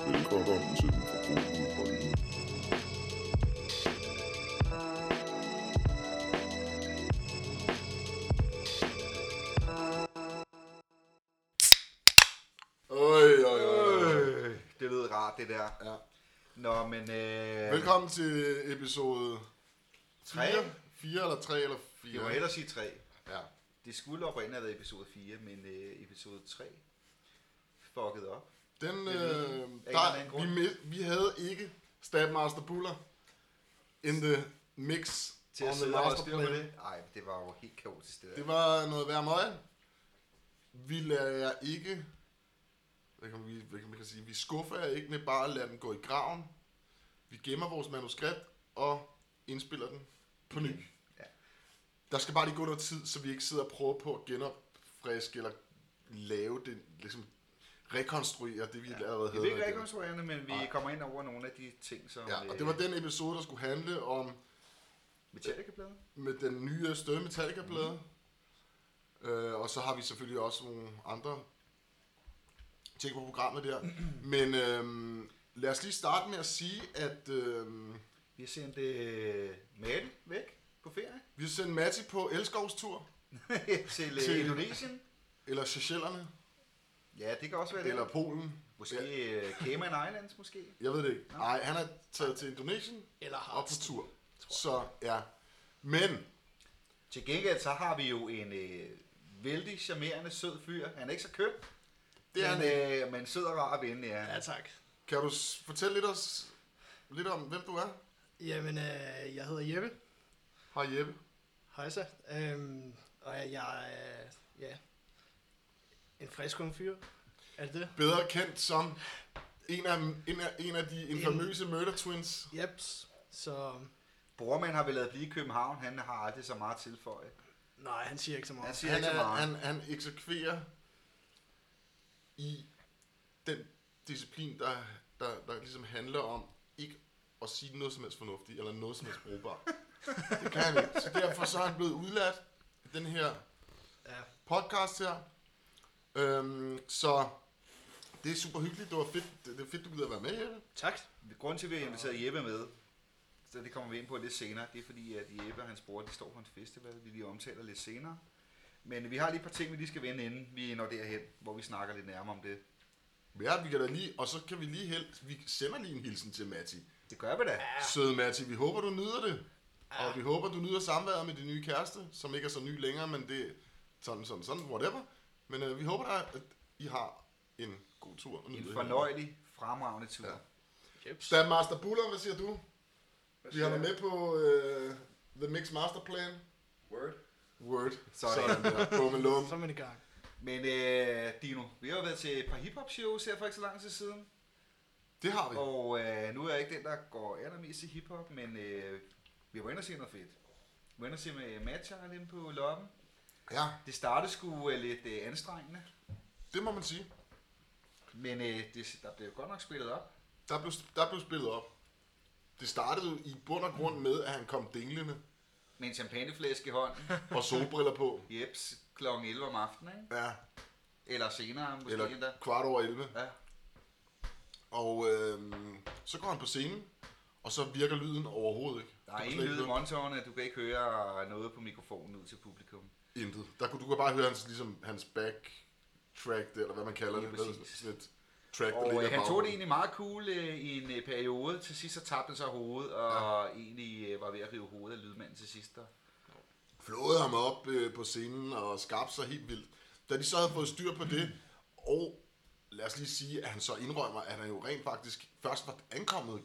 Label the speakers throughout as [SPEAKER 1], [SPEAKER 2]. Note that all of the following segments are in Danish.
[SPEAKER 1] sådan til den forbrugte Ukraine. Øj, øj, øj, øj.
[SPEAKER 2] Øh, det lyder rart, det der.
[SPEAKER 1] Ja.
[SPEAKER 2] Nå, men... Øh,
[SPEAKER 1] Velkommen til episode 3.
[SPEAKER 2] Tre.
[SPEAKER 1] 4 eller 3 eller 4.
[SPEAKER 2] Jeg må hellere sige tre.
[SPEAKER 1] Ja.
[SPEAKER 2] Det skulle oprindeligt have været episode 4, men øh, episode 3 fuckede op.
[SPEAKER 1] Den,
[SPEAKER 2] Det er lige-
[SPEAKER 1] øh,
[SPEAKER 2] af en eller anden
[SPEAKER 1] der,
[SPEAKER 2] grund.
[SPEAKER 1] vi, mi- vi havde ikke Stabmaster Buller in the mix
[SPEAKER 2] Til at
[SPEAKER 1] on the
[SPEAKER 2] sidde og holde
[SPEAKER 1] master
[SPEAKER 2] styr på
[SPEAKER 1] plan.
[SPEAKER 2] det. Nej, det var jo helt kaotisk det der.
[SPEAKER 1] Det var noget værd møg. Vi lader jer ikke... Hvad kan, vi, hvad kan man sige? Vi skuffer jer ikke med bare at lade den gå i graven. Vi gemmer vores manuskript og indspiller den på ny.
[SPEAKER 2] Ja.
[SPEAKER 1] Der skal bare lige gå noget tid, så vi ikke sidder og prøver på at genopfriske eller lave det, ligesom rekonstruere det, vi ja. allerede
[SPEAKER 2] Jeg
[SPEAKER 1] havde.
[SPEAKER 2] ved ikke
[SPEAKER 1] igen.
[SPEAKER 2] rekonstruerende, men vi
[SPEAKER 1] Nej.
[SPEAKER 2] kommer ind over nogle af de ting, som... øh,
[SPEAKER 1] Ja, og det var den episode, der skulle handle om
[SPEAKER 2] Metallica-pladen.
[SPEAKER 1] med den nye støde Metallica-plade. Mm. Øh, og så har vi selvfølgelig også nogle andre ting på programmet der. Men øhm, lad os lige starte med at sige, at øhm,
[SPEAKER 2] Vi har sendt øh, Mette væk på ferie
[SPEAKER 1] vi har sendt Matti på elskovstur,
[SPEAKER 2] til
[SPEAKER 1] Til-
[SPEAKER 2] øh, Indonesien.
[SPEAKER 1] eller Seychellerne,
[SPEAKER 2] Ja, det kan også være det.
[SPEAKER 1] eller Polen.
[SPEAKER 2] Måske øh, Cayman Islands, måske.
[SPEAKER 1] Jeg ved det ikke. Nej, han er taget til Indonesien
[SPEAKER 3] Eller
[SPEAKER 1] og
[SPEAKER 3] har
[SPEAKER 1] på tur. Så ja. Men
[SPEAKER 2] Til gengæld så har vi jo en øh, vældig charmerende, sød fyr. Han er ikke så køn,
[SPEAKER 1] det er han
[SPEAKER 2] men,
[SPEAKER 1] ikke.
[SPEAKER 2] øh, men sød og rar ven, ja.
[SPEAKER 3] Ja, tak.
[SPEAKER 1] Kan du s- fortælle lidt, os, lidt om, hvem du er?
[SPEAKER 3] Jamen, øh, jeg hedder Jeppe.
[SPEAKER 1] Hej Jeppe.
[SPEAKER 3] Hejsa. Øhm, og jeg er, øh, ja, en frisk ung fyr. Er det det?
[SPEAKER 1] bedre kendt som en af, en af, en af de infamøse Murder Twins.
[SPEAKER 3] Jeps. Så
[SPEAKER 2] Brormand har vi lavet blive i København. Han har aldrig så meget tilføje.
[SPEAKER 3] nej, han siger ikke så meget.
[SPEAKER 2] Han siger
[SPEAKER 1] Han,
[SPEAKER 2] ikke så
[SPEAKER 1] er,
[SPEAKER 2] meget.
[SPEAKER 1] han, han eksekverer i den disciplin, der, der, der ligesom handler om ikke at sige noget som helst fornuftigt, eller noget som helst brugbart. det kan han ikke. Så derfor så er han blevet udladt i den her
[SPEAKER 3] Ja.
[SPEAKER 1] podcast her. Øhm, så det er super hyggeligt. Det var fedt, det, det er fedt du gider at være med her.
[SPEAKER 3] Tak.
[SPEAKER 2] Grunden til, at vi har inviteret Jeppe med, så det kommer vi ind på lidt senere, det er fordi, at Jeppe og hans bror, de står på en festival, vi lige omtaler lidt senere. Men vi har lige et par ting, vi lige skal vende, inden vi når derhen, hvor vi snakker lidt nærmere om det.
[SPEAKER 1] Ja, vi kan da lige, og så kan vi lige hel, vi sender lige en hilsen til Matti.
[SPEAKER 2] Det gør vi da.
[SPEAKER 1] Søde Matti, vi håber, du nyder det. Og vi håber, du nyder samværet med din nye kæreste, som ikke er så ny længere, men det er sådan, sådan, sådan, whatever. Men øh, vi håber da, at I har en god tur. og nyder
[SPEAKER 2] En
[SPEAKER 1] det.
[SPEAKER 2] fornøjelig, fremragende tur.
[SPEAKER 1] Ja.
[SPEAKER 3] Jeps.
[SPEAKER 1] Stabmaster Buller, hvad siger du? Vi har dig
[SPEAKER 2] siger
[SPEAKER 1] med på øh, The Mix Masterplan.
[SPEAKER 2] Word.
[SPEAKER 1] Word.
[SPEAKER 2] Sådan.
[SPEAKER 1] Sådan der. Bum, lum.
[SPEAKER 3] Så er man i gang.
[SPEAKER 2] Men øh, Dino, vi har jo været til et par hiphop shows her for ikke så lang tid siden.
[SPEAKER 1] Det har vi.
[SPEAKER 2] Og øh, nu er jeg ikke den, der går allermest til hiphop, men øh, vi var inde og se noget fedt. Vi var inde og se med Matt Charlie inde på loppen.
[SPEAKER 1] Ja,
[SPEAKER 2] Det startede sgu øh, lidt øh, anstrengende,
[SPEAKER 1] det må man sige.
[SPEAKER 2] men øh, det, der blev godt nok spillet op.
[SPEAKER 1] Der blev, der blev spillet op. Det startede jo i bund og grund med, at han kom dinglende
[SPEAKER 2] Med en champagneflæske i hånden.
[SPEAKER 1] og solbriller på.
[SPEAKER 2] Jeps, kl. 11 om aftenen, ikke?
[SPEAKER 1] Ja,
[SPEAKER 2] Eller senere måske Eller... endda.
[SPEAKER 1] eller kvart over 11.
[SPEAKER 2] Ja.
[SPEAKER 1] Og øh, så går han på scenen, og så virker lyden overhovedet ikke.
[SPEAKER 2] Der
[SPEAKER 1] Du
[SPEAKER 2] er
[SPEAKER 1] kan
[SPEAKER 2] ingen
[SPEAKER 1] slet ikke
[SPEAKER 2] lyd i
[SPEAKER 1] høre
[SPEAKER 2] monitoren, du kan ikke høre noget på mikrofonen ud til publikum.
[SPEAKER 1] Intet. Der kunne, du kan bare høre hans, ligesom, hans back track, der, eller hvad man kalder
[SPEAKER 2] Ja,
[SPEAKER 1] det. Hvad,
[SPEAKER 2] præcis.
[SPEAKER 1] sådan et track, der
[SPEAKER 2] Og
[SPEAKER 1] ligger
[SPEAKER 2] øh, han
[SPEAKER 1] i
[SPEAKER 2] tog det
[SPEAKER 1] baggrunden.
[SPEAKER 2] egentlig meget cool øh, i en øh, periode. Til sidst så tabte han sig hovedet, og ja. egentlig øh, var ved at rive hovedet af lydmanden til sidst. Der.
[SPEAKER 1] flåede ham op øh, på scenen og skabte sig helt vildt. Da de så havde fået styr på det, og lad os lige sige, at han så indrømmer, at han jo rent faktisk først var ankommet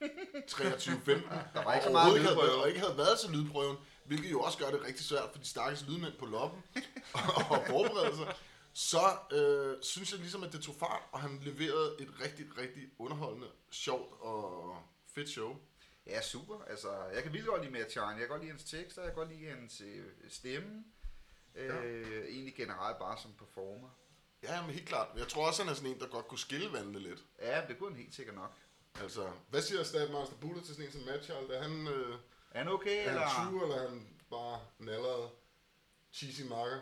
[SPEAKER 1] 23.15,
[SPEAKER 2] Der var ikke så
[SPEAKER 1] og
[SPEAKER 2] meget
[SPEAKER 1] overhovedet ikke havde,
[SPEAKER 2] lydprøve.
[SPEAKER 1] været- og ikke havde været til lydprøven, hvilket jo også gør det rigtig svært for de stakkels lydmænd på loppen og forberede sig. Så øh, synes jeg ligesom, at det tog fart, og han leverede et rigtig, rigtig underholdende, sjovt og fedt show.
[SPEAKER 2] Ja, super. Altså, jeg kan vildt godt lide Matt Charn. Jeg kan godt lide hans tekster, jeg kan godt lide hans øh, stemme. Øh, Egentlig generelt bare som performer.
[SPEAKER 1] Ja, men helt klart. Jeg tror også, han er sådan en, der godt kunne skille vandene lidt.
[SPEAKER 2] Ja, men det kunne han helt sikkert nok.
[SPEAKER 1] Altså, hvad siger Stabmaster Buller til sådan en som Matchhold? Er han, øh,
[SPEAKER 2] Er han okay,
[SPEAKER 1] er
[SPEAKER 2] eller?
[SPEAKER 1] han true, eller er han bare en allerede cheesy marker?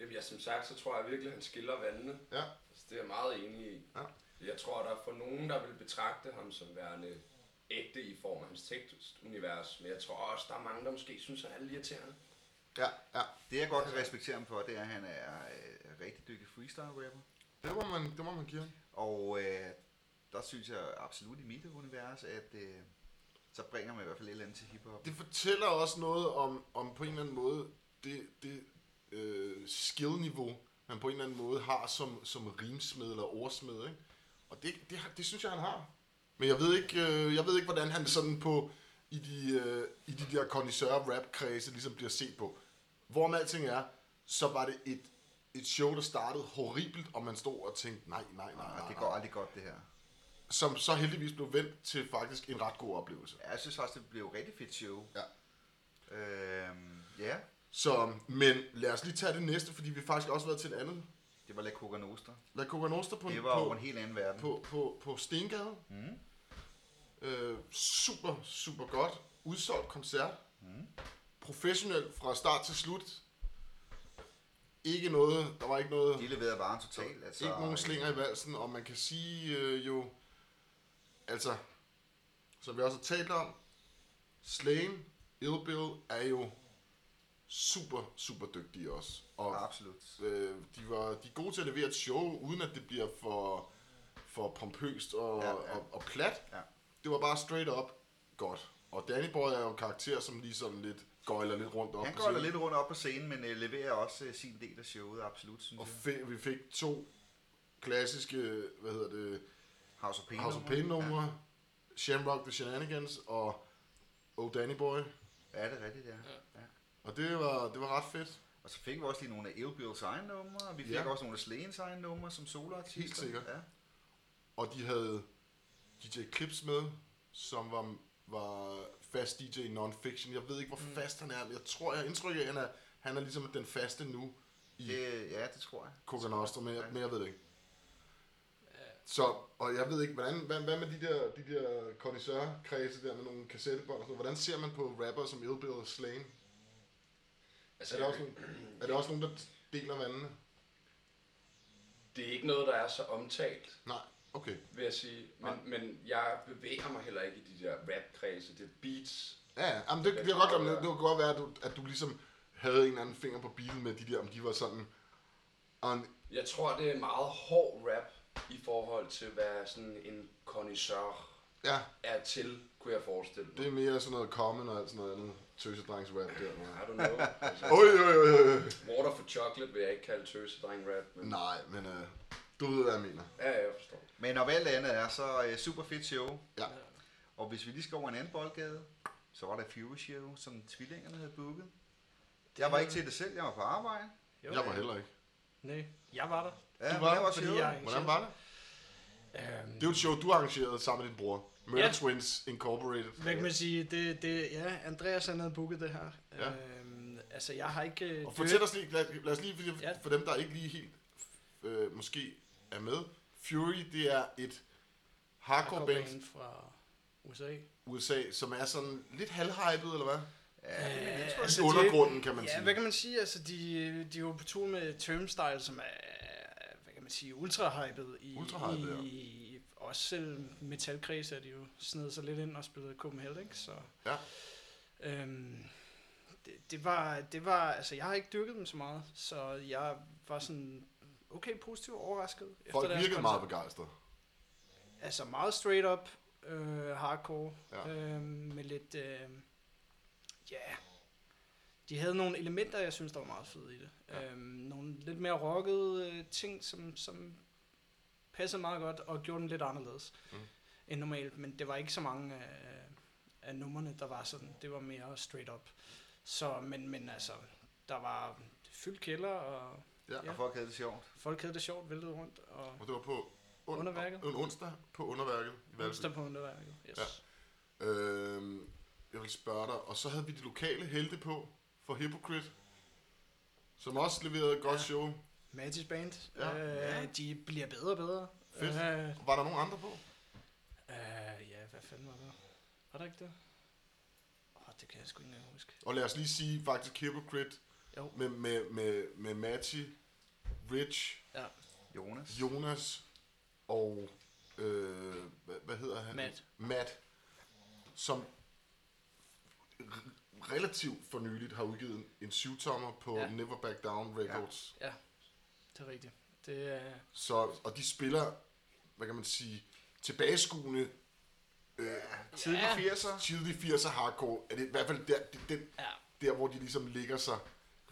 [SPEAKER 4] Jamen, ja, som sagt, så tror jeg virkelig, at han skiller vandene.
[SPEAKER 1] Ja,
[SPEAKER 4] Altså, det er jeg meget enig i.
[SPEAKER 1] ja.
[SPEAKER 4] Jeg tror, der er for nogen, der vil betragte ham som værende ægte i form af hans tekstunivers, men jeg tror også, der er mange, der måske synes, at han er irriterende.
[SPEAKER 1] Ja, ja.
[SPEAKER 2] Det jeg godt kan respektere ham for, det er, at han er øh, rigtig dygtig freestyle-rapper.
[SPEAKER 1] Det må man, det må man give ham.
[SPEAKER 2] Og øh, der synes jeg absolut i mit univers, at øh, så bringer man i hvert fald et eller andet til hiphop.
[SPEAKER 1] Det fortæller også noget om, om på en eller anden måde det, det øh, skillniveau, han på en eller anden måde har som, som rimsmed eller ordsmed. Ikke? Og det, det, har- det synes jeg, han har. Men jeg ved ikke, øh, jeg ved ikke hvordan han sådan på i de, øh, i de der connoisseur rap kredse ligesom bliver set på. Hvorom alting er, så var det et, et show, der startede horribelt, og man stod og tænkte, nej, nej, nej, nej,
[SPEAKER 2] Ah,
[SPEAKER 1] nej.
[SPEAKER 2] det går aldrig godt, det her.
[SPEAKER 1] Som så heldigvis blev vendt til faktisk en ret god oplevelse.
[SPEAKER 2] Ja, jeg synes faktisk, det blev et rigtig fedt show.
[SPEAKER 1] Ja.
[SPEAKER 2] Øhm, ja,
[SPEAKER 1] Så, men lad os lige tage det næste, fordi vi har faktisk også været til et andet.
[SPEAKER 2] det var La Coca Nostra.
[SPEAKER 1] La Coca Nostra på,
[SPEAKER 2] Det var jo
[SPEAKER 1] på,
[SPEAKER 2] en helt anden verden.
[SPEAKER 1] på, på, på Stengade.
[SPEAKER 2] Mm.
[SPEAKER 1] Øh, super, super godt. Udsolgt koncert. Mm. Professionel fra start til slut. Ikke noget, der var ikke noget,
[SPEAKER 2] De leverede varen totalt. Altså,
[SPEAKER 1] ikke nogen slinger i valsen, og man kan sige øh, jo, altså, som vi også har talt om, Slane, Ill Bill er jo super, super dygtige også. Og
[SPEAKER 2] Absolut.
[SPEAKER 1] øh, de, var, de er gode til at levere et show, uden at det bliver for, for pompøst og,
[SPEAKER 2] Ja,
[SPEAKER 1] ja,
[SPEAKER 2] ja.
[SPEAKER 1] ja. og, og plat.
[SPEAKER 2] Ja.
[SPEAKER 1] Det var bare straight up godt. Og Danny Boy er jo en karakter, som lige sådan lidt gøjler lidt rundt op.
[SPEAKER 2] Han
[SPEAKER 1] på
[SPEAKER 2] går da
[SPEAKER 1] scenen.
[SPEAKER 2] lidt rundt op på scenen, men øh, leverer også øh, sin del af showet, absolut, synes
[SPEAKER 1] Og
[SPEAKER 2] jeg.
[SPEAKER 1] fik, vi fik to klassiske, hvad hedder det,
[SPEAKER 2] House of Pain.
[SPEAKER 1] House of Pain numre. Ja. Shamrock the Shenanigans og Oh Danny Boy.
[SPEAKER 2] Ja, det er rigtigt, ja. ja.
[SPEAKER 1] Og det var, det var ret fedt.
[SPEAKER 2] Og så fik vi også lige nogle af Illbills egen numre, og vi fik
[SPEAKER 1] Ja.
[SPEAKER 2] også nogle af Slanes egen numre som soloartister.
[SPEAKER 1] Helt sikkert.
[SPEAKER 2] Ja.
[SPEAKER 1] Og de havde DJ Clips med, som var, var fast DJ i non-fiction. Jeg ved ikke,
[SPEAKER 2] Mm.
[SPEAKER 1] hvor fast han er, men jeg tror, jeg har indtryk af, at han er, han er ligesom den faste nu i yeah.
[SPEAKER 2] Det, ja, det tror jeg.
[SPEAKER 1] Coca Nostra, men,
[SPEAKER 2] Ja.
[SPEAKER 1] jeg- men jeg ved det ikke. Så, og jeg ved ikke, hvordan, hvad, hvad med de der, de der connoisseur-kredse der med nogle kassettebånd og sådan noget? Hvordan ser man på rapper som Ill Bill og Slane? Er
[SPEAKER 4] Altså,
[SPEAKER 1] der også nogen, er der, også nogen, der deler vandene?
[SPEAKER 4] det er ikke noget, der er så omtalt,
[SPEAKER 1] Nej, okay.
[SPEAKER 4] vil jeg sige.
[SPEAKER 1] Nej.
[SPEAKER 4] Men, men jeg bevæger mig heller ikke i de der rap-kredse. Det er beats.
[SPEAKER 1] Ja, ja. Jamen, det, det,
[SPEAKER 4] Jeg
[SPEAKER 1] kan godt,
[SPEAKER 4] tror,
[SPEAKER 1] om,
[SPEAKER 4] jeg-
[SPEAKER 1] det kunne godt være, at du, at du ligesom havde en eller anden finger på bilen med de der, om de var sådan... On,
[SPEAKER 4] Jeg tror, det er meget hård rap i forhold til, hvad sådan en connoisseur
[SPEAKER 1] ja,
[SPEAKER 4] er til, kunne jeg forestille mig.
[SPEAKER 1] det er mere sådan noget common og alt sådan noget andet tøsedrengs rap der.
[SPEAKER 4] I don't know. Altså,
[SPEAKER 1] Oj, oj, oj, oj.
[SPEAKER 4] water for chocolate vil jeg ikke kalde tøsedreng rap, men
[SPEAKER 1] Nej, men øh, du ved, hvad jeg mener.
[SPEAKER 4] ja, jeg forstår.
[SPEAKER 2] Men når alt andet er, så øh, super fedt show.
[SPEAKER 1] Ja.
[SPEAKER 2] Og hvis vi lige skal over en anden boldgade, så var der Fury Show, som tvillingerne havde booket. Jeg var ikke til det selv, jeg var på arbejde.
[SPEAKER 3] Jo,
[SPEAKER 1] Jeg var heller ikke.
[SPEAKER 3] Nej, jeg var der.
[SPEAKER 2] Ja,
[SPEAKER 1] Du
[SPEAKER 2] men
[SPEAKER 1] var
[SPEAKER 2] jeg var
[SPEAKER 3] fordi
[SPEAKER 2] til
[SPEAKER 3] jeg-
[SPEAKER 1] Hvordan var det?
[SPEAKER 3] Øhm,
[SPEAKER 1] Det er jo et show, du arrangerede sammen med din bror. Murder
[SPEAKER 3] Ja.
[SPEAKER 1] Twins Incorporated.
[SPEAKER 3] hvad kan man sige? Det, det, ja, Andreas han havde booket det her.
[SPEAKER 1] Ja.
[SPEAKER 3] Øhm, altså, jeg har ikke... øh,
[SPEAKER 1] Og
[SPEAKER 3] dyrket-
[SPEAKER 1] fortæl os lige, lad, lad os lige for,
[SPEAKER 3] Ja.
[SPEAKER 1] for dem, der ikke lige helt øh, måske er med. Fury, det er et hardcore band
[SPEAKER 3] Aquaman fra USA.
[SPEAKER 1] USA, som er sådan lidt halvhypet, eller hvad?
[SPEAKER 2] Ja, det er mit indtryk.
[SPEAKER 1] Altså,
[SPEAKER 3] Altså,
[SPEAKER 1] I
[SPEAKER 3] det-
[SPEAKER 1] undergrunden, kan man
[SPEAKER 3] Ja,
[SPEAKER 1] sige.
[SPEAKER 3] hvad kan man sige? Altså, de, de er jo på tur med Termstyle, som er, hvad kan man sige, ultra-hypet. I,
[SPEAKER 1] Ultra-hypet, ja.
[SPEAKER 3] i, Også selv metalkreds er de jo snedet sig lidt ind og spillet Copenhagen, ikke? Så,
[SPEAKER 1] Ja.
[SPEAKER 3] Øhm, det, det, var, det var, altså, jeg har ikke dyrket dem så meget, så jeg var sådan okay positivt overrasket.
[SPEAKER 1] Folk
[SPEAKER 3] deres
[SPEAKER 1] virkede
[SPEAKER 3] koncert.
[SPEAKER 1] meget begejstrede.
[SPEAKER 3] Altså meget straight up, øh, hardcore,
[SPEAKER 1] Ja.
[SPEAKER 3] ja. øh, med lidt, øh, ja, de havde nogle elementer, jeg synes, der var meget fede i det.
[SPEAKER 1] Ja.
[SPEAKER 3] Ja. Øh, nogle lidt mere rockede øh, ting, som, som passede meget godt og gjorde den lidt anderledes
[SPEAKER 1] Mm.
[SPEAKER 3] mm. end normalt, men det var ikke så mange af, af numrene, der var sådan. Det var mere straight up. Så, men, men altså, der var fyldt kælder, og
[SPEAKER 1] Ja.
[SPEAKER 2] Og folk havde det sjovt.
[SPEAKER 3] folk havde det sjovt, væltet rundt, og
[SPEAKER 1] Og det var på und-
[SPEAKER 3] Underværket.
[SPEAKER 1] en onsdag på underværket i Valby.
[SPEAKER 3] onsdag på underværket. Yes.
[SPEAKER 1] Ja.
[SPEAKER 3] Ja.
[SPEAKER 1] Øhm, jeg vil spørge dig, og så havde vi de lokale helte på for Hypocrite, som også leverede et godt
[SPEAKER 3] Ja.
[SPEAKER 1] show.
[SPEAKER 3] Magic Band.
[SPEAKER 1] Ja.
[SPEAKER 3] Ja. Øh,
[SPEAKER 2] Ja.
[SPEAKER 3] De bliver bedre og bedre.
[SPEAKER 1] Fedt.
[SPEAKER 3] Øh,
[SPEAKER 1] Var der nogen andre på?
[SPEAKER 3] øh, ja, hvad fanden var der? Var der ikke det? Åh, oh, det kan jeg sgu ikke engang huske.
[SPEAKER 1] Og lad os lige sige faktisk Hypocrite
[SPEAKER 3] Jo.
[SPEAKER 1] med, med, med, med Matti, Rich,
[SPEAKER 3] Ja.
[SPEAKER 2] Jonas.
[SPEAKER 1] Jonas og øh, hvad, hvad hedder han?
[SPEAKER 3] Matt.
[SPEAKER 1] Matt, som r- relativt for nyligt har udgivet en- en syvtommer på
[SPEAKER 3] Ja.
[SPEAKER 1] ja. Never Back Down Records. Ja.
[SPEAKER 3] Ja, det er rigtigt. Det er...
[SPEAKER 1] Så, og de spiller, hvad kan man sige, tilbageskuende øh,
[SPEAKER 2] Tidlig
[SPEAKER 3] Ja.
[SPEAKER 2] 80'er.
[SPEAKER 1] tidlig 80'er hardcore. Er det i hvert fald der, det, den,
[SPEAKER 3] Ja,
[SPEAKER 1] der, hvor de ligesom ligger sig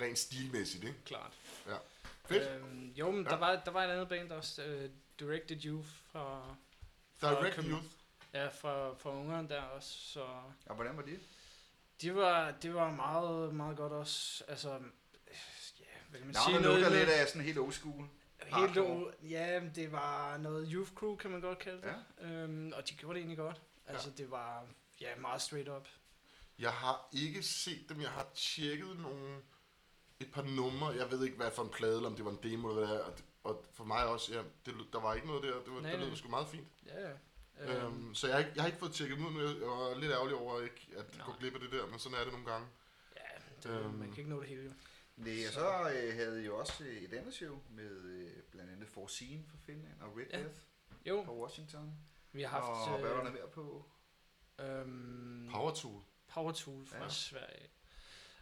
[SPEAKER 1] rent stilmæssigt, ikke?
[SPEAKER 3] klart.
[SPEAKER 1] Ja. Fedt.
[SPEAKER 3] Øhm, jo, men ja. der, var, der var et andet band også, øh, Directed You fra... fra
[SPEAKER 1] Direct
[SPEAKER 3] København.
[SPEAKER 1] Youth.
[SPEAKER 3] Ja, fra, fra Ungarn der også, så...
[SPEAKER 2] Ja, hvordan var det?
[SPEAKER 3] Det var, det var meget, meget godt også, altså... øh, Ja, hvad kan man
[SPEAKER 2] Navnet
[SPEAKER 3] sige? Noget,
[SPEAKER 2] lugter
[SPEAKER 3] noget,
[SPEAKER 2] lidt af sådan helt old school.
[SPEAKER 3] helt
[SPEAKER 2] hardcore.
[SPEAKER 3] o- ja, men det var noget youth crew, kan man godt kalde det.
[SPEAKER 2] Ja.
[SPEAKER 3] Øhm, og de gjorde det egentlig godt. Altså, det var ja, meget straight up.
[SPEAKER 1] Jeg har ikke set dem. Jeg har tjekket nogle, et par numre. Jeg ved ikke, hvad for en plade, eller om det var en demo eller hvad det er. Og, og for mig også, ja, det, lød- der var ikke noget der. Det, var,
[SPEAKER 3] Nej,
[SPEAKER 1] det
[SPEAKER 3] nej.
[SPEAKER 1] lød sgu meget fint.
[SPEAKER 3] Ja, ja.
[SPEAKER 1] Øhm.
[SPEAKER 3] Øhm,
[SPEAKER 1] så jeg har, ikke, jeg har ikke fået tjekket dem ud, men jeg jeg var lidt ærgerlig over ikke at
[SPEAKER 3] Nej.
[SPEAKER 1] gå glip af det der, men sådan er det nogle gange.
[SPEAKER 3] ja det, øhm, man
[SPEAKER 1] øhm.
[SPEAKER 3] kan ikke nå det hele, jo.
[SPEAKER 2] Nej, og
[SPEAKER 3] Så-
[SPEAKER 2] så øh, havde jeg jo også øh, et andet show med øh, blandt andet Forseen fra Finland og Red
[SPEAKER 3] Ja.
[SPEAKER 2] Death
[SPEAKER 3] Jo,
[SPEAKER 2] fra Washington.
[SPEAKER 3] vi har haft...
[SPEAKER 2] Og hvad var der
[SPEAKER 3] Øh,
[SPEAKER 2] mere på?
[SPEAKER 3] øhm,
[SPEAKER 1] Power Tool.
[SPEAKER 3] Power Tool fra
[SPEAKER 2] Ja.
[SPEAKER 3] ja. Sverige.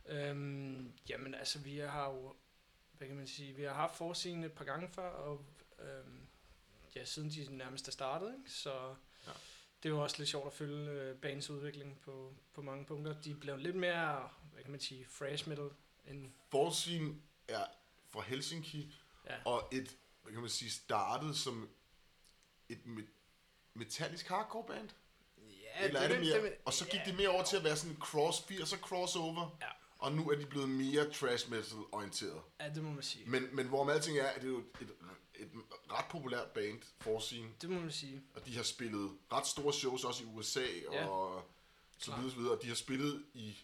[SPEAKER 3] Øhm, jamen altså, vi har jo, hvad kan man sige, vi har haft forsiden et par gange før, og øhm, ja, siden de nærmest er startet, ikke? så
[SPEAKER 1] Ja.
[SPEAKER 3] ja. det er jo også lidt sjovt at følge øh, banens udvikling på, på mange punkter. De er blevet lidt mere, hvad kan man sige, fresh metal end,
[SPEAKER 1] Forscene er fra Helsinki,
[SPEAKER 3] Ja.
[SPEAKER 1] og et, hvad kan man sige, startede som et me- metallisk hardcore band.
[SPEAKER 3] ja,
[SPEAKER 1] Ja, eller er det mere? Og så gik
[SPEAKER 3] ja,
[SPEAKER 1] de mere over til at være sådan cross 80'er crossover.
[SPEAKER 3] Ja.
[SPEAKER 1] Og nu er de blevet mere trash metal orienteret.
[SPEAKER 3] Ja, det må man sige.
[SPEAKER 1] Men, men hvorom alting er, at det er jo et, et ret populært band, Forscene.
[SPEAKER 3] Det må man sige.
[SPEAKER 1] Og de har spillet ret store shows også i USA
[SPEAKER 3] Ja.
[SPEAKER 1] og så
[SPEAKER 3] Klart.
[SPEAKER 1] videre, så videre. Og de har spillet i,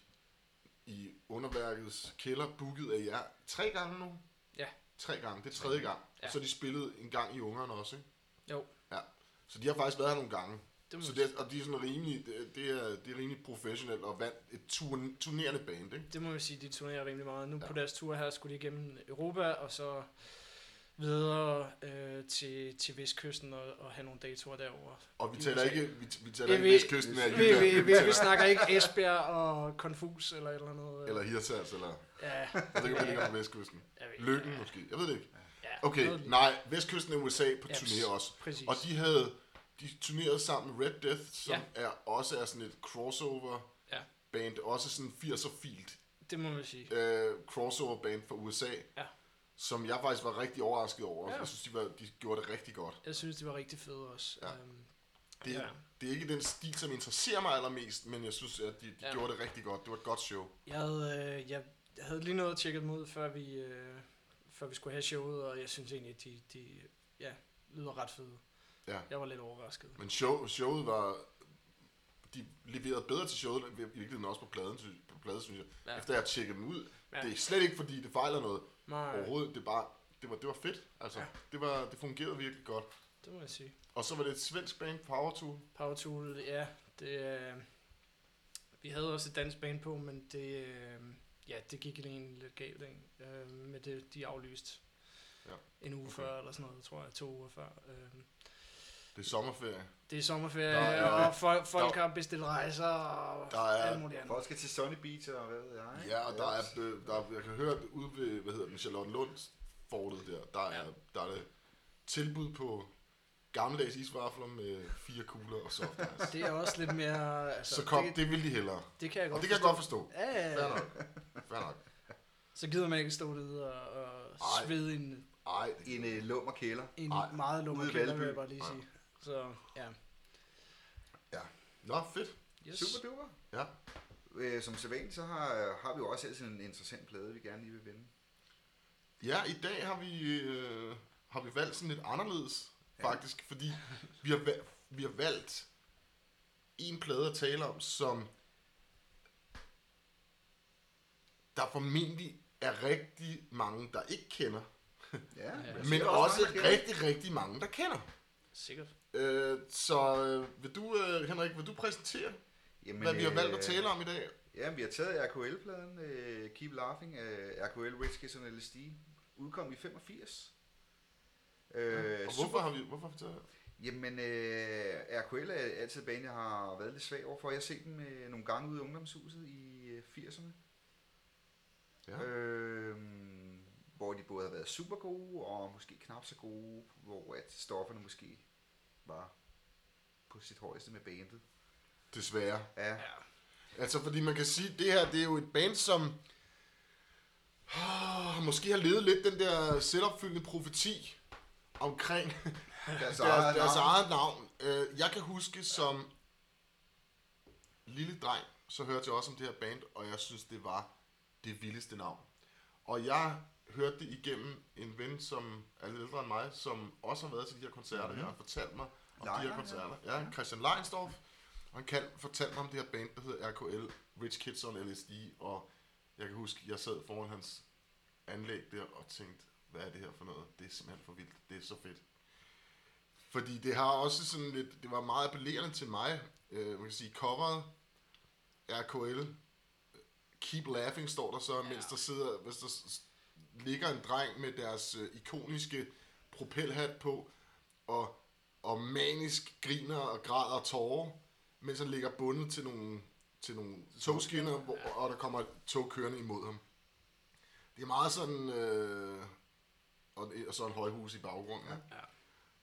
[SPEAKER 1] i underværkets kælder, booket af jer, tre gange nu.
[SPEAKER 3] Ja.
[SPEAKER 1] Tre gange, det er tredje gang.
[SPEAKER 3] Ja.
[SPEAKER 1] Og så har de spillet en gang i Ungerne også, ikke?
[SPEAKER 3] Jo,
[SPEAKER 1] Ja. Så de har faktisk været her nogle gange.
[SPEAKER 3] det må
[SPEAKER 1] Så
[SPEAKER 3] man sige.
[SPEAKER 1] det, og de er sådan rimelig, det, det er, det er rimelig professionelt og vand, et turn, turnerende band, ikke?
[SPEAKER 3] det må man sige, de turnerer rimelig meget. Nu ja.
[SPEAKER 1] Ja.
[SPEAKER 3] på deres tur her skulle de igennem Europa, og så videre øh, til, til Vestkysten og, og have nogle datoer derovre.
[SPEAKER 1] Og vi
[SPEAKER 3] I
[SPEAKER 1] taler
[SPEAKER 3] USA.
[SPEAKER 1] ikke, vi, vi taler
[SPEAKER 3] Ja,
[SPEAKER 1] ikke
[SPEAKER 3] vi-
[SPEAKER 1] vestkysten af
[SPEAKER 2] vi-
[SPEAKER 3] Vi,
[SPEAKER 1] Jylland,
[SPEAKER 3] vi, vi, vi
[SPEAKER 1] taler-
[SPEAKER 3] snakker ikke Esbjerg og Confus eller et eller andet. øh.
[SPEAKER 1] eller Hirtals, eller
[SPEAKER 3] Ja,
[SPEAKER 1] jeg ved ikke, om det ligger på vestkysten.
[SPEAKER 3] jeg ved ikke,
[SPEAKER 1] Lykken
[SPEAKER 3] ja,
[SPEAKER 1] måske, jeg ved det ikke.
[SPEAKER 3] ja, noget
[SPEAKER 1] Okay,
[SPEAKER 3] lige-
[SPEAKER 1] nej, vestkysten af USA på
[SPEAKER 3] Ja,
[SPEAKER 1] turné også.
[SPEAKER 3] Præcis.
[SPEAKER 1] Og de havde, de turnerede sammen med Red Death, som
[SPEAKER 3] Ja.
[SPEAKER 1] er også er sådan et crossover
[SPEAKER 3] Ja.
[SPEAKER 1] band, også sådan 80'er filt
[SPEAKER 3] Det må man sige.
[SPEAKER 1] øh, crossover band fra USA,
[SPEAKER 3] Ja.
[SPEAKER 1] som jeg faktisk var rigtig overrasket over.
[SPEAKER 3] Ja.
[SPEAKER 1] Ja. Jeg synes, de, var, de gjorde det rigtig godt.
[SPEAKER 3] Jeg synes, det var rigtig fedt også.
[SPEAKER 1] Ja.
[SPEAKER 3] Øhm,
[SPEAKER 1] Det,
[SPEAKER 3] Ja.
[SPEAKER 1] ja. det er ikke den stil, som interesserer mig allermest, men jeg synes, at de, de
[SPEAKER 3] Ja.
[SPEAKER 1] ja. gjorde det rigtig godt. Det var et godt show.
[SPEAKER 3] Jeg havde, øh, jeg jeg havde lige noget at tjekke dem ud, før vi, øh, før vi skulle have showet, og jeg synes egentlig, at de, de ja, lyder ret fede.
[SPEAKER 1] Ja.
[SPEAKER 3] Jeg var lidt overrasket.
[SPEAKER 1] Men show, showet var... De leverede bedre til showet, end i virkeligheden også på pladen, sy- på pladen synes jeg.
[SPEAKER 3] Ja.
[SPEAKER 1] Ja. Efter jeg tjekkede dem ud.
[SPEAKER 3] Ja.
[SPEAKER 1] Ja. Det er slet ikke, fordi det fejler noget
[SPEAKER 3] Nej,
[SPEAKER 1] overhovedet. Det, er bare, det, var, det var fedt. Altså,
[SPEAKER 3] Ja.
[SPEAKER 1] ja. det, var, det fungerede virkelig godt.
[SPEAKER 3] det må jeg sige.
[SPEAKER 1] Og så var det et svensk band, Power Tool.
[SPEAKER 3] Power Tool, ja, det, øh, vi havde også et dansk band på, men det, øh, ja, det gik egentlig lidt galt, ikke? Øh, med det, de aflyste
[SPEAKER 1] Ja,
[SPEAKER 3] en uge okay.
[SPEAKER 1] okay.
[SPEAKER 3] før, eller sådan noget, tror jeg, to uger før. Øh,
[SPEAKER 1] Det er sommerferie.
[SPEAKER 3] det er sommerferie,
[SPEAKER 1] Der
[SPEAKER 3] der,
[SPEAKER 1] er-
[SPEAKER 3] og folk, folk
[SPEAKER 1] der-
[SPEAKER 3] har bestilt rejser, og
[SPEAKER 1] Der er-
[SPEAKER 3] alt muligt andet.
[SPEAKER 2] Folk skal til Sunny Beach og hvad ved jeg.
[SPEAKER 1] Ja, og der er, øh, der er, jeg kan høre, at ude ved, hvad hedder den, Charlotte Lunds fortet der, der er,
[SPEAKER 3] Ja.
[SPEAKER 1] der er det tilbud på gammeldags isvafler med fire kugler og soft ice.
[SPEAKER 3] Det er også lidt mere... Altså,
[SPEAKER 1] Så kom,
[SPEAKER 3] det,
[SPEAKER 1] det vil de hellere.
[SPEAKER 3] det kan jeg
[SPEAKER 1] Og
[SPEAKER 3] godt
[SPEAKER 1] det kan jeg godt forstå.
[SPEAKER 3] Ja, ja,
[SPEAKER 1] Fair
[SPEAKER 3] ja.
[SPEAKER 1] nok. Fair nok.
[SPEAKER 3] Så gider man ikke stå derude og, og
[SPEAKER 1] Ej.
[SPEAKER 3] svede i en,
[SPEAKER 1] Ej,
[SPEAKER 2] I en øh, lummer kælder.
[SPEAKER 3] en
[SPEAKER 1] Ej.
[SPEAKER 3] meget lummer
[SPEAKER 2] Ude i
[SPEAKER 3] kælder,
[SPEAKER 2] Valby.
[SPEAKER 3] vil jeg bare lige
[SPEAKER 1] Ej.
[SPEAKER 3] sige. Så ja.
[SPEAKER 1] nå fedt.
[SPEAKER 3] Yes.
[SPEAKER 2] Super duper.
[SPEAKER 1] Ja.
[SPEAKER 2] Øh, som sædvanligt, så har, har vi jo også altid en interessant plade, vi gerne lige vil vende.
[SPEAKER 1] Ja, i dag har vi, øh, har vi valgt sådan lidt anderledes,
[SPEAKER 2] Ja.
[SPEAKER 1] faktisk, fordi vi har, va- vi har valgt en plade at tale om, som der formentlig er rigtig mange, der ikke kender,
[SPEAKER 2] Ja,
[SPEAKER 3] Ja.
[SPEAKER 2] jeg
[SPEAKER 1] men
[SPEAKER 2] siger
[SPEAKER 1] også
[SPEAKER 2] mange, der kender.
[SPEAKER 1] rigtig, rigtig mange, der kender.
[SPEAKER 3] Sikkert.
[SPEAKER 1] Øh, så øh, vil du, øh, Henrik, vil du præsentere,
[SPEAKER 2] Jamen,
[SPEAKER 1] Men, hvad vi har valgt at
[SPEAKER 2] øh,
[SPEAKER 1] tale om i dag?
[SPEAKER 2] Ja, vi har taget RKL-pladen, øh, Keep Laughing, øh, RKL Rich Kids on LSD, udkom i 85. Øh,
[SPEAKER 1] og hvorfor har vi, hvorfor har vi taget
[SPEAKER 2] super, Jamen, øh, RKL er altid en bane, jeg har været lidt svag overfor. Jeg har set dem øh, nogle gange ude i ungdomshuset i øh, 80'erne.
[SPEAKER 1] Ja.
[SPEAKER 2] Ja. Øh, hvor de både har været super gode og måske knap så gode, hvor at stofferne måske var på sit højeste med bandet.
[SPEAKER 1] Desværre.
[SPEAKER 2] Ja,
[SPEAKER 3] Ja.
[SPEAKER 1] Altså, fordi man kan sige, at det her, det er jo et band, som oh, måske har levet lidt den der selvopfyldende profeti omkring
[SPEAKER 2] deres,
[SPEAKER 1] deres,
[SPEAKER 2] eget
[SPEAKER 1] deres
[SPEAKER 2] navn.
[SPEAKER 1] eget navn. Øh, Jeg kan huske som lille dreng, så hørte jeg også om det her band, og jeg synes, det var det vildeste navn. Og jeg hørte det igennem en ven, som er lidt ældre end mig, som også har været til de her koncerter mm-hmm. her, og fortalt mig om de
[SPEAKER 2] Leiner,
[SPEAKER 1] her
[SPEAKER 2] ja.
[SPEAKER 1] koncerter. Ja, Christian Leinsdorf. Og han kan, fortalte mig om det her band, der hedder RKL, Rich Kids on LSD, og jeg kan huske, jeg sad foran hans anlæg der og tænkte, hvad er det her for noget? Det er simpelthen for vildt. Det er så fedt. Fordi det har også sådan lidt, det var meget appellerende til mig. Øh, man kan sige, coveret RKL. Keep laughing står der så, ja. mens der sidder, hvis der s- s- ligger en dreng med deres øh, ikoniske propelhat på, og, og manisk griner og græder og tårer, mens han ligger bundet til nogle, til nogle togskinner, hvor, og der kommer et tog kørende imod ham. Det er meget sådan, øh, og, og så en højhus i baggrunden. Ja.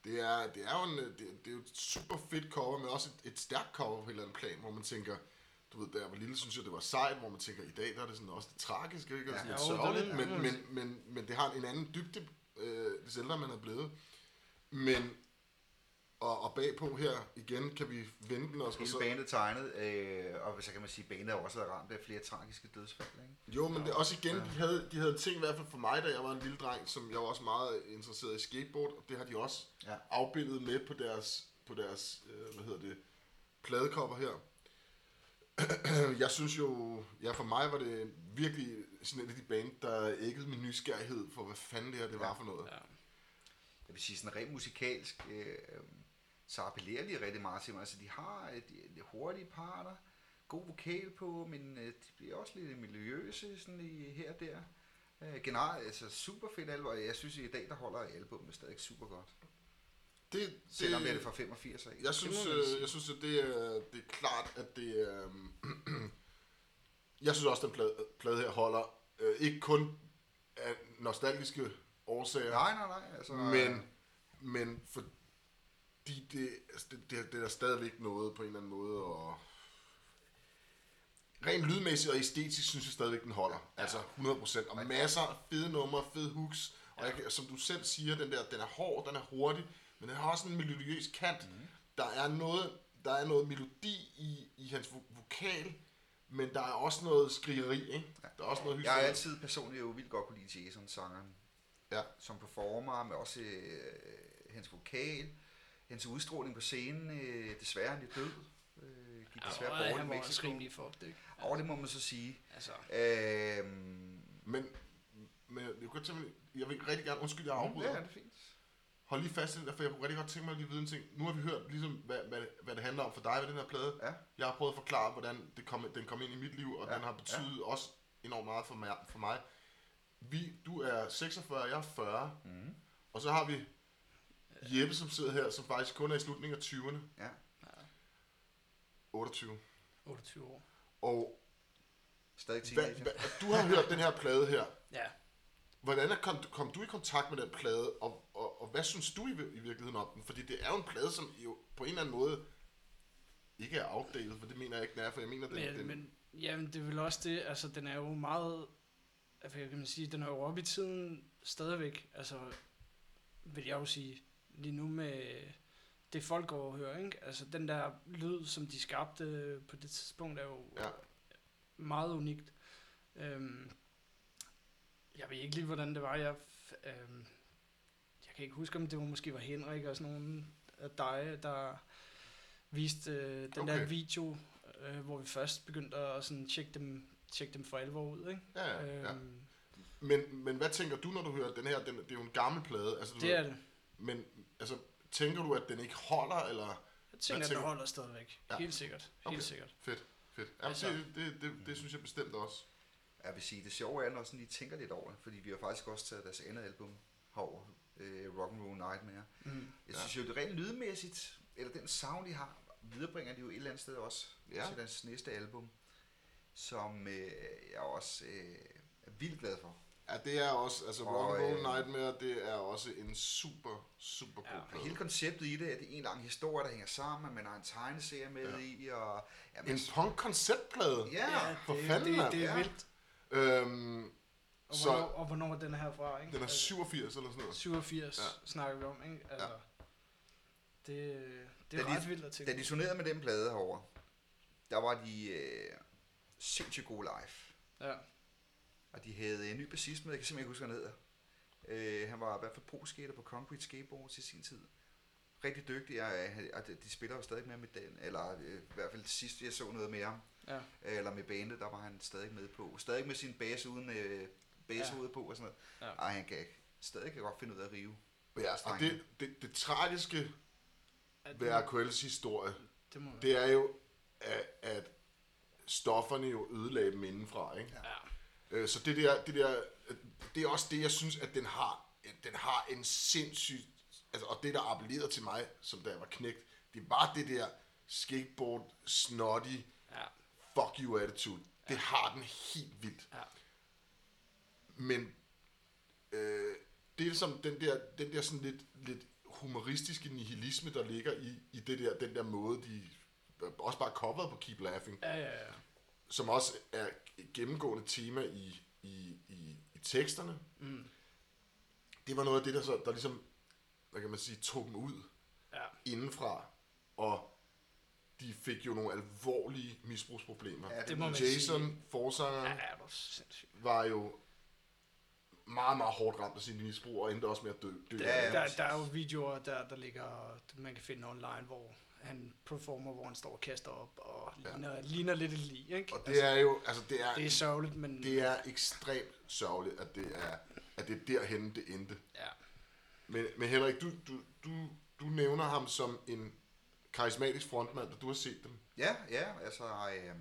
[SPEAKER 1] Det er, det er jo en, øh, det, det er jo et super fedt cover, men også et, et stærkt cover på et eller andet plan, hvor man tænker, du ved, da jeg var lille, synes jeg, det var sejt, hvor man tænker, i dag der er det sådan også det tragiske, ikke? Og sådan
[SPEAKER 2] Ja.
[SPEAKER 1] lidt
[SPEAKER 3] Jo, det er
[SPEAKER 1] sørgeligt,
[SPEAKER 3] lidt
[SPEAKER 1] men, men,
[SPEAKER 3] anderledes.
[SPEAKER 1] men, men det har en anden dybde, øh, hvis ældre man er blevet. Men, og, og bagpå her, igen, kan vi vende den også. og
[SPEAKER 2] Hele
[SPEAKER 1] så-
[SPEAKER 2] bandet tegnet, øh, og så kan man sige, at bandet har også været ramt af flere tragiske dødsfald. Ikke?
[SPEAKER 1] Jo, men det er også igen, de havde, de havde en ting i hvert fald for mig, da jeg var en lille dreng, som jeg var også meget interesseret i skateboard, og det har de også
[SPEAKER 2] Ja.
[SPEAKER 1] afbildet med på deres, på deres øh, hvad hedder det, pladekopper her. jeg synes jo, ja for mig var det virkelig sådan et af de band, der æggede min nysgerrighed for, hvad fanden det her det var for noget.
[SPEAKER 3] Ja.
[SPEAKER 2] jeg vil sige, sådan rent musikalsk, øh, øh, så appellerer de rigtig meget til mig. Altså, de har øh, de, de hurtige parter, god vokal på, men øh, de bliver også lidt miljøse sådan i, her og der. Øh, generelt, altså super fedt album, og jeg synes, i dag, der holder albumet stadig super godt.
[SPEAKER 1] Det, det,
[SPEAKER 2] Selvom det er det fra 85 af.
[SPEAKER 1] Jeg synes,
[SPEAKER 3] man sige.
[SPEAKER 1] øh, jeg synes, at det er, det er klart, at det er... øhm, jeg synes også, at den plade, plade her holder. Øh, ikke kun af nostalgiske årsager,
[SPEAKER 2] Nej, nej, nej. Altså,
[SPEAKER 1] men, men fordi det, altså, det, det, det er der stadigvæk noget på en eller anden måde, og rent lydmæssigt og æstetisk synes jeg stadigvæk, den holder. Altså 100%. Og masser af fede numre, fede hooks. Og jeg, kan- som du selv siger, den der, den er hård, den er hurtig, men den har også en melodiøs kant.
[SPEAKER 2] Mhm.
[SPEAKER 1] Mm. Der er noget, der er noget melodi i, i hans vo- vokal, men der er også noget skrigeri, ikke? Der er også noget
[SPEAKER 2] Jeg har
[SPEAKER 1] hysteri.
[SPEAKER 2] altid personligt jo vildt godt kunne lide Jason, sangeren.
[SPEAKER 1] Ja.
[SPEAKER 2] Som performer, men også øh, hans vokal, hans udstråling på scenen. Øh, desværre han er død. Øh, gik desværre
[SPEAKER 3] og
[SPEAKER 2] bort i
[SPEAKER 3] han var også
[SPEAKER 2] Mexico.
[SPEAKER 3] rimelig fucked, ikke?
[SPEAKER 2] Og det må man så sige.
[SPEAKER 3] Altså,
[SPEAKER 2] Øh,
[SPEAKER 1] Men, men jeg, kunne godt tænke mig- jeg vil rigtig gerne, undskyld, jeg
[SPEAKER 2] ja,
[SPEAKER 1] afbryder.
[SPEAKER 2] det er fint.
[SPEAKER 1] Hold lige fast i den der, for jeg kunne rigtig godt tænke mig at lige vide en ting. Nu har vi hørt, ligesom, hvad, hvad, hvad det handler om for dig ved den her plade.
[SPEAKER 2] Ja.
[SPEAKER 1] Jeg har prøvet at forklare, hvordan det kom, den kom ind i mit liv, og
[SPEAKER 2] Ja,
[SPEAKER 1] ja. den har betydet ja. også enormt meget for mig. For mig. Vi, du er 46, jeg er 40.
[SPEAKER 2] Mhm.
[SPEAKER 1] Og så har vi Jeppe, som sidder her, som faktisk kun er i slutningen af 20'erne.
[SPEAKER 2] Ja.
[SPEAKER 1] 28.
[SPEAKER 3] 28 år.
[SPEAKER 1] Og
[SPEAKER 2] Stadig
[SPEAKER 1] hvad,
[SPEAKER 2] teenager.
[SPEAKER 1] hvad, du har hørt den her plade her.
[SPEAKER 3] Ja,
[SPEAKER 1] Hvordan er, kom, kom du i kontakt med den plade, og, og, og hvad synes du i, vir- i virkeligheden om den? Fordi det er jo en plade, som jo på en eller anden måde ikke er outdated, for det mener jeg ikke, den er, for jeg mener, den,
[SPEAKER 3] men,
[SPEAKER 1] den
[SPEAKER 3] men jamen, det er vel også det, altså den er jo meget, altså, hvad kan man sige, den er jo oppe i tiden stadigvæk, altså vil jeg jo sige, lige nu med det folk går og hører, ikke? Altså den der lyd, som de skabte på det tidspunkt, er jo
[SPEAKER 1] Ja.
[SPEAKER 3] meget unikt. Øhm, jeg ved ikke lige, hvordan det var, jeg, f- øhm, jeg kan ikke huske, om det var, måske var Henrik og sådan nogen af dig, der viste øh, den
[SPEAKER 1] Okay.
[SPEAKER 3] der video, øh, hvor vi først begyndte at sådan tjekke dem, tjekke dem for alvor ud, ikke?
[SPEAKER 1] ja, ja, ja.
[SPEAKER 3] Øhm,
[SPEAKER 1] Men, men hvad tænker du, når du hører den her? Den, det er jo en gammel plade. Altså, du
[SPEAKER 3] det
[SPEAKER 1] ved-
[SPEAKER 3] er det.
[SPEAKER 1] Men altså, tænker du, at den ikke holder, eller...
[SPEAKER 3] Jeg
[SPEAKER 1] Hvad
[SPEAKER 3] tænker, at det
[SPEAKER 1] tænker du?
[SPEAKER 3] holder stadigvæk.
[SPEAKER 1] Ja.
[SPEAKER 3] Ja. Helt sikkert. Helt
[SPEAKER 1] Okay.
[SPEAKER 3] sikkert.
[SPEAKER 1] Fedt, fedt. Ja,
[SPEAKER 3] Altså-
[SPEAKER 1] det, det, det, det, synes jeg bestemt også.
[SPEAKER 2] Jeg vil sige, det sjove er, når sådan lige tænker lidt over det, fordi vi har faktisk også taget deres andet album herover, øh, Rock'n'Roll Nightmare.
[SPEAKER 3] Mm.
[SPEAKER 2] Jeg
[SPEAKER 1] Ja.
[SPEAKER 2] synes jo, det rent lydmæssigt, eller den sound, de har, viderebringer de jo et eller andet sted også
[SPEAKER 1] Ja.
[SPEAKER 2] ja. til deres næste album, som øh, jeg også øh, er vildt glad for.
[SPEAKER 1] Ja, det er også, altså
[SPEAKER 2] Og,
[SPEAKER 1] Rock'n'Roll
[SPEAKER 2] øh,
[SPEAKER 1] Nightmare, det er også en super, super god
[SPEAKER 3] Ja,
[SPEAKER 1] plade.
[SPEAKER 2] Og Altså, hele konceptet i det, at det er en lang historie, der hænger sammen, at man har en tegneserie med
[SPEAKER 1] Ja.
[SPEAKER 2] ja. i, og... Ja, man,
[SPEAKER 1] En punk-konceptplade.
[SPEAKER 2] ja, ja.
[SPEAKER 1] for
[SPEAKER 3] det,
[SPEAKER 1] fanden,
[SPEAKER 3] det,
[SPEAKER 1] mand.
[SPEAKER 3] det, er
[SPEAKER 2] Ja.
[SPEAKER 3] vildt.
[SPEAKER 1] Øhm,
[SPEAKER 3] Og
[SPEAKER 1] Så-
[SPEAKER 3] hvornår, og hvornår er den her fra, ikke?
[SPEAKER 1] den er
[SPEAKER 3] Altså,
[SPEAKER 1] 87 eller sådan noget.
[SPEAKER 3] 87
[SPEAKER 1] Ja.
[SPEAKER 3] ja. snakker vi om, ikke? Altså, ja. det, det
[SPEAKER 2] Da
[SPEAKER 3] er
[SPEAKER 2] de-
[SPEAKER 3] ret vildt at tænke.
[SPEAKER 2] Da de turnerede med den plade herover, der var de øh, sindssygt gode live.
[SPEAKER 3] ja.
[SPEAKER 2] Og de havde øh, en ny bassist med, jeg kan simpelthen ikke huske, hvad han hedder. Øh, han var i hvert fald pro-skater på Concrete Skateboard til sin tid. Rigtig dygtig, og, øh, og de- de spiller jo stadig med med den, eller øh, i hvert fald sidst jeg så noget med ham,
[SPEAKER 3] Ja.
[SPEAKER 2] øh, eller med bandet, der var han stadig med på. Stadig med sin base uden øh, base ja. på og sådan noget.
[SPEAKER 3] Ja.
[SPEAKER 2] Ja. Ej, han kan ikke. Stadig kan godt finde ud af at rive.
[SPEAKER 1] Ja, og det, det, det tragiske
[SPEAKER 3] Ja, det,
[SPEAKER 1] ved
[SPEAKER 3] må-
[SPEAKER 1] RKL's historie,
[SPEAKER 3] det må det.
[SPEAKER 1] det er jo, at, at stofferne jo ødelagde dem indenfra, ikke?
[SPEAKER 3] Ja.
[SPEAKER 1] Øh, Så det der, det der, det er også det, jeg synes, at den har, den har en sindssyg, altså, og det, der appellerede til mig, som da jeg var knægt, det var det der skateboard, snotty,
[SPEAKER 3] Ja.
[SPEAKER 1] fuck you attitude. Det har den helt vildt.
[SPEAKER 3] Ja.
[SPEAKER 1] Men øh, det er som den der, den der sådan lidt, lidt humoristiske nihilisme, der ligger i, i det der, den der måde, de øh, også bare coveret på Keep Laughing,
[SPEAKER 3] Ja, ja, ja.
[SPEAKER 1] som også er et gennemgående tema i, i, i, i teksterne. Mm. Det var noget af det, der, så, der ligesom, hvad kan man sige, tog dem ud
[SPEAKER 3] ja.
[SPEAKER 1] indenfra, og de fik jo nogle alvorlige misbrugsproblemer.
[SPEAKER 2] Ja,
[SPEAKER 3] Det må man sige.
[SPEAKER 1] Jason,
[SPEAKER 3] Ja,
[SPEAKER 1] forsangeren,
[SPEAKER 3] ja, det er sindssygt.
[SPEAKER 1] var jo meget, meget hårdt ramt af sin misbrug, og endte også med at dø. dø
[SPEAKER 2] Ja,
[SPEAKER 1] af det.
[SPEAKER 2] ja.
[SPEAKER 3] Der, der er jo videoer, der, der ligger, man kan finde online, hvor han performer, hvor han står og kaster op, og ligner, ja. ligner lidt et lig, ikke?
[SPEAKER 1] Og det er jo, altså det er,
[SPEAKER 3] det er sørgeligt, men
[SPEAKER 1] det er ekstremt sørgeligt, at det er, at det er derhen det endte.
[SPEAKER 3] ja.
[SPEAKER 1] Men, men Henrik, du, du, du, du nævner ham som en karismatisk frontmand, og du har set dem.
[SPEAKER 2] Ja, ja, altså... Øh,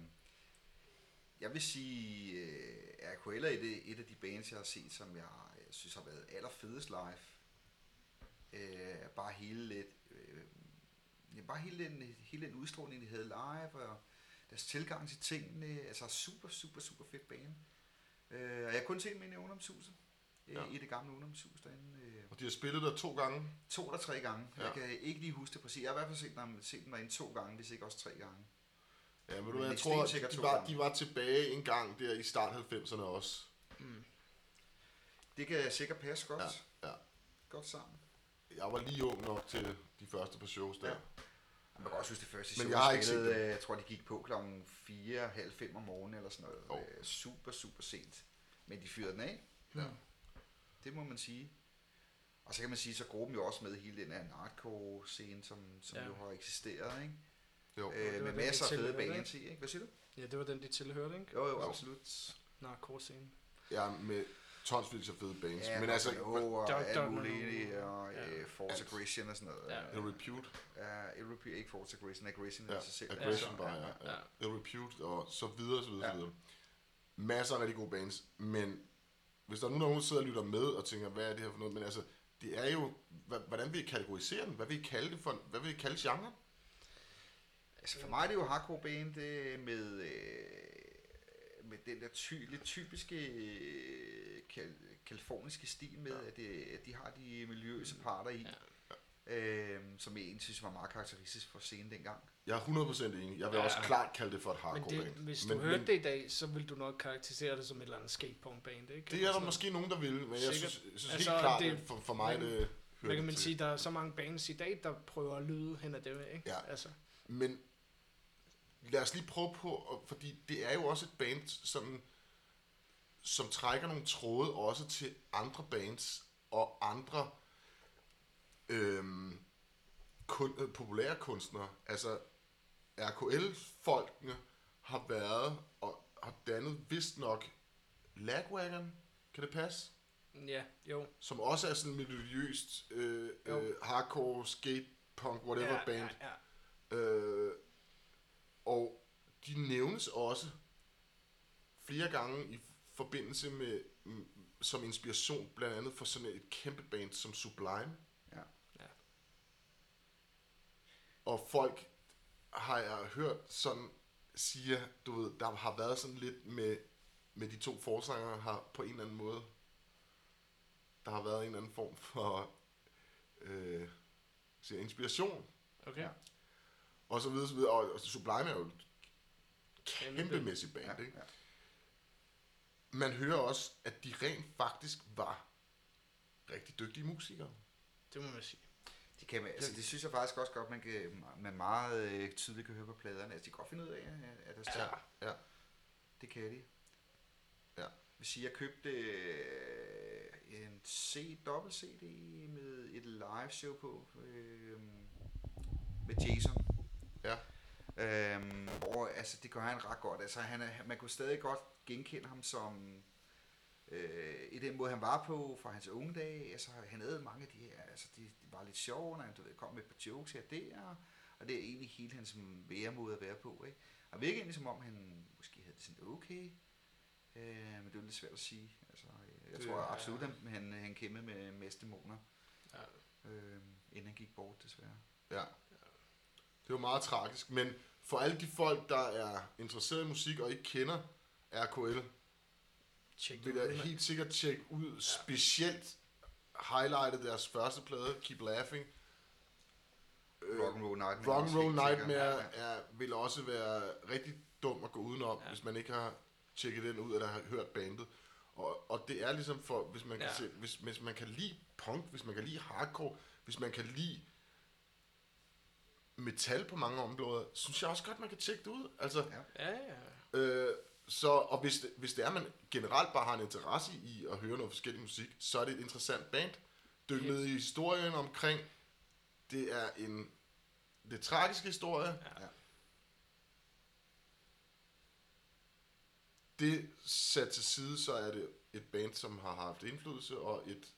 [SPEAKER 2] jeg vil sige, øh, RKL er et, et af de bands, jeg har set, som jeg øh, synes har været allerfedest live. Øh, bare hele lidt... Øh, ja, bare hele den, hele den udstråling, de havde live, og deres tilgang til tingene. Altså super, super, super fedt band. Øh, og jeg har kun set dem inde i ungdomshuset.
[SPEAKER 1] Ja.
[SPEAKER 2] Ja. I det gamle ungdomshus derinde. Øh,
[SPEAKER 1] Og de har spillet der to gange.
[SPEAKER 2] to eller tre gange. Ja.
[SPEAKER 1] Ja.
[SPEAKER 2] Jeg kan ikke lige huske det præcis. Jeg har i hvert fald set dem, set dem derinde to gange, hvis ikke også tre gange.
[SPEAKER 1] Ja, men du
[SPEAKER 2] Men
[SPEAKER 1] hvad, jeg
[SPEAKER 2] ekstremt
[SPEAKER 1] tror, at
[SPEAKER 2] sikkert
[SPEAKER 1] de
[SPEAKER 2] to
[SPEAKER 1] var,
[SPEAKER 2] gange.
[SPEAKER 1] de var tilbage en gang der i start 90'erne også.
[SPEAKER 2] Det kan sikkert passe godt.
[SPEAKER 1] Ja, ja.
[SPEAKER 2] Godt sammen.
[SPEAKER 1] Jeg var lige ung nok til de første par shows der.
[SPEAKER 2] Ja. Man kan også huske det første
[SPEAKER 1] Men
[SPEAKER 2] show,
[SPEAKER 1] jeg har
[SPEAKER 2] de
[SPEAKER 1] ikke set
[SPEAKER 2] spillede,
[SPEAKER 1] dem.
[SPEAKER 2] øh, Jeg tror, de gik på klokken 4, halv 5 om morgenen eller sådan noget.
[SPEAKER 1] Jo.
[SPEAKER 2] Oh. Super, super sent. Men de fyrede den af.
[SPEAKER 1] Ja.
[SPEAKER 2] Det må man sige. Og så kan man sige, så gruppen jo også med hele den her narko-scene, som, som
[SPEAKER 3] Ja.
[SPEAKER 2] ja. jo har eksisteret, ikke?
[SPEAKER 1] Jo.
[SPEAKER 2] Øh,
[SPEAKER 3] var
[SPEAKER 2] med
[SPEAKER 3] det,
[SPEAKER 2] masser af
[SPEAKER 3] vi
[SPEAKER 2] fede
[SPEAKER 3] tilhørte,
[SPEAKER 2] bands i, ikke? Hvad siger du?
[SPEAKER 3] ja, det var den, de tilhørte, ikke?
[SPEAKER 2] Jo, jo,
[SPEAKER 1] Jo.
[SPEAKER 2] absolut.
[SPEAKER 3] Narkoscenen.
[SPEAKER 1] Ja, med tonsvis af fede bands.
[SPEAKER 2] Ja,
[SPEAKER 1] men altså,
[SPEAKER 2] jo, og
[SPEAKER 3] Dog,
[SPEAKER 2] alt
[SPEAKER 3] dog,
[SPEAKER 2] muligt,
[SPEAKER 3] no.
[SPEAKER 2] og
[SPEAKER 3] Ja.
[SPEAKER 2] øh, Force
[SPEAKER 1] Alt.
[SPEAKER 2] Aggression og sådan noget.
[SPEAKER 3] Ja.
[SPEAKER 1] Ill Repute,
[SPEAKER 2] Ja, uh, ikke Force Aggression, Aggression
[SPEAKER 1] Ja,
[SPEAKER 2] er sig selv.
[SPEAKER 1] Aggression
[SPEAKER 2] Altså,
[SPEAKER 1] bare, ja. ja.
[SPEAKER 3] ja.
[SPEAKER 1] Ill Repute og så videre, så videre, så
[SPEAKER 2] Ja.
[SPEAKER 1] videre. Masser af rigtig gode bands, men hvis der er nogen, der sidder og lytter med og tænker, hvad er det her for noget, men altså, det er jo, hva- hvordan vil I kategorisere den? Hvad vil I kalde det for, en- hvad vil I kalde genren?
[SPEAKER 2] Altså for mig er det jo hardcore band øh, med, øh, med den der ty, lidt typiske øh, kal, kaliforniske stil med, ja. at, det, at de har de miljøse parter i, ja. øh, som jeg egentlig synes var meget karakteristisk for scenen dengang.
[SPEAKER 1] Jeg er 100% enig. Jeg vil ja.
[SPEAKER 3] Ja.
[SPEAKER 1] også klart kalde det for et
[SPEAKER 3] Men
[SPEAKER 1] hardcore
[SPEAKER 3] det,
[SPEAKER 1] band.
[SPEAKER 3] hvis du men, hørte men, det i dag, så ville du nok karakterisere det som et eller andet skatepunk-band, ikke?
[SPEAKER 1] det
[SPEAKER 3] Eller
[SPEAKER 1] er der
[SPEAKER 3] sådan
[SPEAKER 1] måske nogen, der vil, men jeg
[SPEAKER 3] Altså- Sikkert.
[SPEAKER 1] synes, jeg synes
[SPEAKER 3] Altså,
[SPEAKER 1] helt klart,
[SPEAKER 3] det-
[SPEAKER 1] at for, for mig,
[SPEAKER 3] men-
[SPEAKER 1] det hører
[SPEAKER 3] Hvad kan
[SPEAKER 1] det
[SPEAKER 3] man
[SPEAKER 1] til.
[SPEAKER 3] sige, der er så mange bands i dag, der prøver at lyde hen ad det, ikke?
[SPEAKER 1] Ja.
[SPEAKER 3] Altså,
[SPEAKER 1] Men lad os lige prøve på, og- fordi det er jo også et band, som, som trækker nogle tråde også til andre bands og andre øhm, kun, øh, populære kunstnere. Altså RKL-folkene har været og har dannet vist nok Lagwagon, kan det passe?
[SPEAKER 3] ja, jo.
[SPEAKER 1] Som også er sådan miljøst øh,
[SPEAKER 3] Jo.
[SPEAKER 1] øh, hardcore, skate, punk, whatever
[SPEAKER 3] ja,
[SPEAKER 1] band.
[SPEAKER 3] Ja, ja.
[SPEAKER 1] Øh, og de nævnes også flere gange i forbindelse med mm, som inspiration blandt andet for sådan et kæmpe band som Sublime. Og folk har jeg hørt sådan siger, du ved, der har været sådan lidt med, med de to forsangere har på en eller anden måde, der har været en eller anden form for øh, siger, inspiration,
[SPEAKER 3] Okay.
[SPEAKER 1] og så videre, så videre. Og, og Sublime er jo et
[SPEAKER 3] Kæmpe.
[SPEAKER 1] kæmpemæssigt band,
[SPEAKER 2] Ja,
[SPEAKER 1] ikke?
[SPEAKER 2] ja.
[SPEAKER 1] man hører også, at de rent faktisk var rigtig dygtige musikere.
[SPEAKER 3] Det må man sige.
[SPEAKER 2] Det, kan man, altså, det synes jeg faktisk også godt, man, kan, man meget øh, tydeligt kan høre på pladerne. Altså, de kan godt finde ud af, at- at der står.
[SPEAKER 1] ja.
[SPEAKER 2] Det kan de.
[SPEAKER 1] Ja.
[SPEAKER 2] Hvis sige, jeg købte øh, en C-dobbelt-CD med et live show på, øh, med Jason.
[SPEAKER 1] Ja.
[SPEAKER 2] Øhm, og altså, det gør han ret godt. Altså, han er, man kunne stadig godt genkende ham som øh, i den måde, han var på fra hans unge dage. Altså, han havde mange af de her, altså, det de var lidt sjovt, når han du ved, kom med et par jokes her og der, og det er egentlig hele hans væremåde at være på, ikke? Og virkede egentlig som om, han måske havde det sådan okay, øh, men det var lidt svært at sige. Altså, øh, jeg
[SPEAKER 3] Det
[SPEAKER 2] det, tror
[SPEAKER 3] er-
[SPEAKER 2] absolut, han, han, han kæmpede med mest dæmoner,
[SPEAKER 3] Ja.
[SPEAKER 2] øh, inden han gik bort, desværre.
[SPEAKER 1] Ja. Det var meget tragisk, men for alle de folk, der er interesseret i musik og ikke kender RKL,
[SPEAKER 3] Tjek det
[SPEAKER 1] vil
[SPEAKER 3] ud,
[SPEAKER 1] jeg
[SPEAKER 3] mand.
[SPEAKER 1] helt sikkert tjekke ud, specielt highlightet deres første plade, Keep Laughing. Øh,
[SPEAKER 2] Rock'n'Roll Nightmare.
[SPEAKER 1] Rock'n'Roll
[SPEAKER 2] også, helt sikkert.
[SPEAKER 1] Nightmare er, vil også være rigtig dum at gå udenom,
[SPEAKER 3] Ja.
[SPEAKER 1] ja. hvis man ikke har tjekket den ud, eller har hørt bandet. Og, og det er ligesom for, hvis man, kan
[SPEAKER 3] Ja.
[SPEAKER 1] se, hvis, hvis man kan lide punk, hvis man kan lide hardcore, hvis man kan lide metal på mange områder, synes jeg også godt, man kan tjekke det ud. Altså,
[SPEAKER 2] Ja.
[SPEAKER 3] Ja, ja.
[SPEAKER 1] Øh, så, og hvis det, hvis det er, man generelt bare har en interesse i at høre noget forskellig musik, så er det et interessant band. Dyk ned i historien omkring, det er en det tragiske historie.
[SPEAKER 2] Ja.
[SPEAKER 1] Det sat til side, så er det et band, som har haft indflydelse, og et,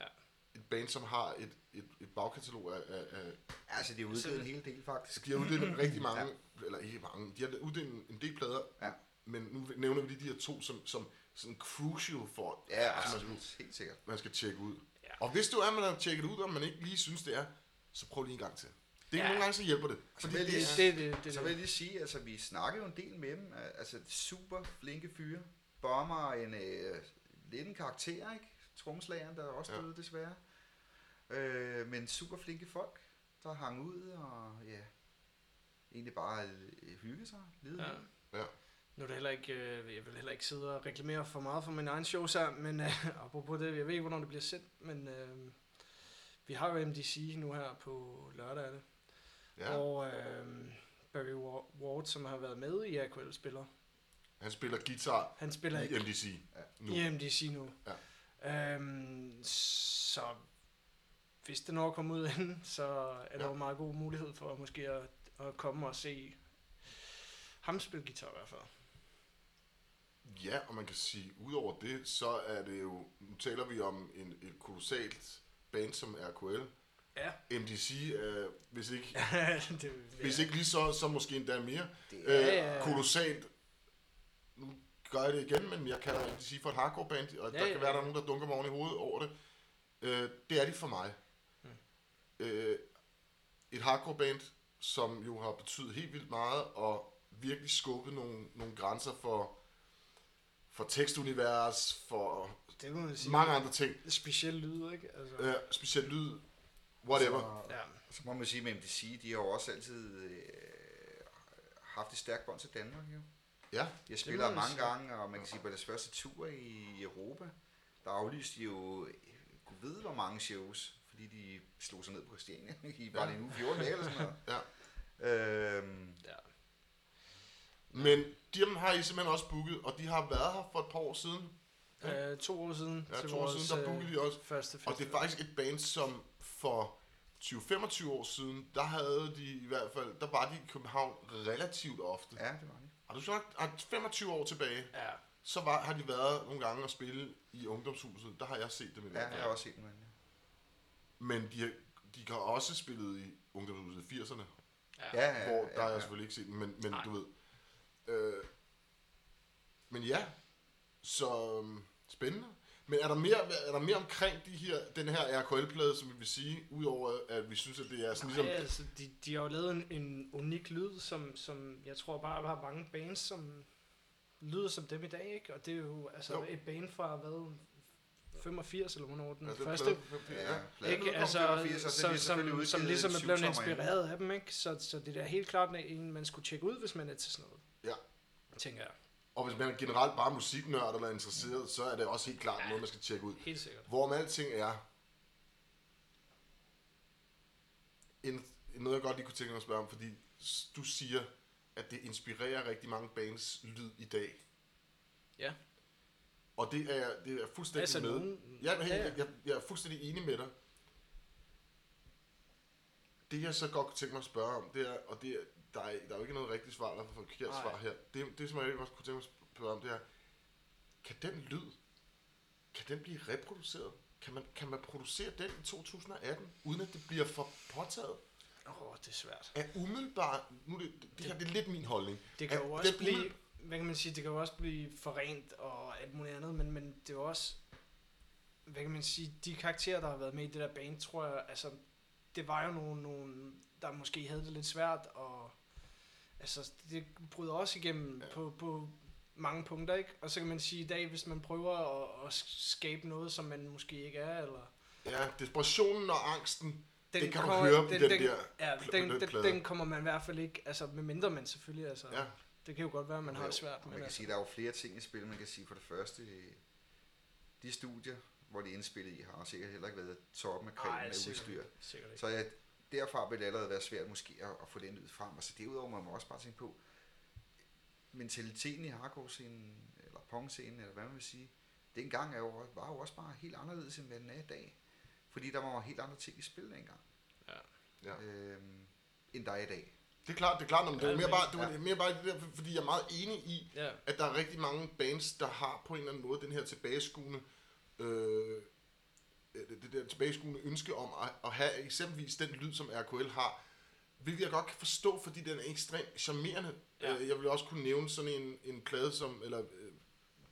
[SPEAKER 3] Ja.
[SPEAKER 1] et band, som har et, et, et bagkatalog af, af, af
[SPEAKER 2] Altså, det er udgivet en hel del, faktisk.
[SPEAKER 1] de har uddelt rigtig mange, ja. eller ikke mange, de har uddelt en- en del plader,
[SPEAKER 2] Ja.
[SPEAKER 1] men nu nævner vi lige de her to som, som sådan crucial for,
[SPEAKER 2] Ja,
[SPEAKER 1] som man,
[SPEAKER 2] absolut. Altså, Helt sikkert.
[SPEAKER 1] man skal tjekke ud.
[SPEAKER 3] Ja.
[SPEAKER 1] Ja. Og hvis du er, man har tjekket ud, og man ikke lige synes, det er, så prøv lige en gang til. Det er
[SPEAKER 3] Ja.
[SPEAKER 1] ja. nogle gange, så hjælper det. Fordi
[SPEAKER 2] vil jeg
[SPEAKER 1] det,
[SPEAKER 2] lige
[SPEAKER 1] er-
[SPEAKER 3] Det, det, det, det,
[SPEAKER 2] Så vil
[SPEAKER 3] det.
[SPEAKER 2] jeg lige sige, altså vi snakkede jo en del med dem, altså super flinke fyre, bomber en øh, lidt en karakter, ikke? Tromslageren, der er også
[SPEAKER 1] Ja.
[SPEAKER 2] døde desværre. Øh, men super flinke folk, der hang ud og ja, egentlig bare øh, hygge sig, lide.
[SPEAKER 3] Ja.
[SPEAKER 2] Ja.
[SPEAKER 1] Ja.
[SPEAKER 3] Nu er det heller ikke, øh, jeg vil heller ikke sidde og reklamere for meget for min egen shows her, men øh, apropos det, jeg ved ikke, hvornår det bliver sendt, men øh, vi har jo MDC nu her på lørdag, er det?
[SPEAKER 1] ja.
[SPEAKER 3] Og øh, Barry Wa- Ward, som har været med i RKL, spiller.
[SPEAKER 1] Han spiller guitar
[SPEAKER 3] Han spiller
[SPEAKER 1] i
[SPEAKER 3] ikke
[SPEAKER 1] MDC
[SPEAKER 2] Ja.
[SPEAKER 1] nu.
[SPEAKER 3] i MDC nu.
[SPEAKER 1] Ja.
[SPEAKER 3] Øhm, så hvis det når at komme ud inden, så er der
[SPEAKER 1] Ja.
[SPEAKER 3] jo meget god mulighed for måske at, at komme og se ham spille guitar i hvert fald.
[SPEAKER 1] Ja, og man kan sige, udover det, så er det jo, nu taler vi om en, et kolossalt band som RKL.
[SPEAKER 3] Ja.
[SPEAKER 1] MDC, øh, hvis ikke
[SPEAKER 3] det vil jeg-
[SPEAKER 1] Hvis ikke lige så, så måske endda mere.
[SPEAKER 2] Det
[SPEAKER 1] Øh,
[SPEAKER 2] er,
[SPEAKER 3] Ja, ja, ja.
[SPEAKER 1] Kolossalt. Nu gør jeg det igen, men jeg kalder det sige for et hardcore band, og
[SPEAKER 3] Ja,
[SPEAKER 1] ja, der
[SPEAKER 3] ja,
[SPEAKER 1] kan være,
[SPEAKER 3] ja.
[SPEAKER 1] der er nogen, der dunker mig oven i hovedet over det. Øh, det er de for mig.
[SPEAKER 3] Mm.
[SPEAKER 1] Øh, et hardcore band, som jo har betydet helt vildt meget, og virkelig skubbet nogle, nogle grænser for, for tekstunivers, for
[SPEAKER 3] det må man sige.
[SPEAKER 1] mange andre ting.
[SPEAKER 3] Speciel lyd, ikke? Altså,
[SPEAKER 1] Øh, specielt lyd, whatever.
[SPEAKER 2] Så,
[SPEAKER 3] ja.
[SPEAKER 2] så må man sige med MDC, de har jo også altid øh, haft et stærkt bånd til Danmark jo.
[SPEAKER 1] Ja,
[SPEAKER 2] Jeg
[SPEAKER 3] må
[SPEAKER 2] spiller
[SPEAKER 3] man
[SPEAKER 2] mange
[SPEAKER 3] sige.
[SPEAKER 2] gange, og man kan sige, på deres første tur i Europa, der aflyste de jo, øh, gud ved hvor mange shows, fordi de slog sig ned på Christiania i bare lige en uge, 14 dage eller sådan noget.
[SPEAKER 1] Ja.
[SPEAKER 2] Øhm,
[SPEAKER 3] ja.
[SPEAKER 1] men dem har I simpelthen også booket, og de har været her for et par år siden.
[SPEAKER 3] Øh, to år siden øh,
[SPEAKER 1] Ja, to år siden, der bookede de også.
[SPEAKER 3] første festival.
[SPEAKER 1] Og det er faktisk et band, som for 20-25 år siden, der havde de i hvert fald, der var de i København relativt ofte. Ja.
[SPEAKER 2] ja, det var det.
[SPEAKER 1] Har du sagt, at 25 år tilbage,
[SPEAKER 3] Ja,
[SPEAKER 1] så var, har de været nogle gange og spille i ungdomshuset. Der har jeg set dem i
[SPEAKER 2] Ja,
[SPEAKER 1] hvert
[SPEAKER 2] jeg
[SPEAKER 1] fald.
[SPEAKER 2] har også set dem. Ja.
[SPEAKER 1] Men de, har- de har også spillet i ungdomshuset i 80'erne,
[SPEAKER 3] ja.
[SPEAKER 2] Ja, ja,
[SPEAKER 1] ja, hvor der
[SPEAKER 2] ja,
[SPEAKER 1] har jeg
[SPEAKER 2] ja.
[SPEAKER 1] selvfølgelig ikke set dem, men, men
[SPEAKER 3] Nej.
[SPEAKER 1] du ved. Øh, men ja, så øhm, spændende. Men er der mere, er der mere omkring de her, den her RKL-plade, som vi vil sige, udover at vi synes, at det er sådan ligesom...
[SPEAKER 3] Nej, altså, de, de har jo lavet en, en unik lyd, som, som jeg tror bare, der er mange bands, som lyder som dem i dag, ikke? Og det er jo altså
[SPEAKER 1] Jo.
[SPEAKER 3] jo. et band fra, hvad, 85 eller hvornår den
[SPEAKER 1] altså, det er
[SPEAKER 3] første,
[SPEAKER 1] plade- Ja.
[SPEAKER 2] pladen
[SPEAKER 3] ikke?
[SPEAKER 2] udkom
[SPEAKER 3] Altså,
[SPEAKER 2] 85, og så er
[SPEAKER 3] så,
[SPEAKER 2] de
[SPEAKER 3] som,
[SPEAKER 2] selvfølgelig
[SPEAKER 3] som
[SPEAKER 2] udgivet
[SPEAKER 3] ligesom er
[SPEAKER 2] syv
[SPEAKER 3] blevet
[SPEAKER 2] tommer inden.
[SPEAKER 3] inspireret af dem, ikke? Så, så det er da helt klart en, man skulle tjekke ud, hvis man er til sådan noget.
[SPEAKER 1] Ja.
[SPEAKER 3] Tænker jeg.
[SPEAKER 1] Og hvis man er generelt bare musiknørd eller interesseret, så er det også helt klart noget, man skal tjekke ud.
[SPEAKER 3] Helt sikkert.
[SPEAKER 1] Hvorom alting er... En, noget, jeg godt lige kunne tænke mig at spørge om, fordi s- du siger, at det inspirerer rigtig mange bands lyd i dag.
[SPEAKER 3] Ja.
[SPEAKER 1] Og det er, jeg- det er jeg fuldstændig
[SPEAKER 3] Altså,
[SPEAKER 1] med.
[SPEAKER 3] nogen-
[SPEAKER 1] Jeg, er helt,
[SPEAKER 3] Ja, ja.
[SPEAKER 1] jeg, jeg, jeg er fuldstændig enig med dig. Det jeg så godt kunne tænke mig at spørge om, det er, og det er, der, er, der er jo ikke noget rigtigt svar eller forkert
[SPEAKER 3] Nej.
[SPEAKER 1] svar her. Det, det som jeg egentlig også kunne tænke mig at spørge om, det er, kan den lyd, kan den blive reproduceret? Kan man, kan man producere den i 2018, uden at det bliver for påtaget?
[SPEAKER 3] Åh, oh, det er svært.
[SPEAKER 1] Er umiddelbart, nu er det, det, det her det er lidt min holdning.
[SPEAKER 3] Det kan
[SPEAKER 1] er,
[SPEAKER 3] jo også
[SPEAKER 1] den
[SPEAKER 3] blive,
[SPEAKER 1] umiddelbart-
[SPEAKER 3] hvad kan man sige, det kan jo også blive forrent og alt muligt andet, men, men det er jo også, hvad kan man sige, de karakterer, der har været med i det der band, tror jeg, altså, det var jo nogle, nogle der måske havde det lidt svært, og altså, det bryder også igennem
[SPEAKER 1] Ja.
[SPEAKER 3] ja. på, på mange punkter, ikke? Og så kan man sige i dag, hvis man prøver at, at skabe noget, som man måske ikke er, eller...
[SPEAKER 1] Ja, desperationen og angsten,
[SPEAKER 3] Den
[SPEAKER 1] Det kan du høre på den der
[SPEAKER 3] Ja,
[SPEAKER 1] pl- på
[SPEAKER 3] den,
[SPEAKER 1] den
[SPEAKER 3] den, den,
[SPEAKER 1] plade.
[SPEAKER 3] kommer man i hvert fald ikke, altså medmindre man selvfølgelig, altså...
[SPEAKER 1] ja.
[SPEAKER 3] Det kan jo godt være, at man har
[SPEAKER 2] Jo,
[SPEAKER 3] det svært.
[SPEAKER 2] og Man kan
[SPEAKER 3] altså-
[SPEAKER 2] sige, der er jo flere ting i spil. Man kan sige for det første, øh, de studier, hvor de er indspillet i, har sikkert heller ikke været toppen af kræven
[SPEAKER 3] Nej,
[SPEAKER 2] med
[SPEAKER 3] sikkert
[SPEAKER 2] udstyr.
[SPEAKER 3] ikke. Sikkert ikke.
[SPEAKER 2] Så ja, derfra vil det allerede være svært måske at, at få den lyd frem. Og så derudover må man også bare tænke på, mentaliteten i hardcore-scenen, eller punk-scenen, eller hvad man vil sige, dengang er jo, var jo også bare helt anderledes, end hvad den er i dag. Fordi der var jo helt andre ting i spil dengang.
[SPEAKER 3] Ja.
[SPEAKER 1] Ja.
[SPEAKER 2] Øhm, end der er i dag.
[SPEAKER 1] Det er klart, det er klart, men det er
[SPEAKER 3] Ja,
[SPEAKER 1] mere bare, det
[SPEAKER 2] ja.
[SPEAKER 1] er mere bare det der, fordi jeg er meget enig i,
[SPEAKER 3] Ja,
[SPEAKER 1] at der er rigtig mange bands, der har på en eller anden måde den her tilbageskuende, øh, det, det der tilbageskuende ønske om at, at have eksempelvis den lyd, som RKL har, hvilket jeg godt kan forstå, fordi den er ekstremt charmerende.
[SPEAKER 3] Ja.
[SPEAKER 1] Ja. Jeg vil også kunne nævne sådan en, en plade som, eller øh,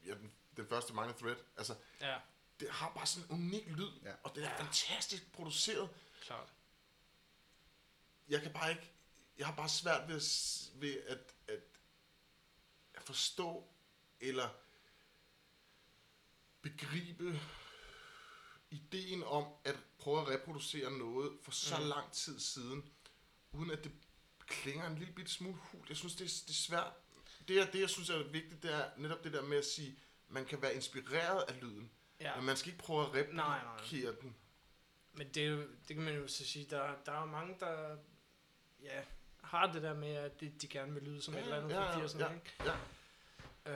[SPEAKER 1] ja, den, den første Minor Threat, altså
[SPEAKER 3] ja,
[SPEAKER 1] det har bare sådan en unik lyd,
[SPEAKER 2] Ja.
[SPEAKER 1] ja. og den er fantastisk produceret,
[SPEAKER 3] klart.
[SPEAKER 1] jeg kan bare ikke, jeg har bare svært ved, at s- ved at, at, at forstå, eller begribe ideen om at prøve at reproducere noget for så
[SPEAKER 3] Mhm.
[SPEAKER 1] mm. lang tid siden, uden at det klinger en lille bitte smule hul. Jeg synes, det er, det er svært. Det, jeg, det, jeg synes er vigtigt, det er netop det der med at sige, man kan være inspireret af lyden,
[SPEAKER 3] Ja,
[SPEAKER 1] ja. men man skal ikke prøve at
[SPEAKER 3] Nej, nej.
[SPEAKER 1] replikere den.
[SPEAKER 3] men det, er jo- det kan man jo så sige, der, der er jo mange, der ja, har det der med, at de, de gerne vil lyde som
[SPEAKER 1] Ja,
[SPEAKER 3] ja, et eller andet
[SPEAKER 1] ja,
[SPEAKER 3] fra
[SPEAKER 1] ja,
[SPEAKER 3] 80'erne,
[SPEAKER 1] ja.
[SPEAKER 3] ikke?
[SPEAKER 1] Ja.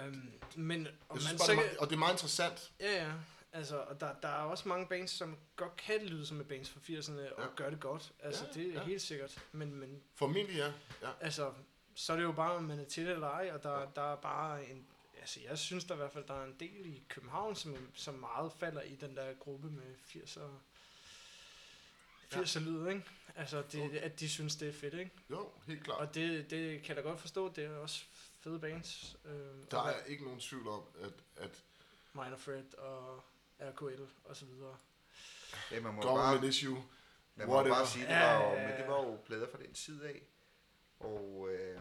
[SPEAKER 3] Øhm, men om
[SPEAKER 1] Jeg
[SPEAKER 3] man
[SPEAKER 1] synes bare, det
[SPEAKER 3] så
[SPEAKER 1] er,
[SPEAKER 3] kan,
[SPEAKER 1] meget- og det er meget interessant.
[SPEAKER 3] Ja, ja. Altså, og der, der er også mange bands, som godt kan lyde som et bands fra 80'erne, og
[SPEAKER 1] Ja.
[SPEAKER 3] gør det godt. Altså,
[SPEAKER 1] Ja,
[SPEAKER 3] ja, det er
[SPEAKER 1] ja.
[SPEAKER 3] ja. helt sikkert. Men, men
[SPEAKER 1] Formentlig ja. ja.
[SPEAKER 3] altså, så er det jo bare, om man er til det eller ej, og der,
[SPEAKER 1] Ja.
[SPEAKER 3] ja. der er bare en... Altså, jeg synes der i hvert fald, der er en del i København, som, som meget falder i den der gruppe med 80'er... 80'er lyd, ikke? Altså, det, at de synes, det er fedt, ikke?
[SPEAKER 1] Jo, helt klart.
[SPEAKER 3] Og det, det kan jeg da godt forstå, det er også fede bands. Øh,
[SPEAKER 1] Der
[SPEAKER 3] og
[SPEAKER 1] er ikke nogen tvivl om, at, at
[SPEAKER 3] Minor Threat og RKL og så videre.
[SPEAKER 2] Ja, man må jo bare
[SPEAKER 1] Government Issue,
[SPEAKER 2] Man må
[SPEAKER 1] whatever.
[SPEAKER 2] bare sige, det var jo,
[SPEAKER 3] Ja.
[SPEAKER 2] men det var jo plader fra den tid af, og øh,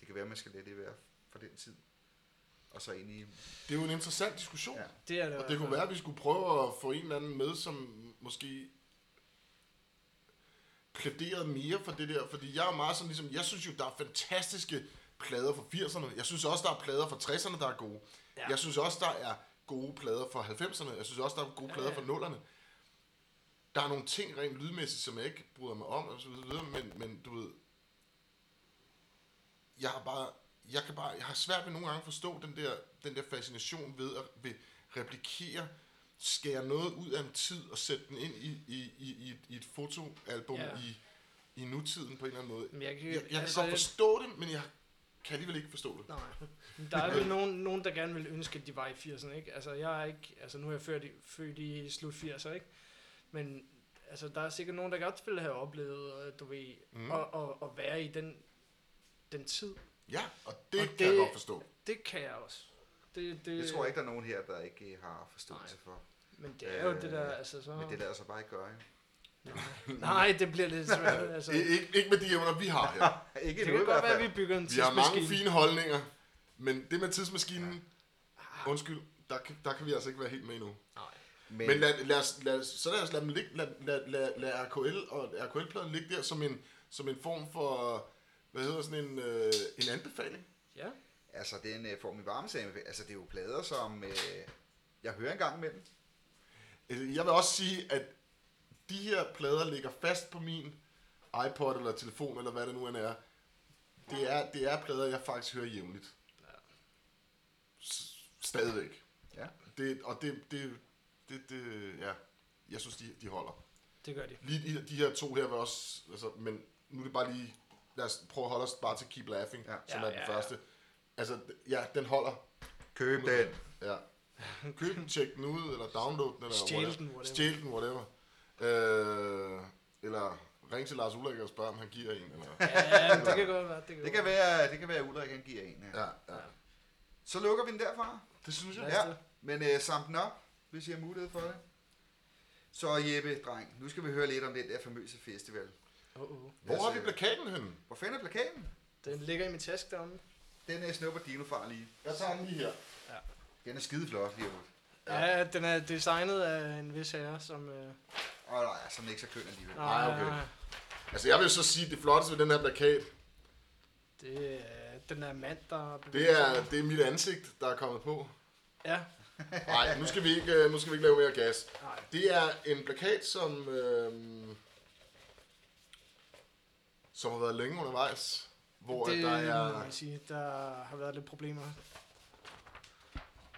[SPEAKER 2] det kan være, man skal lade det være fra den tid, og så ind i...
[SPEAKER 1] det er jo en interessant diskussion.
[SPEAKER 2] Ja.
[SPEAKER 1] Ja.
[SPEAKER 3] Det er det
[SPEAKER 1] Og det
[SPEAKER 3] i hvert
[SPEAKER 1] kunne
[SPEAKER 3] fald.
[SPEAKER 1] være, at vi skulle prøve at få en eller anden med, som måske plæderede mere for det der. Fordi jeg er meget sådan ligesom, jeg synes jo, der er fantastiske plader fra 80'erne. Jeg synes også, der er plader fra 60'erne, der er gode. Ja.
[SPEAKER 3] Ja.
[SPEAKER 1] Jeg synes også, der er gode plader fra 90'erne. Jeg synes også, der er gode
[SPEAKER 3] Ja,
[SPEAKER 1] plader
[SPEAKER 3] ja.
[SPEAKER 1] fra 0'erne. Der er nogle ting rent lydmæssigt, som jeg ikke bryder mig om, og så videre, så videre, men, men du ved, jeg har bare, jeg kan bare, jeg har svært ved nogle gange at forstå den der, den der fascination ved at ved replikere, skære noget ud af en tid og sætte den ind i, i, i, i, et, i et fotoalbum
[SPEAKER 3] Ja. Mm.
[SPEAKER 1] ja. i, i nutiden på en eller anden måde.
[SPEAKER 3] Men jeg kan,
[SPEAKER 1] Jeg, jeg kan godt forstå det, men jeg kan alligevel ikke forstå det.
[SPEAKER 3] Nej. Men Der er vel nogen, nogen, der gerne vil ønske, at de var i 80'erne, ikke? Altså, jeg er ikke... Altså, nu er jeg født i, født i slut 80'erne, ikke? Men altså, der er sikkert nogen, der godt ville have oplevet, øh, du ved,
[SPEAKER 1] Mm.
[SPEAKER 3] mm. og, og, og være i den, den tid.
[SPEAKER 1] Ja, og det og
[SPEAKER 3] Og
[SPEAKER 1] kan det... jeg
[SPEAKER 3] det-
[SPEAKER 1] godt forstå.
[SPEAKER 3] Det kan jeg også. Det, det,
[SPEAKER 2] Det tror jeg ikke, der er nogen her, der ikke øh, har forståelse
[SPEAKER 3] Nej.
[SPEAKER 2] for.
[SPEAKER 3] Men det er jo
[SPEAKER 2] Øh,
[SPEAKER 3] det der, altså så...
[SPEAKER 2] Men det lader sig bare ikke gøre, ikke?
[SPEAKER 3] Nej, det bliver lidt svært. Altså.
[SPEAKER 1] I, ikke, ikke med de evner, vi har her.
[SPEAKER 2] ikke
[SPEAKER 3] Det
[SPEAKER 2] endnu
[SPEAKER 3] kan
[SPEAKER 2] i hvert
[SPEAKER 3] godt være, at
[SPEAKER 2] fald.
[SPEAKER 3] vi bygger en
[SPEAKER 1] Vi har mange
[SPEAKER 3] tidsmaskine.
[SPEAKER 1] fine holdninger, men det med tidsmaskinen, undskyld, der kan, der kan vi altså ikke være helt med endnu.
[SPEAKER 3] Nej.
[SPEAKER 2] Men,
[SPEAKER 1] Men lad, lad, os, lad, os, så lad os lade dem ligge, lad, lad, lad, lad RKL og RKL-pladen ligge der som en, som en form for, hvad hedder sådan en, øh, en anbefaling.
[SPEAKER 3] Ja.
[SPEAKER 2] altså, det er en øh, form i varmesame. Altså, det er jo plader, som øh, jeg hører engang imellem.
[SPEAKER 1] Øh, Jeg vil også sige, at de her plader ligger fast på min iPod eller telefon, eller hvad det nu end er. Det er, det er plader, jeg faktisk hører jævnligt. S- Stadigvæk.
[SPEAKER 2] Ja.
[SPEAKER 1] Det, og det, det, det, det, ja, jeg synes, de, de holder.
[SPEAKER 3] Det gør de.
[SPEAKER 1] Lige de, de her to her var også, altså, men nu er det bare lige, lad os prøve at holde os bare til Keep Laughing,
[SPEAKER 2] Ja.
[SPEAKER 1] ja. som
[SPEAKER 3] Ja,
[SPEAKER 1] er den
[SPEAKER 3] ja, ja.
[SPEAKER 1] første. Altså, d- ja, den holder.
[SPEAKER 2] Køb den.
[SPEAKER 1] Ja. Køb den, tjek den ud, eller download den, eller
[SPEAKER 3] Stjæl
[SPEAKER 1] whatever.
[SPEAKER 3] den, whatever.
[SPEAKER 1] Stjæl den, whatever. Øh, eller ring til Lars Ulrik og spørg, om han giver en. Eller.
[SPEAKER 3] Ja, det kan godt være. Det kan,
[SPEAKER 2] Det kan være, det kan være, at Ulrik han giver en. Ja.
[SPEAKER 1] Ja, ja.
[SPEAKER 2] Så lukker vi den derfra.
[SPEAKER 1] Det synes jeg.
[SPEAKER 3] Lad os
[SPEAKER 2] Ja,
[SPEAKER 3] det.
[SPEAKER 2] men øh, samle den op, hvis I har mulighed for det. Så Jeppe, dreng, nu skal vi høre lidt om den der famøse festival.
[SPEAKER 3] Oh, oh.
[SPEAKER 1] Hvor har vi
[SPEAKER 2] Altså,
[SPEAKER 1] plakaten henne?
[SPEAKER 2] Hvor fanden er plakaten?
[SPEAKER 3] Den ligger i min taske deromme.
[SPEAKER 2] Den er snupper dinofar lige.
[SPEAKER 1] Jeg tager den lige her.
[SPEAKER 2] Den er skide flot lige ud.
[SPEAKER 3] Ja. ja, den er designet af en vis herre, som... Øh,
[SPEAKER 2] Og nej, så er den ikke så køn alligevel.
[SPEAKER 1] Ej, okay. Altså, jeg vil så sige, at det flotteste ved den her plakat,
[SPEAKER 3] Det er den der mand, der...
[SPEAKER 1] det
[SPEAKER 3] bevæger
[SPEAKER 1] er,
[SPEAKER 3] sig.
[SPEAKER 1] det er mit ansigt, der er kommet på.
[SPEAKER 3] Ja,
[SPEAKER 1] Nej, nu skal vi ikke, øh, nu skal vi ikke lave mere gas.
[SPEAKER 3] nej.
[SPEAKER 1] Det er en plakat, som, øh, som har været længe undervejs. Hvor det...
[SPEAKER 3] det,
[SPEAKER 1] der,
[SPEAKER 3] må
[SPEAKER 1] er,
[SPEAKER 3] man sige, der har været lidt problemer.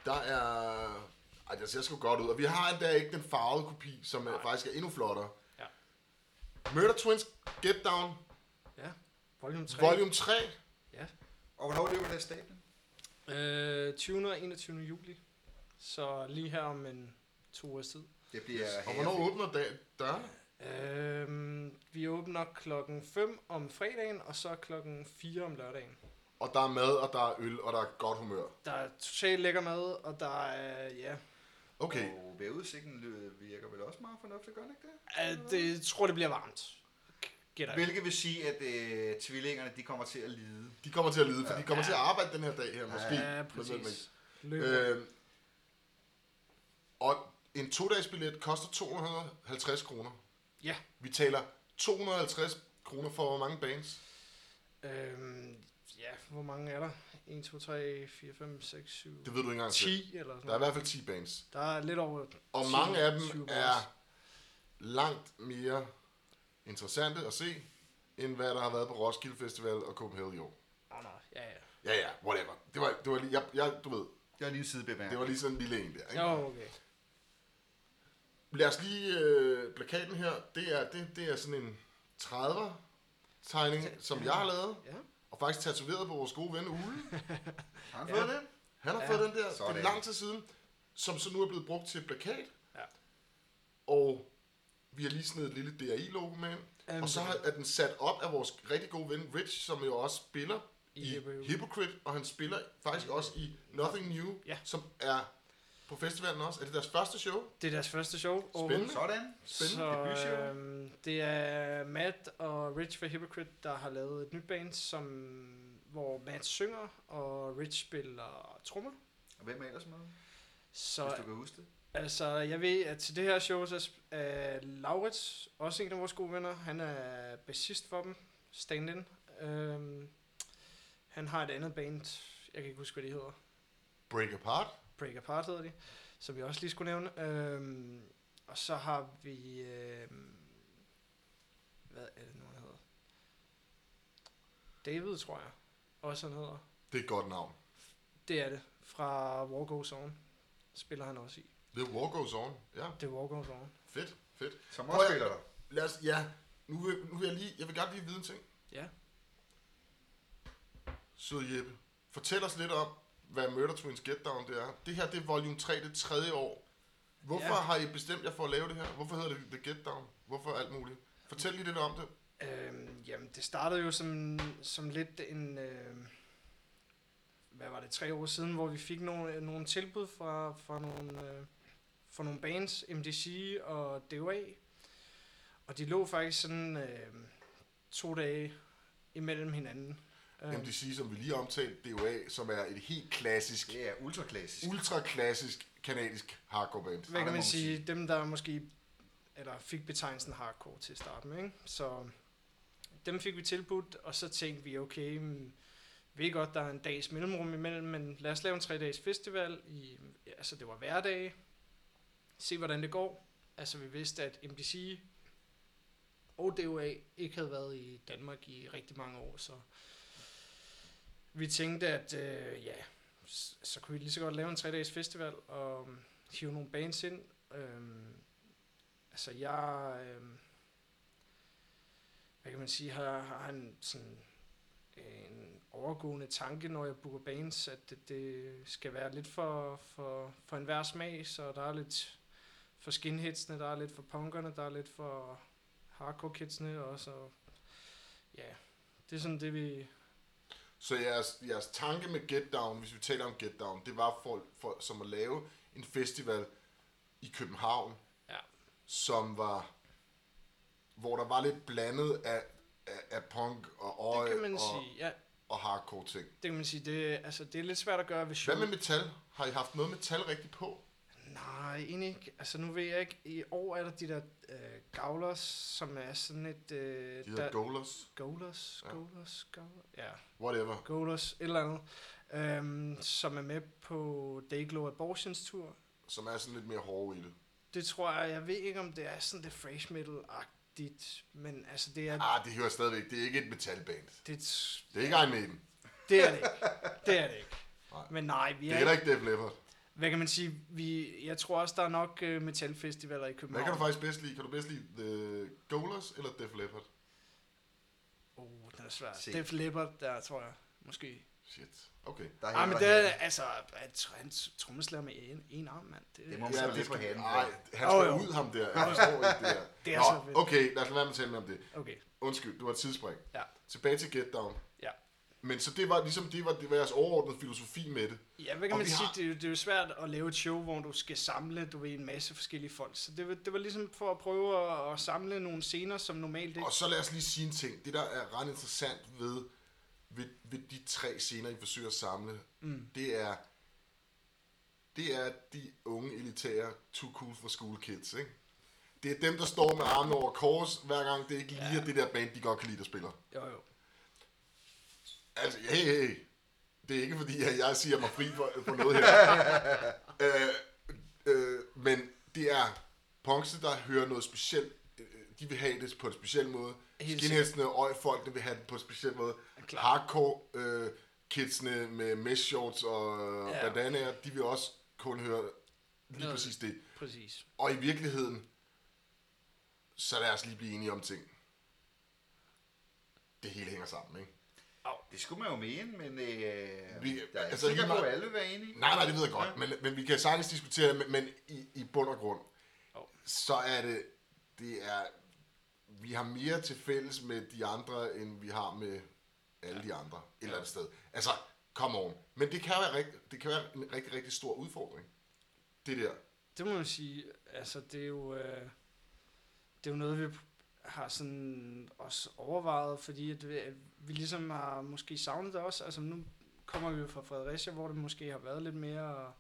[SPEAKER 1] der er... Ej, det ser sgu godt ud. Og vi har endda ikke den farvede kopi, som er,
[SPEAKER 3] Nej.
[SPEAKER 1] faktisk er endnu flottere.
[SPEAKER 3] Ja.
[SPEAKER 1] Murder Twins Get Down,
[SPEAKER 3] Ja, volume 3.
[SPEAKER 1] volume 3.
[SPEAKER 3] Ja.
[SPEAKER 2] Og hvornår løber det af stablen?
[SPEAKER 3] Øh, 20. og 21. juli. Så lige her om en to ugers tid.
[SPEAKER 2] Det bliver yes.
[SPEAKER 1] Og hvornår åbner dag, dørene?
[SPEAKER 3] Øhm, vi åbner klokken 5 om fredagen, og så klokken 4 om lørdagen.
[SPEAKER 1] Og der er mad, og der er øl, og der er godt humør.
[SPEAKER 3] Der er totalt lækker mad, og der er, ja,
[SPEAKER 1] Okay,
[SPEAKER 2] Og vejrudsigten øh, virker vel også meget fornuftigt, gør den ikke det?
[SPEAKER 3] at, det jeg tror, det bliver varmt. Gætter jeg.
[SPEAKER 2] Hvilket vil sige, at øh, tvillingerne de kommer til at lide.
[SPEAKER 1] de kommer til at lide, for de kommer
[SPEAKER 3] Ja.
[SPEAKER 1] til at arbejde den her dag her, måske.
[SPEAKER 3] Ja,
[SPEAKER 1] Men- men-
[SPEAKER 3] præcis. Løber.
[SPEAKER 1] Øh, og en to-dages-billet koster 250 kroner.
[SPEAKER 3] Ja.
[SPEAKER 1] Vi taler 250 kroner for hvor mange bands?
[SPEAKER 3] Øhm, ja, hvor mange er der? 1, 2, 3, 4, 5, 6, 7,
[SPEAKER 1] Det ved du ikke engang selv.
[SPEAKER 3] 10
[SPEAKER 1] Der
[SPEAKER 3] eller sådan
[SPEAKER 1] er i
[SPEAKER 3] noget.
[SPEAKER 1] hvert fald 10 bands.
[SPEAKER 3] Der er lidt over...
[SPEAKER 1] Og
[SPEAKER 3] 10,
[SPEAKER 1] mange af
[SPEAKER 3] 20
[SPEAKER 1] dem
[SPEAKER 3] bands.
[SPEAKER 1] er langt mere interessante at se, end hvad der har været på Roskilde Festival og Copenhagen i år.
[SPEAKER 3] Nå, nej, ja, ja.
[SPEAKER 1] Ja, ja, whatever. Det var, det var lige, jeg, jeg, du ved,
[SPEAKER 2] Det var lige en sidebemærkning.
[SPEAKER 1] det var lige sådan en lille en der. Ikke?
[SPEAKER 3] Jo, okay.
[SPEAKER 1] Lad os lige, øh, plakaten her, det er, det, det er sådan en 30'er tegning, som jeg har lavet.
[SPEAKER 3] Ja.
[SPEAKER 1] Og faktisk tatoveret på vores gode ven Ule.
[SPEAKER 2] Har han fået
[SPEAKER 3] Ja.
[SPEAKER 2] den?
[SPEAKER 1] Han har
[SPEAKER 3] Ja,
[SPEAKER 1] ja, fået den der for
[SPEAKER 2] sådan.
[SPEAKER 1] lang tid siden, som så nu er blevet brugt til plakat.
[SPEAKER 3] Ja.
[SPEAKER 1] Og vi har lige sned et lille DRI-logo med ind.
[SPEAKER 3] Jamen,
[SPEAKER 1] og så har- er den sat op af vores rigtig gode ven Rich, som jo også spiller
[SPEAKER 3] I
[SPEAKER 1] i, i
[SPEAKER 3] Hypocrite.
[SPEAKER 1] Hypocrite, og han spiller faktisk også i Nothing New,
[SPEAKER 3] Ja.
[SPEAKER 1] som er på festivalen også. Er det deres første show?
[SPEAKER 3] Det er deres første show. overhovedet.
[SPEAKER 1] Spændende.
[SPEAKER 2] Sådan.
[SPEAKER 3] Så
[SPEAKER 2] Debutshow.
[SPEAKER 3] øhm, det er Matt og Rich fra Hypocrite, der har lavet et nyt band, som, hvor Matt synger, og Rich spiller trommer.
[SPEAKER 2] Og hvem er ellers med? Hvis
[SPEAKER 3] Så
[SPEAKER 2] du kan huske det.
[SPEAKER 3] altså, jeg ved, at til det her show, så sp- er Laurits, også en af vores gode venner, han er bassist for dem, stand-in. Øhm, han har et andet band, jeg kan ikke huske, hvad det hedder.
[SPEAKER 1] Break Apart.
[SPEAKER 3] Break Apart hedder de, som vi også lige skulle nævne. Øhm, og så har vi... Øhm, hvad er det nu, han hedder? David, tror jeg. Også han hedder.
[SPEAKER 1] Det er et godt navn.
[SPEAKER 3] Det er det. Fra War Goes On. Spiller han også i.
[SPEAKER 1] The War Goes On. Ja,
[SPEAKER 3] Det er War Goes On.
[SPEAKER 1] fedt, fedt.
[SPEAKER 2] Som
[SPEAKER 1] Prøv
[SPEAKER 2] også
[SPEAKER 1] at-
[SPEAKER 2] spiller der.
[SPEAKER 1] Lad os, ja, nu vil, nu vil jeg lige, jeg vil gerne lige vide en ting.
[SPEAKER 3] Ja.
[SPEAKER 1] Søde Jeppe, fortæl os lidt om, hvad Murder Twins Get Down det er. Det her, det er volume 3, det er tredje år. Hvorfor
[SPEAKER 3] Ja.
[SPEAKER 1] ja. har I bestemt jer for at lave det her? Hvorfor hedder det The Get Down? Hvorfor alt muligt? Fortæl lige lidt om det.
[SPEAKER 3] Øhm, jamen, det startede jo som, som lidt en... Øhm, hvad var det, tre år siden, hvor vi fik nogle, nogle tilbud fra, fra, nogle, øh, fra nogle bands, MDC og DOA. Og de lå faktisk sådan øh, to dage imellem hinanden. Øh,
[SPEAKER 1] MDC, som vi lige omtalte, DOA, som er et helt klassisk,
[SPEAKER 2] Det er ultraklassisk.
[SPEAKER 1] ultraklassisk kanadisk hardcore band.
[SPEAKER 3] hvad kan
[SPEAKER 2] må man
[SPEAKER 3] man sige, dem der måske eller fik betegnelsen hardcore til at starte med, ikke? så dem fik vi tilbudt, og så tænkte vi, okay, mm, vi ved godt, der er en dags mellemrum imellem, men lad os lave en tre-dages festival, i, altså det var hverdag, se hvordan det går. Altså vi vidste, at MDC og DOA ikke havde været i Danmark i rigtig mange år, så vi tænkte, at øh, ja, s- så kunne vi lige så godt lave en tre-dages festival, og hive nogle bands ind. Øhm, altså jeg, øhm, hvad kan man sige, har, har en, sådan, øh, en overgående tanke, når jeg booker bands, at det, det skal være lidt for, for, for enhver smag, så der er lidt for skinheadsene, der er lidt for punkerne, der er lidt for hardcore kidsene også, og ja, det er sådan det, vi...
[SPEAKER 1] Så jeres, jeres tanke med Get Down, hvis vi taler om Get Down, det var for, for, som at lave en festival i København,
[SPEAKER 3] Ja.
[SPEAKER 1] som var, hvor der var lidt blandet af, af, af punk og
[SPEAKER 3] Det
[SPEAKER 1] øje
[SPEAKER 3] kan man
[SPEAKER 1] og,
[SPEAKER 3] sige, ja,
[SPEAKER 1] og hardcore ting.
[SPEAKER 3] det kan man sige, det, altså, det er lidt svært at gøre ved show.
[SPEAKER 1] Hvad med metal? Har I haft noget metal rigtigt på?
[SPEAKER 3] Nej, egentlig ikke. Altså nu ved jeg ikke. I år er der de der øh, gavlers, som er sådan et... Øh,
[SPEAKER 1] De hedder
[SPEAKER 3] der,
[SPEAKER 1] Goalers,
[SPEAKER 3] Goalers,
[SPEAKER 1] Ja.
[SPEAKER 3] Goalers, Goalers, ja,
[SPEAKER 1] whatever.
[SPEAKER 3] Goalers, et eller andet, øhm, som er med på Dayglow Abortions tur.
[SPEAKER 1] som er sådan lidt mere hårde i det.
[SPEAKER 3] Det tror jeg, jeg ved ikke, om det er sådan det fresh metal-agtigt, men altså det er...
[SPEAKER 1] Ah, det hører stadigvæk. Det er ikke et metalband.
[SPEAKER 3] Det,
[SPEAKER 1] Det er ikke Iron Maiden.
[SPEAKER 3] det er det ikke. Det er det ikke.
[SPEAKER 1] Nej.
[SPEAKER 3] Men nej, vi
[SPEAKER 1] Det
[SPEAKER 3] er,
[SPEAKER 1] er heller ikke Def Leppard.
[SPEAKER 3] Hvad kan man sige? Vi, jeg tror også, der er nok øh, metalfestivaler i København.
[SPEAKER 1] Hvad kan du faktisk bedst lide? Kan du bedst lide The Goalers eller Def Leppard?
[SPEAKER 3] Oh, den er svær.
[SPEAKER 2] Se.
[SPEAKER 3] Def Leppard, der tror jeg, måske.
[SPEAKER 1] Shit. Okay.
[SPEAKER 2] Der er
[SPEAKER 3] Ej, men
[SPEAKER 2] heller
[SPEAKER 3] det er,
[SPEAKER 2] ikke-
[SPEAKER 3] altså, at han trommeslager med en, en arm, mand. Det,
[SPEAKER 2] Det må man
[SPEAKER 1] Ja,
[SPEAKER 2] ja,
[SPEAKER 1] det
[SPEAKER 2] lidt på
[SPEAKER 1] skal,
[SPEAKER 2] handen.
[SPEAKER 1] ej, han
[SPEAKER 3] Jo,
[SPEAKER 1] skal
[SPEAKER 3] jo.
[SPEAKER 1] ud ham der. Jeg forstår ikke det der.
[SPEAKER 3] Det er
[SPEAKER 1] Nå,
[SPEAKER 3] så fedt.
[SPEAKER 1] okay, lad os lade være med at tale mere om det.
[SPEAKER 3] Okay,
[SPEAKER 1] Undskyld, det var et tidsspring.
[SPEAKER 3] ja.
[SPEAKER 1] Tilbage til Get Down.
[SPEAKER 3] Ja.
[SPEAKER 1] Men så det var ligesom, det var, det var jeres overordnede filosofi med det.
[SPEAKER 3] Ja, hvad
[SPEAKER 1] Og
[SPEAKER 3] kan man
[SPEAKER 1] vi
[SPEAKER 3] sige?
[SPEAKER 1] har-
[SPEAKER 3] Det, er jo- det er jo svært at lave et show, hvor du skal samle, du ved, en masse forskellige folk. Så det var, det var ligesom for at prøve at, at samle nogle scener, som normalt ikke...
[SPEAKER 1] Og så lad os lige sige en ting. Det, der er ret interessant ved, ved, ved de tre scener, I forsøger at samle, mm. det er, det er de unge elitære too cool for school kids, ikke? Det er dem, der står med armene over kors, hver gang det ikke lige er det der band, de godt kan lide, der spiller.
[SPEAKER 3] Jo, jo.
[SPEAKER 1] Altså, hey, hey. Det er ikke fordi, at jeg siger mig fri for, for noget her. øh, øh, men det er punkse, der hører noget specielt. Øh, De vil have det på en speciel måde.
[SPEAKER 3] Helt
[SPEAKER 1] Skinheadsene og øjfolkene vil have det på en speciel måde.
[SPEAKER 3] Klart.
[SPEAKER 1] Hardcore øh, kidsene med mesh shorts og
[SPEAKER 3] Ja.
[SPEAKER 1] ja. bandanaer, de vil også kun høre lige
[SPEAKER 3] Noget.
[SPEAKER 1] præcis det.
[SPEAKER 3] Præcis.
[SPEAKER 1] Og i virkeligheden, så lad os lige blive enige om ting. Det hele hænger sammen, ikke?
[SPEAKER 2] Det skulle man jo mene, men øh,
[SPEAKER 1] Vi-
[SPEAKER 2] der er
[SPEAKER 1] altså,
[SPEAKER 2] altså,
[SPEAKER 1] lige
[SPEAKER 2] sikkert på,
[SPEAKER 1] meget-
[SPEAKER 2] at alle vil være enige.
[SPEAKER 1] Nej, nej, det ved jeg godt, men, men vi kan sagtens diskutere det, men, men i, i bund og grund,
[SPEAKER 3] Jo.
[SPEAKER 1] så er det, det er, vi har mere til fælles med de andre, end vi har med alle de andre et eller andet sted. Altså, come on. Men det kan, være rigt, det kan være en rigtig, rigtig stor udfordring, det der.
[SPEAKER 3] Det må man sige, altså det er jo, øh, det er jo noget, vi har sådan også overvejet, fordi at vi, at vi ligesom har måske savnet det også. Altså nu kommer vi jo fra Fredericia, hvor det måske har været lidt mere,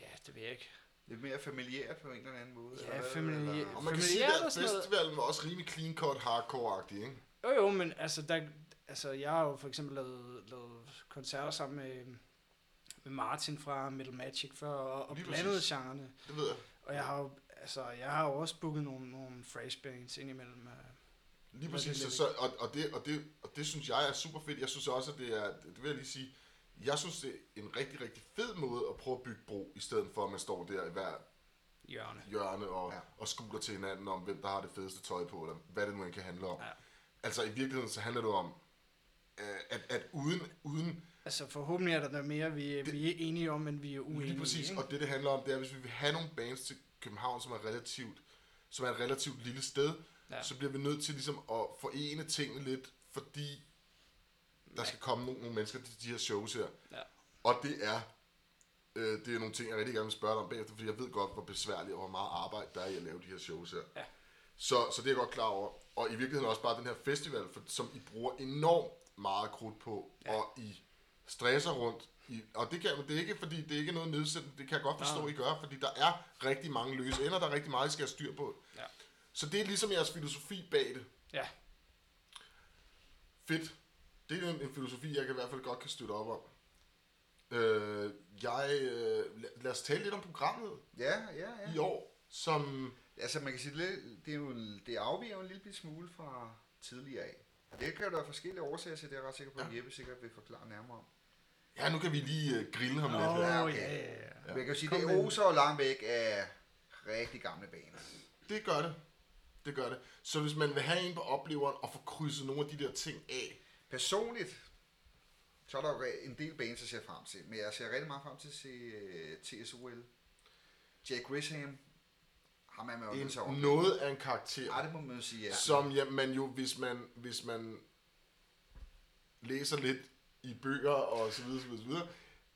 [SPEAKER 3] ja, det ved jeg ikke.
[SPEAKER 2] Lidt mere familiært på en eller anden måde.
[SPEAKER 3] Ja,
[SPEAKER 2] eller hvad,
[SPEAKER 3] familiært.
[SPEAKER 1] Og
[SPEAKER 2] eller-
[SPEAKER 1] man kan
[SPEAKER 3] Familiært
[SPEAKER 1] sige, at
[SPEAKER 3] og sådan noget.
[SPEAKER 1] festivalen var også rimelig clean-cut, hardcore-agtig, ikke?
[SPEAKER 3] Jo jo, men altså, der, altså jeg har jo for eksempel lavet, lavet koncerter sammen med, med Martin fra Metal Magic før, og, og
[SPEAKER 1] Lige
[SPEAKER 3] blandede
[SPEAKER 1] præcis.
[SPEAKER 3] genrerne.
[SPEAKER 1] Det ved jeg.
[SPEAKER 3] Og jeg har jo, altså, jeg har jo også booket nogle, nogle fresh bands indimellem. øh.
[SPEAKER 1] Lige
[SPEAKER 3] Men det
[SPEAKER 1] præcis,
[SPEAKER 3] er
[SPEAKER 1] så,
[SPEAKER 3] lidt
[SPEAKER 1] så, og, og, det, og, det, og det synes jeg er super fedt. Jeg synes også, at det er, det vil jeg lige sige, jeg synes, det er en rigtig, rigtig fed måde at prøve at bygge bro, i stedet for at man står der i hver
[SPEAKER 3] hjørne.
[SPEAKER 1] hjørne og, ja.
[SPEAKER 2] Ja.
[SPEAKER 1] og skuler til hinanden om, hvem der har det fedeste tøj på, eller hvad det nu end kan handle om. Ja.
[SPEAKER 3] Ja.
[SPEAKER 1] Altså i virkeligheden, så handler det om, øh, at, at uden, uden
[SPEAKER 3] Altså forhåbentlig er der noget mere, vi, det, vi er enige om, men vi er uenige
[SPEAKER 1] Lige præcis,
[SPEAKER 3] i, ikke?
[SPEAKER 1] og det det handler om, det er, hvis vi vil have nogle bands til København, som er relativt, som er et relativt lille sted, ja.
[SPEAKER 3] Ja.
[SPEAKER 1] så bliver vi nødt til ligesom at forene tingene lidt, fordi der skal komme nogle, nogle mennesker til de her shows her.
[SPEAKER 3] Ja.
[SPEAKER 1] Og det er, øh, det er nogle ting, jeg rigtig gerne vil spørge dig om bagefter, fordi jeg ved godt, hvor besværligt og hvor meget arbejde der er i at lave de her shows her.
[SPEAKER 3] Ja.
[SPEAKER 1] Så, så det er jeg godt klar over. Og i virkeligheden også bare den her festival, for, som I bruger enormt meget krudt på, ja. og I stresser rundt. I, og det, kan, men det er ikke, fordi det er ikke noget nedsættende, det kan jeg godt forstå,
[SPEAKER 3] Nej.
[SPEAKER 1] I gør, fordi der er rigtig mange løse ender, der er rigtig meget, I skal have styr på.
[SPEAKER 3] Ja.
[SPEAKER 1] Så det er ligesom jeres filosofi bag det.
[SPEAKER 3] Ja,
[SPEAKER 1] Fedt. Det er en, en filosofi, jeg kan i hvert fald godt kan støtte op om. Øh, jeg, øh, lad, lad os tale lidt om programmet
[SPEAKER 2] Ja, ja, ja.
[SPEAKER 1] i år, som...
[SPEAKER 2] Altså man kan sige, lidt- det, er jo, en- det afviger jo en lille bitte smule fra tidligere af. Og det kan jo der forskellige årsager til, det er jeg ret sikker på, at Jeppe sikkert vil forklare nærmere om.
[SPEAKER 1] Ja, nu kan vi lige øh, grille ham
[SPEAKER 3] Åh,
[SPEAKER 1] lidt her.
[SPEAKER 2] ja,
[SPEAKER 3] ja,
[SPEAKER 2] okay.
[SPEAKER 3] ja, ja.
[SPEAKER 2] Men jeg kan jo sige,
[SPEAKER 3] Kom
[SPEAKER 2] det
[SPEAKER 3] med.
[SPEAKER 2] oser jo langt væk af rigtig gamle baner.
[SPEAKER 1] Det gør det. Det gør det. Så hvis man vil have en på opleveren og få krydset nogle af de der ting af,
[SPEAKER 2] Personligt, så er der jo re- en del bands, jeg ser frem til. Men jeg ser rigtig meget frem til at se øh, TSOL. Jack Grisham, ham er man jo nødt til at
[SPEAKER 1] en,
[SPEAKER 2] opleve.
[SPEAKER 1] noget af en karakter,
[SPEAKER 2] Ja, det må man jo sige, ja.
[SPEAKER 1] som ja, man jo, hvis man, hvis man læser lidt i bøger og så videre, så videre, så videre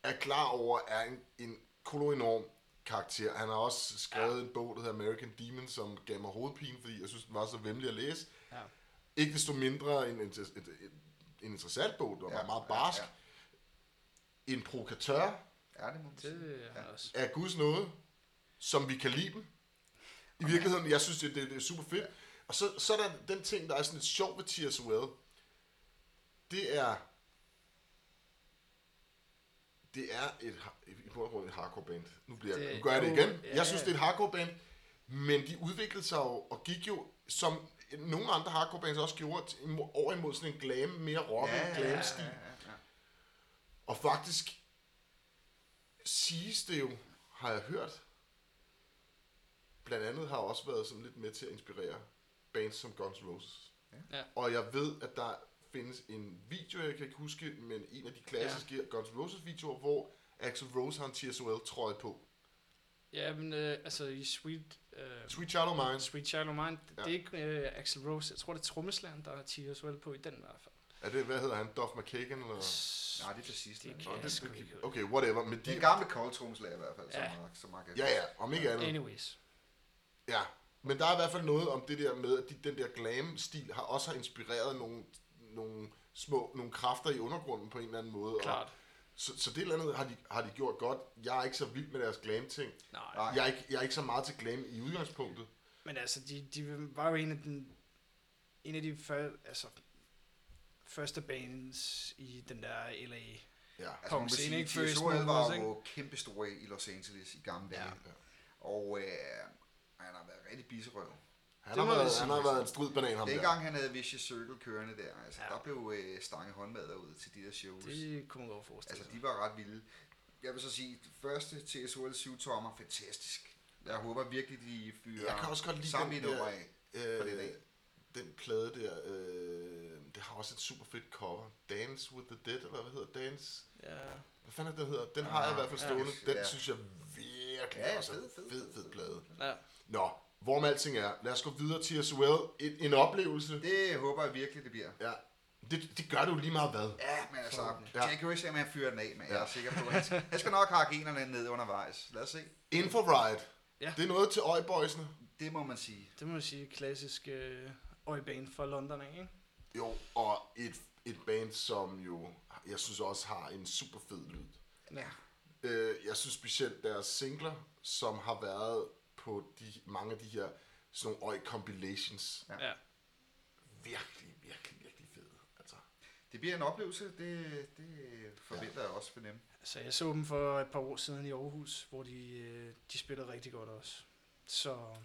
[SPEAKER 1] er klar over, er en, en kolonorm karakter. Han har også skrevet ja. en bog, der hedder American Demon, som gav mig hovedpine, fordi jeg synes, den var så vemmelig at læse.
[SPEAKER 3] Ja.
[SPEAKER 1] Ikke desto mindre en, en, en, en interessant bog, der var
[SPEAKER 2] Ja,
[SPEAKER 1] meget
[SPEAKER 2] ja,
[SPEAKER 1] barsk. Ja, ja. En provokatør,
[SPEAKER 2] Ja, det må man sige.
[SPEAKER 3] det er også.
[SPEAKER 1] af Guds nåde, som vi kan lide dem. I virkeligheden, jeg synes, det, det, det er super fedt. Og så, så er der den ting, der er sådan lidt sjov ved Tears Well. Det er... Det er et, har- i bund og grund et hardcore band. Nu, bliver, det,
[SPEAKER 3] Det-
[SPEAKER 1] nu gør jeg det
[SPEAKER 3] jo,
[SPEAKER 1] igen.
[SPEAKER 3] ja.
[SPEAKER 1] Jeg synes, det er et hardcore band. Men de udviklede sig jo, og gik jo, som nogle andre hardcore bands også gjorde, til- imod- over imod sådan en glam, mere rocket, ja, glam-stil. Ja, ja.
[SPEAKER 2] ja.
[SPEAKER 1] Og faktisk siges det jo, har jeg hørt, blandt andet har også været sådan lidt med til at inspirere bands som Guns N' Roses.
[SPEAKER 3] Ja.
[SPEAKER 1] Og jeg ved, at der findes en video, jeg kan ikke huske, men en af de klassiske ja. Guns N' Roses videoer, hvor Axel Rose har en TSOL trøje på.
[SPEAKER 3] Ja, men øh, altså i Sweet, øh,
[SPEAKER 1] Sweet Child of Mine.
[SPEAKER 3] Sweet Child of Mine,
[SPEAKER 1] Ja.
[SPEAKER 3] ja. det er ikke øh, Axel Rose. Jeg tror, det er trommeslæren, der er Tiers Well på i den i hvert fald.
[SPEAKER 1] Er det, hvad hedder han? Duff McKagan? Eller?
[SPEAKER 2] Nej, det er til sidst.
[SPEAKER 3] Det
[SPEAKER 2] men-
[SPEAKER 3] kan jeg sgu ikke huske.
[SPEAKER 1] Okay, whatever. Men
[SPEAKER 2] Det er en
[SPEAKER 1] de,
[SPEAKER 2] gammel koldtrumslag i hvert fald, ja. Altså,
[SPEAKER 3] Ja.
[SPEAKER 2] som, Mark- som Mark
[SPEAKER 1] ja, ja, om ikke andet.
[SPEAKER 3] Anyways.
[SPEAKER 1] Ja, men der er i hvert fald noget om det der med, at de, den der glam-stil har også har inspireret nogle, nogle små nogle kræfter i undergrunden på en eller anden måde.
[SPEAKER 3] Klart.
[SPEAKER 1] så, så det eller andet har de, har de gjort godt. Jeg er ikke så vild med deres glam-ting.
[SPEAKER 3] Nej.
[SPEAKER 2] Nej.
[SPEAKER 1] Jeg er, ikke, jeg er ikke så meget til glam i udgangspunktet.
[SPEAKER 3] Men altså, de, de var jo en af, den, en af de før, altså, første bands i den der LA.
[SPEAKER 1] Ja,
[SPEAKER 2] Altså, man må
[SPEAKER 3] Punk scene,
[SPEAKER 2] sige,
[SPEAKER 3] ikke?
[SPEAKER 2] TSOL
[SPEAKER 3] First movers,
[SPEAKER 2] var
[SPEAKER 3] ikke?
[SPEAKER 2] jo kæmpe store i Los Angeles i gamle dage.
[SPEAKER 3] Ja.
[SPEAKER 2] Ja. Og øh, han har været rigtig biserøv.
[SPEAKER 1] han,
[SPEAKER 3] Det
[SPEAKER 1] har
[SPEAKER 3] må jeg
[SPEAKER 1] været,
[SPEAKER 3] sige.
[SPEAKER 1] han har været en strid banan ham der.
[SPEAKER 2] Dengang han havde Vicious Circle kørende der, altså, ja.
[SPEAKER 3] Ja.
[SPEAKER 2] der blev øh, stange håndmadder ud til de der shows. Det...
[SPEAKER 3] Det kunne man godt forestille
[SPEAKER 2] Altså,
[SPEAKER 3] sig.
[SPEAKER 2] de var ret vilde. Jeg vil så sige, første TSOL 7 tommer, fantastisk. Jeg håber virkelig, de fyrer
[SPEAKER 1] Jeg kan også godt lide
[SPEAKER 2] sammen i
[SPEAKER 1] den
[SPEAKER 2] et nummer
[SPEAKER 1] der-
[SPEAKER 2] af. For det er
[SPEAKER 1] Øh,
[SPEAKER 2] det.
[SPEAKER 1] den plade der, øh, det har også et super fedt cover. Dance with the Dead, eller hvad hedder Dance?
[SPEAKER 3] Ja.
[SPEAKER 1] Hvad fanden er det, den hedder? Den har jeg i hvert fald
[SPEAKER 3] ja.
[SPEAKER 1] stående. Den
[SPEAKER 2] Ah, Ja.
[SPEAKER 1] synes jeg virkelig
[SPEAKER 2] Ja,
[SPEAKER 1] ja, også er
[SPEAKER 2] fed,
[SPEAKER 1] fed,
[SPEAKER 2] fed,
[SPEAKER 1] fed,
[SPEAKER 2] fed,
[SPEAKER 1] fed plade.
[SPEAKER 3] ja.
[SPEAKER 1] Nå, hvorom alting er, lad os gå videre til as well. En, en oplevelse.
[SPEAKER 2] Det håber jeg virkelig, det bliver.
[SPEAKER 1] Ja, det, det gør du lige meget hvad.
[SPEAKER 2] Ja, men altså,
[SPEAKER 1] Ja.
[SPEAKER 2] Jack Grisham, han fyrer den af, men jeg
[SPEAKER 1] Ja.
[SPEAKER 2] er sikker på, at han skal, han skal nok hakke en eller anden ned undervejs. Lad os se.
[SPEAKER 1] Infrared.
[SPEAKER 3] Ja.
[SPEAKER 1] Det er noget til øjebøjsene.
[SPEAKER 2] Det må man sige.
[SPEAKER 3] Det må man sige klassisk øh, øjebane for London, af, ikke?
[SPEAKER 1] Jo, og et, et band, som jo, jeg synes også har en super fed lyd.
[SPEAKER 3] Ja.
[SPEAKER 1] Øh, jeg synes specielt deres singler, som har været på de, mange af de her sådan nogle øj-compilations.
[SPEAKER 2] Ja.
[SPEAKER 3] Ja.
[SPEAKER 1] Virkelig, virkelig, virkelig fede. Altså.
[SPEAKER 2] Det bliver en oplevelse, det, det forventer jeg også for dem.
[SPEAKER 3] Så Altså, jeg så dem for et par år siden i Aarhus, hvor de, øh, de spillede rigtig godt også. Så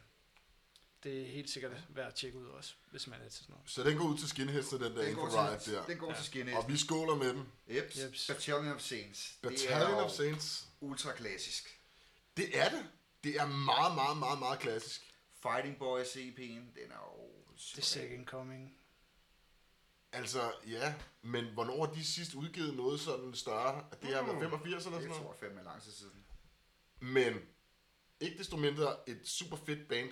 [SPEAKER 3] det er helt sikkert værd at tjekke ud også, hvis man er til sådan noget.
[SPEAKER 1] Så den går ud til skinhedsene, den der
[SPEAKER 2] Den går
[SPEAKER 1] Infrared
[SPEAKER 2] til,
[SPEAKER 1] der.
[SPEAKER 2] den går
[SPEAKER 3] Ja.
[SPEAKER 2] til
[SPEAKER 1] Og
[SPEAKER 2] skinhead.
[SPEAKER 1] vi skåler med dem.
[SPEAKER 2] Yep.
[SPEAKER 3] Jeps.
[SPEAKER 2] Battalion of Saints. det
[SPEAKER 1] Battalion
[SPEAKER 2] er
[SPEAKER 1] of
[SPEAKER 2] Saints.
[SPEAKER 1] Saints.
[SPEAKER 2] ultra klassisk.
[SPEAKER 1] Det er det. Det er meget, meget, meget, meget klassisk.
[SPEAKER 2] Fighting Boys EP'en, den er jo...
[SPEAKER 3] Det er second coming.
[SPEAKER 1] Altså, ja, men hvornår har de sidst udgivet noget sådan større? Det har været 85 eller
[SPEAKER 2] Mm. Det
[SPEAKER 1] sådan
[SPEAKER 2] tror
[SPEAKER 1] noget.
[SPEAKER 2] jeg fandme er lang tid siden.
[SPEAKER 1] Men ikke desto mindre et super fedt band.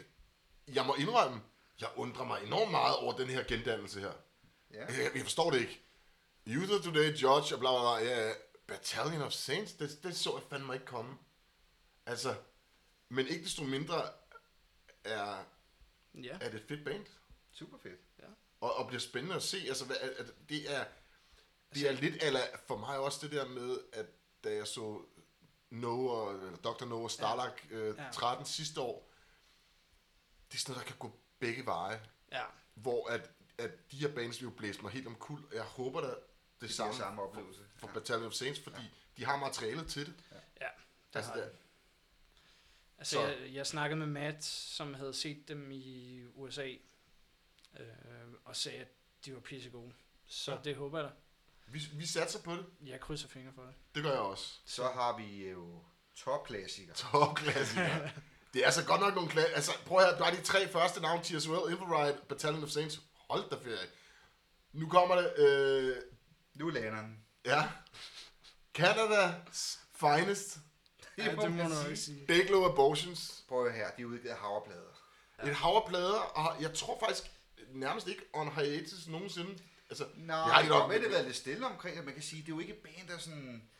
[SPEAKER 1] Jeg må indrømme, jeg undrer mig enormt meget over den her gendannelse her.
[SPEAKER 2] Ja.
[SPEAKER 1] Jeg, jeg forstår det ikke. Youth of Today, Judge og bla bla bla. Ja, ja. Battalion of Saints, det, det så jeg fandme ikke komme. Altså, men ikke desto mindre er,
[SPEAKER 3] Ja.
[SPEAKER 1] er det et fedt band.
[SPEAKER 2] Super fedt.
[SPEAKER 1] Og, og bliver spændende at se. Altså, hvad, at, at det er, det er
[SPEAKER 3] Altså,
[SPEAKER 1] lidt, eller for mig også det der med, at da jeg så Noah, eller Dr. Noah Starlock øh,
[SPEAKER 3] Ja.
[SPEAKER 1] 13 sidste år, det er sådan noget, der kan gå begge veje.
[SPEAKER 3] Ja.
[SPEAKER 1] Hvor at, at de her bands jo blæste mig helt omkuld, og jeg håber da det, det
[SPEAKER 2] Det er
[SPEAKER 1] samme,
[SPEAKER 2] samme oplevelse.
[SPEAKER 1] for Battalion of Saints, fordi de har materialet til det.
[SPEAKER 3] Ja. Det
[SPEAKER 1] Altså,
[SPEAKER 3] altså,
[SPEAKER 1] det,
[SPEAKER 3] altså
[SPEAKER 1] så-
[SPEAKER 3] jeg, jeg snakkede med Matt, som havde set dem i USA, øh, og sagde, at de var pissegode. Så
[SPEAKER 1] Ja.
[SPEAKER 3] ja. det håber jeg da.
[SPEAKER 1] vi, vi satser på det.
[SPEAKER 3] Jeg krydser fingre for det.
[SPEAKER 1] Det gør jeg også.
[SPEAKER 2] Så har vi jo topklassikere.
[SPEAKER 1] Topklassikere. det er altså godt nok nogle klassikere. Altså, prøv her, bare de tre første navn, Tears Well, Infrared, Battalion of Saints. Hold da ferie. Nu kommer det, øh,
[SPEAKER 2] Nu lander den.
[SPEAKER 1] ja, Canada's finest,
[SPEAKER 3] Ja, det må
[SPEAKER 2] man
[SPEAKER 3] du nok
[SPEAKER 2] sige.
[SPEAKER 3] ikke sige.
[SPEAKER 1] Dayglow Abortions.
[SPEAKER 2] Prøv at høre her, de er udgivet af havreplader.
[SPEAKER 1] Et hav af plader, og jeg tror faktisk nærmest ikke on hiatus nogensinde. Altså,
[SPEAKER 2] Nej,
[SPEAKER 1] har de
[SPEAKER 2] det
[SPEAKER 1] nok-
[SPEAKER 2] har med, det været lidt stille omkring, og man kan sige, det er jo ikke et band, der sådan...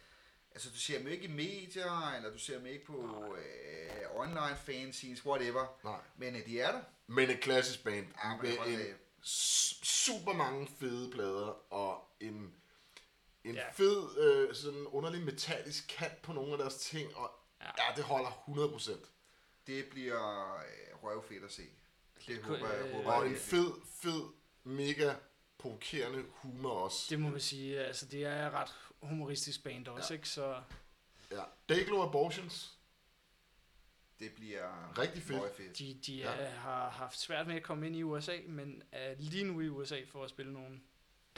[SPEAKER 2] Altså, du ser dem jo ikke i medier, eller du ser dem ikke på øh, online fanzines, whatever.
[SPEAKER 1] nej.
[SPEAKER 2] Men øh, de er der.
[SPEAKER 1] Men et klassisk band
[SPEAKER 2] Ja, men øh,
[SPEAKER 1] med
[SPEAKER 2] hold da
[SPEAKER 1] en
[SPEAKER 2] op.
[SPEAKER 1] su- super mange fede plader og en, en
[SPEAKER 3] Ja.
[SPEAKER 1] fed, øh, sådan underlig metallisk kant på nogle af deres ting, og ja,
[SPEAKER 3] Ja.
[SPEAKER 1] det holder 100%.
[SPEAKER 2] Det bliver øh, røvfedt at se. Det
[SPEAKER 3] Cool,
[SPEAKER 2] håber jeg,
[SPEAKER 3] øh,
[SPEAKER 2] håber
[SPEAKER 1] Og en
[SPEAKER 2] jeg virkelig.
[SPEAKER 1] fed, fed, mega provokerende humor også.
[SPEAKER 3] Det må vi sige. Altså, det er et ret humoristisk band også, ja. ikke? Så
[SPEAKER 1] Ja. Dayglow Abortions,
[SPEAKER 2] Det bliver
[SPEAKER 1] Rigtig fedt.
[SPEAKER 2] møgfedt.
[SPEAKER 3] de, de
[SPEAKER 1] Ja.
[SPEAKER 3] ja. er, har haft svært med at komme ind i USA, men er lige nu i USA for at spille nogle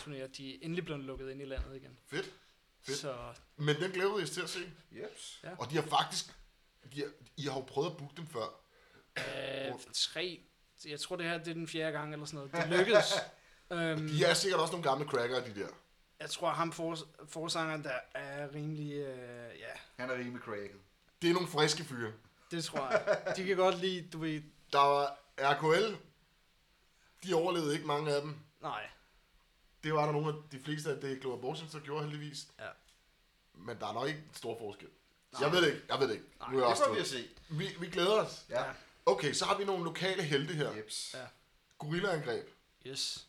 [SPEAKER 3] turnéer. De er endelig blevet lukket ind i landet igen.
[SPEAKER 1] fedt. Fedt.
[SPEAKER 3] Så
[SPEAKER 1] Men den glæder jeg til at se.
[SPEAKER 2] Jeps.
[SPEAKER 3] Ja.
[SPEAKER 1] Og de har faktisk, de har, I har jo prøvet at booke dem før.
[SPEAKER 3] øh, tre... Jeg tror, det her det er den fjerde gang eller sådan noget. Det lykkedes. øhm,
[SPEAKER 1] De er sikkert også nogle gamle cracker, de der.
[SPEAKER 3] Jeg tror, ham for, forsangeren, der er rimelig... Øh, ja,
[SPEAKER 2] Han er rimelig cracket.
[SPEAKER 1] Det er nogle friske fyre.
[SPEAKER 3] det tror jeg. De kan godt lide, du ved...
[SPEAKER 1] Der var RKL, de overlevede ikke mange af dem.
[SPEAKER 3] Nej,
[SPEAKER 1] Det var der nogle af de fleste af det Global Abortions, der gjorde heldigvis.
[SPEAKER 3] Ja.
[SPEAKER 1] Men der er nok ikke en stor forskel. Nej. Jeg ved det ikke, jeg ved det ikke.
[SPEAKER 3] Nej,
[SPEAKER 1] nu er jeg
[SPEAKER 2] Det
[SPEAKER 1] også
[SPEAKER 2] får vi at
[SPEAKER 1] vi,
[SPEAKER 2] se.
[SPEAKER 1] vi, vi glæder os.
[SPEAKER 2] Ja.
[SPEAKER 3] Ja.
[SPEAKER 1] Okay, så har vi nogle lokale helte her. Yep.
[SPEAKER 2] Jeps.
[SPEAKER 3] Ja.
[SPEAKER 1] Gorillaangreb.
[SPEAKER 3] yes.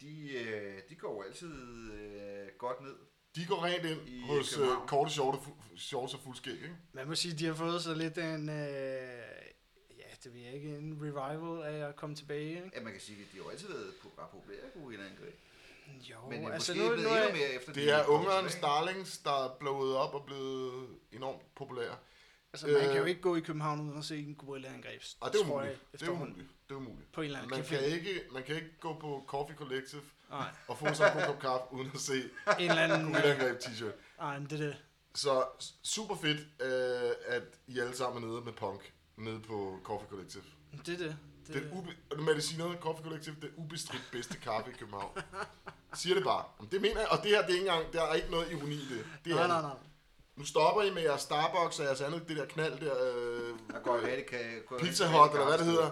[SPEAKER 2] De, øh, de går jo altid øh, godt ned.
[SPEAKER 1] De går rent ind I
[SPEAKER 2] I
[SPEAKER 1] hos
[SPEAKER 2] København.
[SPEAKER 1] uh, korte shorte, fu- shorts og fuld skæg, ikke?
[SPEAKER 3] Man må sige, at de har fået så lidt en... Øh, ja, det ved jeg ikke. En revival af at komme tilbage, ikke?
[SPEAKER 2] Ja, man kan sige, at de har jo altid været på ret populære gorillaangreb.
[SPEAKER 3] Jo,
[SPEAKER 2] Men det er
[SPEAKER 3] altså
[SPEAKER 2] altså,
[SPEAKER 3] nu,
[SPEAKER 2] måske blevet
[SPEAKER 3] nu er,
[SPEAKER 2] endnu mere efter
[SPEAKER 1] Det er
[SPEAKER 2] kom
[SPEAKER 1] ungerens
[SPEAKER 2] tilbage.
[SPEAKER 1] darlings, der er blowet op og blevet enormt populære.
[SPEAKER 3] altså, man kan jo
[SPEAKER 1] øh,
[SPEAKER 3] ikke gå i København uden at se en gorillaangreb.
[SPEAKER 1] Og det er
[SPEAKER 3] tror
[SPEAKER 1] umuligt.
[SPEAKER 3] jeg,
[SPEAKER 1] Det er
[SPEAKER 3] efterhånden.
[SPEAKER 1] umuligt. Det er umuligt.
[SPEAKER 3] På en eller anden
[SPEAKER 1] Man
[SPEAKER 3] café.
[SPEAKER 1] kan, ikke, man kan ikke gå på Coffee Collective
[SPEAKER 3] Nej,
[SPEAKER 1] og få sig en god kop kaffe, uden at se
[SPEAKER 3] en eller anden... øh,
[SPEAKER 1] gorillaangreb t-shirt.
[SPEAKER 3] Nej, men det er det.
[SPEAKER 1] Så s- super fedt, øh, at I alle sammen er nede med punk nede på Coffee Collective.
[SPEAKER 3] Det er det.
[SPEAKER 1] Det, det ube, og nu må jeg lige sige noget, Coffee Collective, det ubestridt bedste kaffe i København. Siger det bare. Jamen, Det mener jeg, og det her, det er ikke engang, der er ikke noget ironi i det. det er
[SPEAKER 3] nej,
[SPEAKER 1] det.
[SPEAKER 3] nej, nej.
[SPEAKER 1] Nu stopper I med jeres Starbucks og jeres andet, det der knald der, øh,
[SPEAKER 2] Der går rigtig kan... Går
[SPEAKER 1] Pizza Hut, eller hvad det hedder.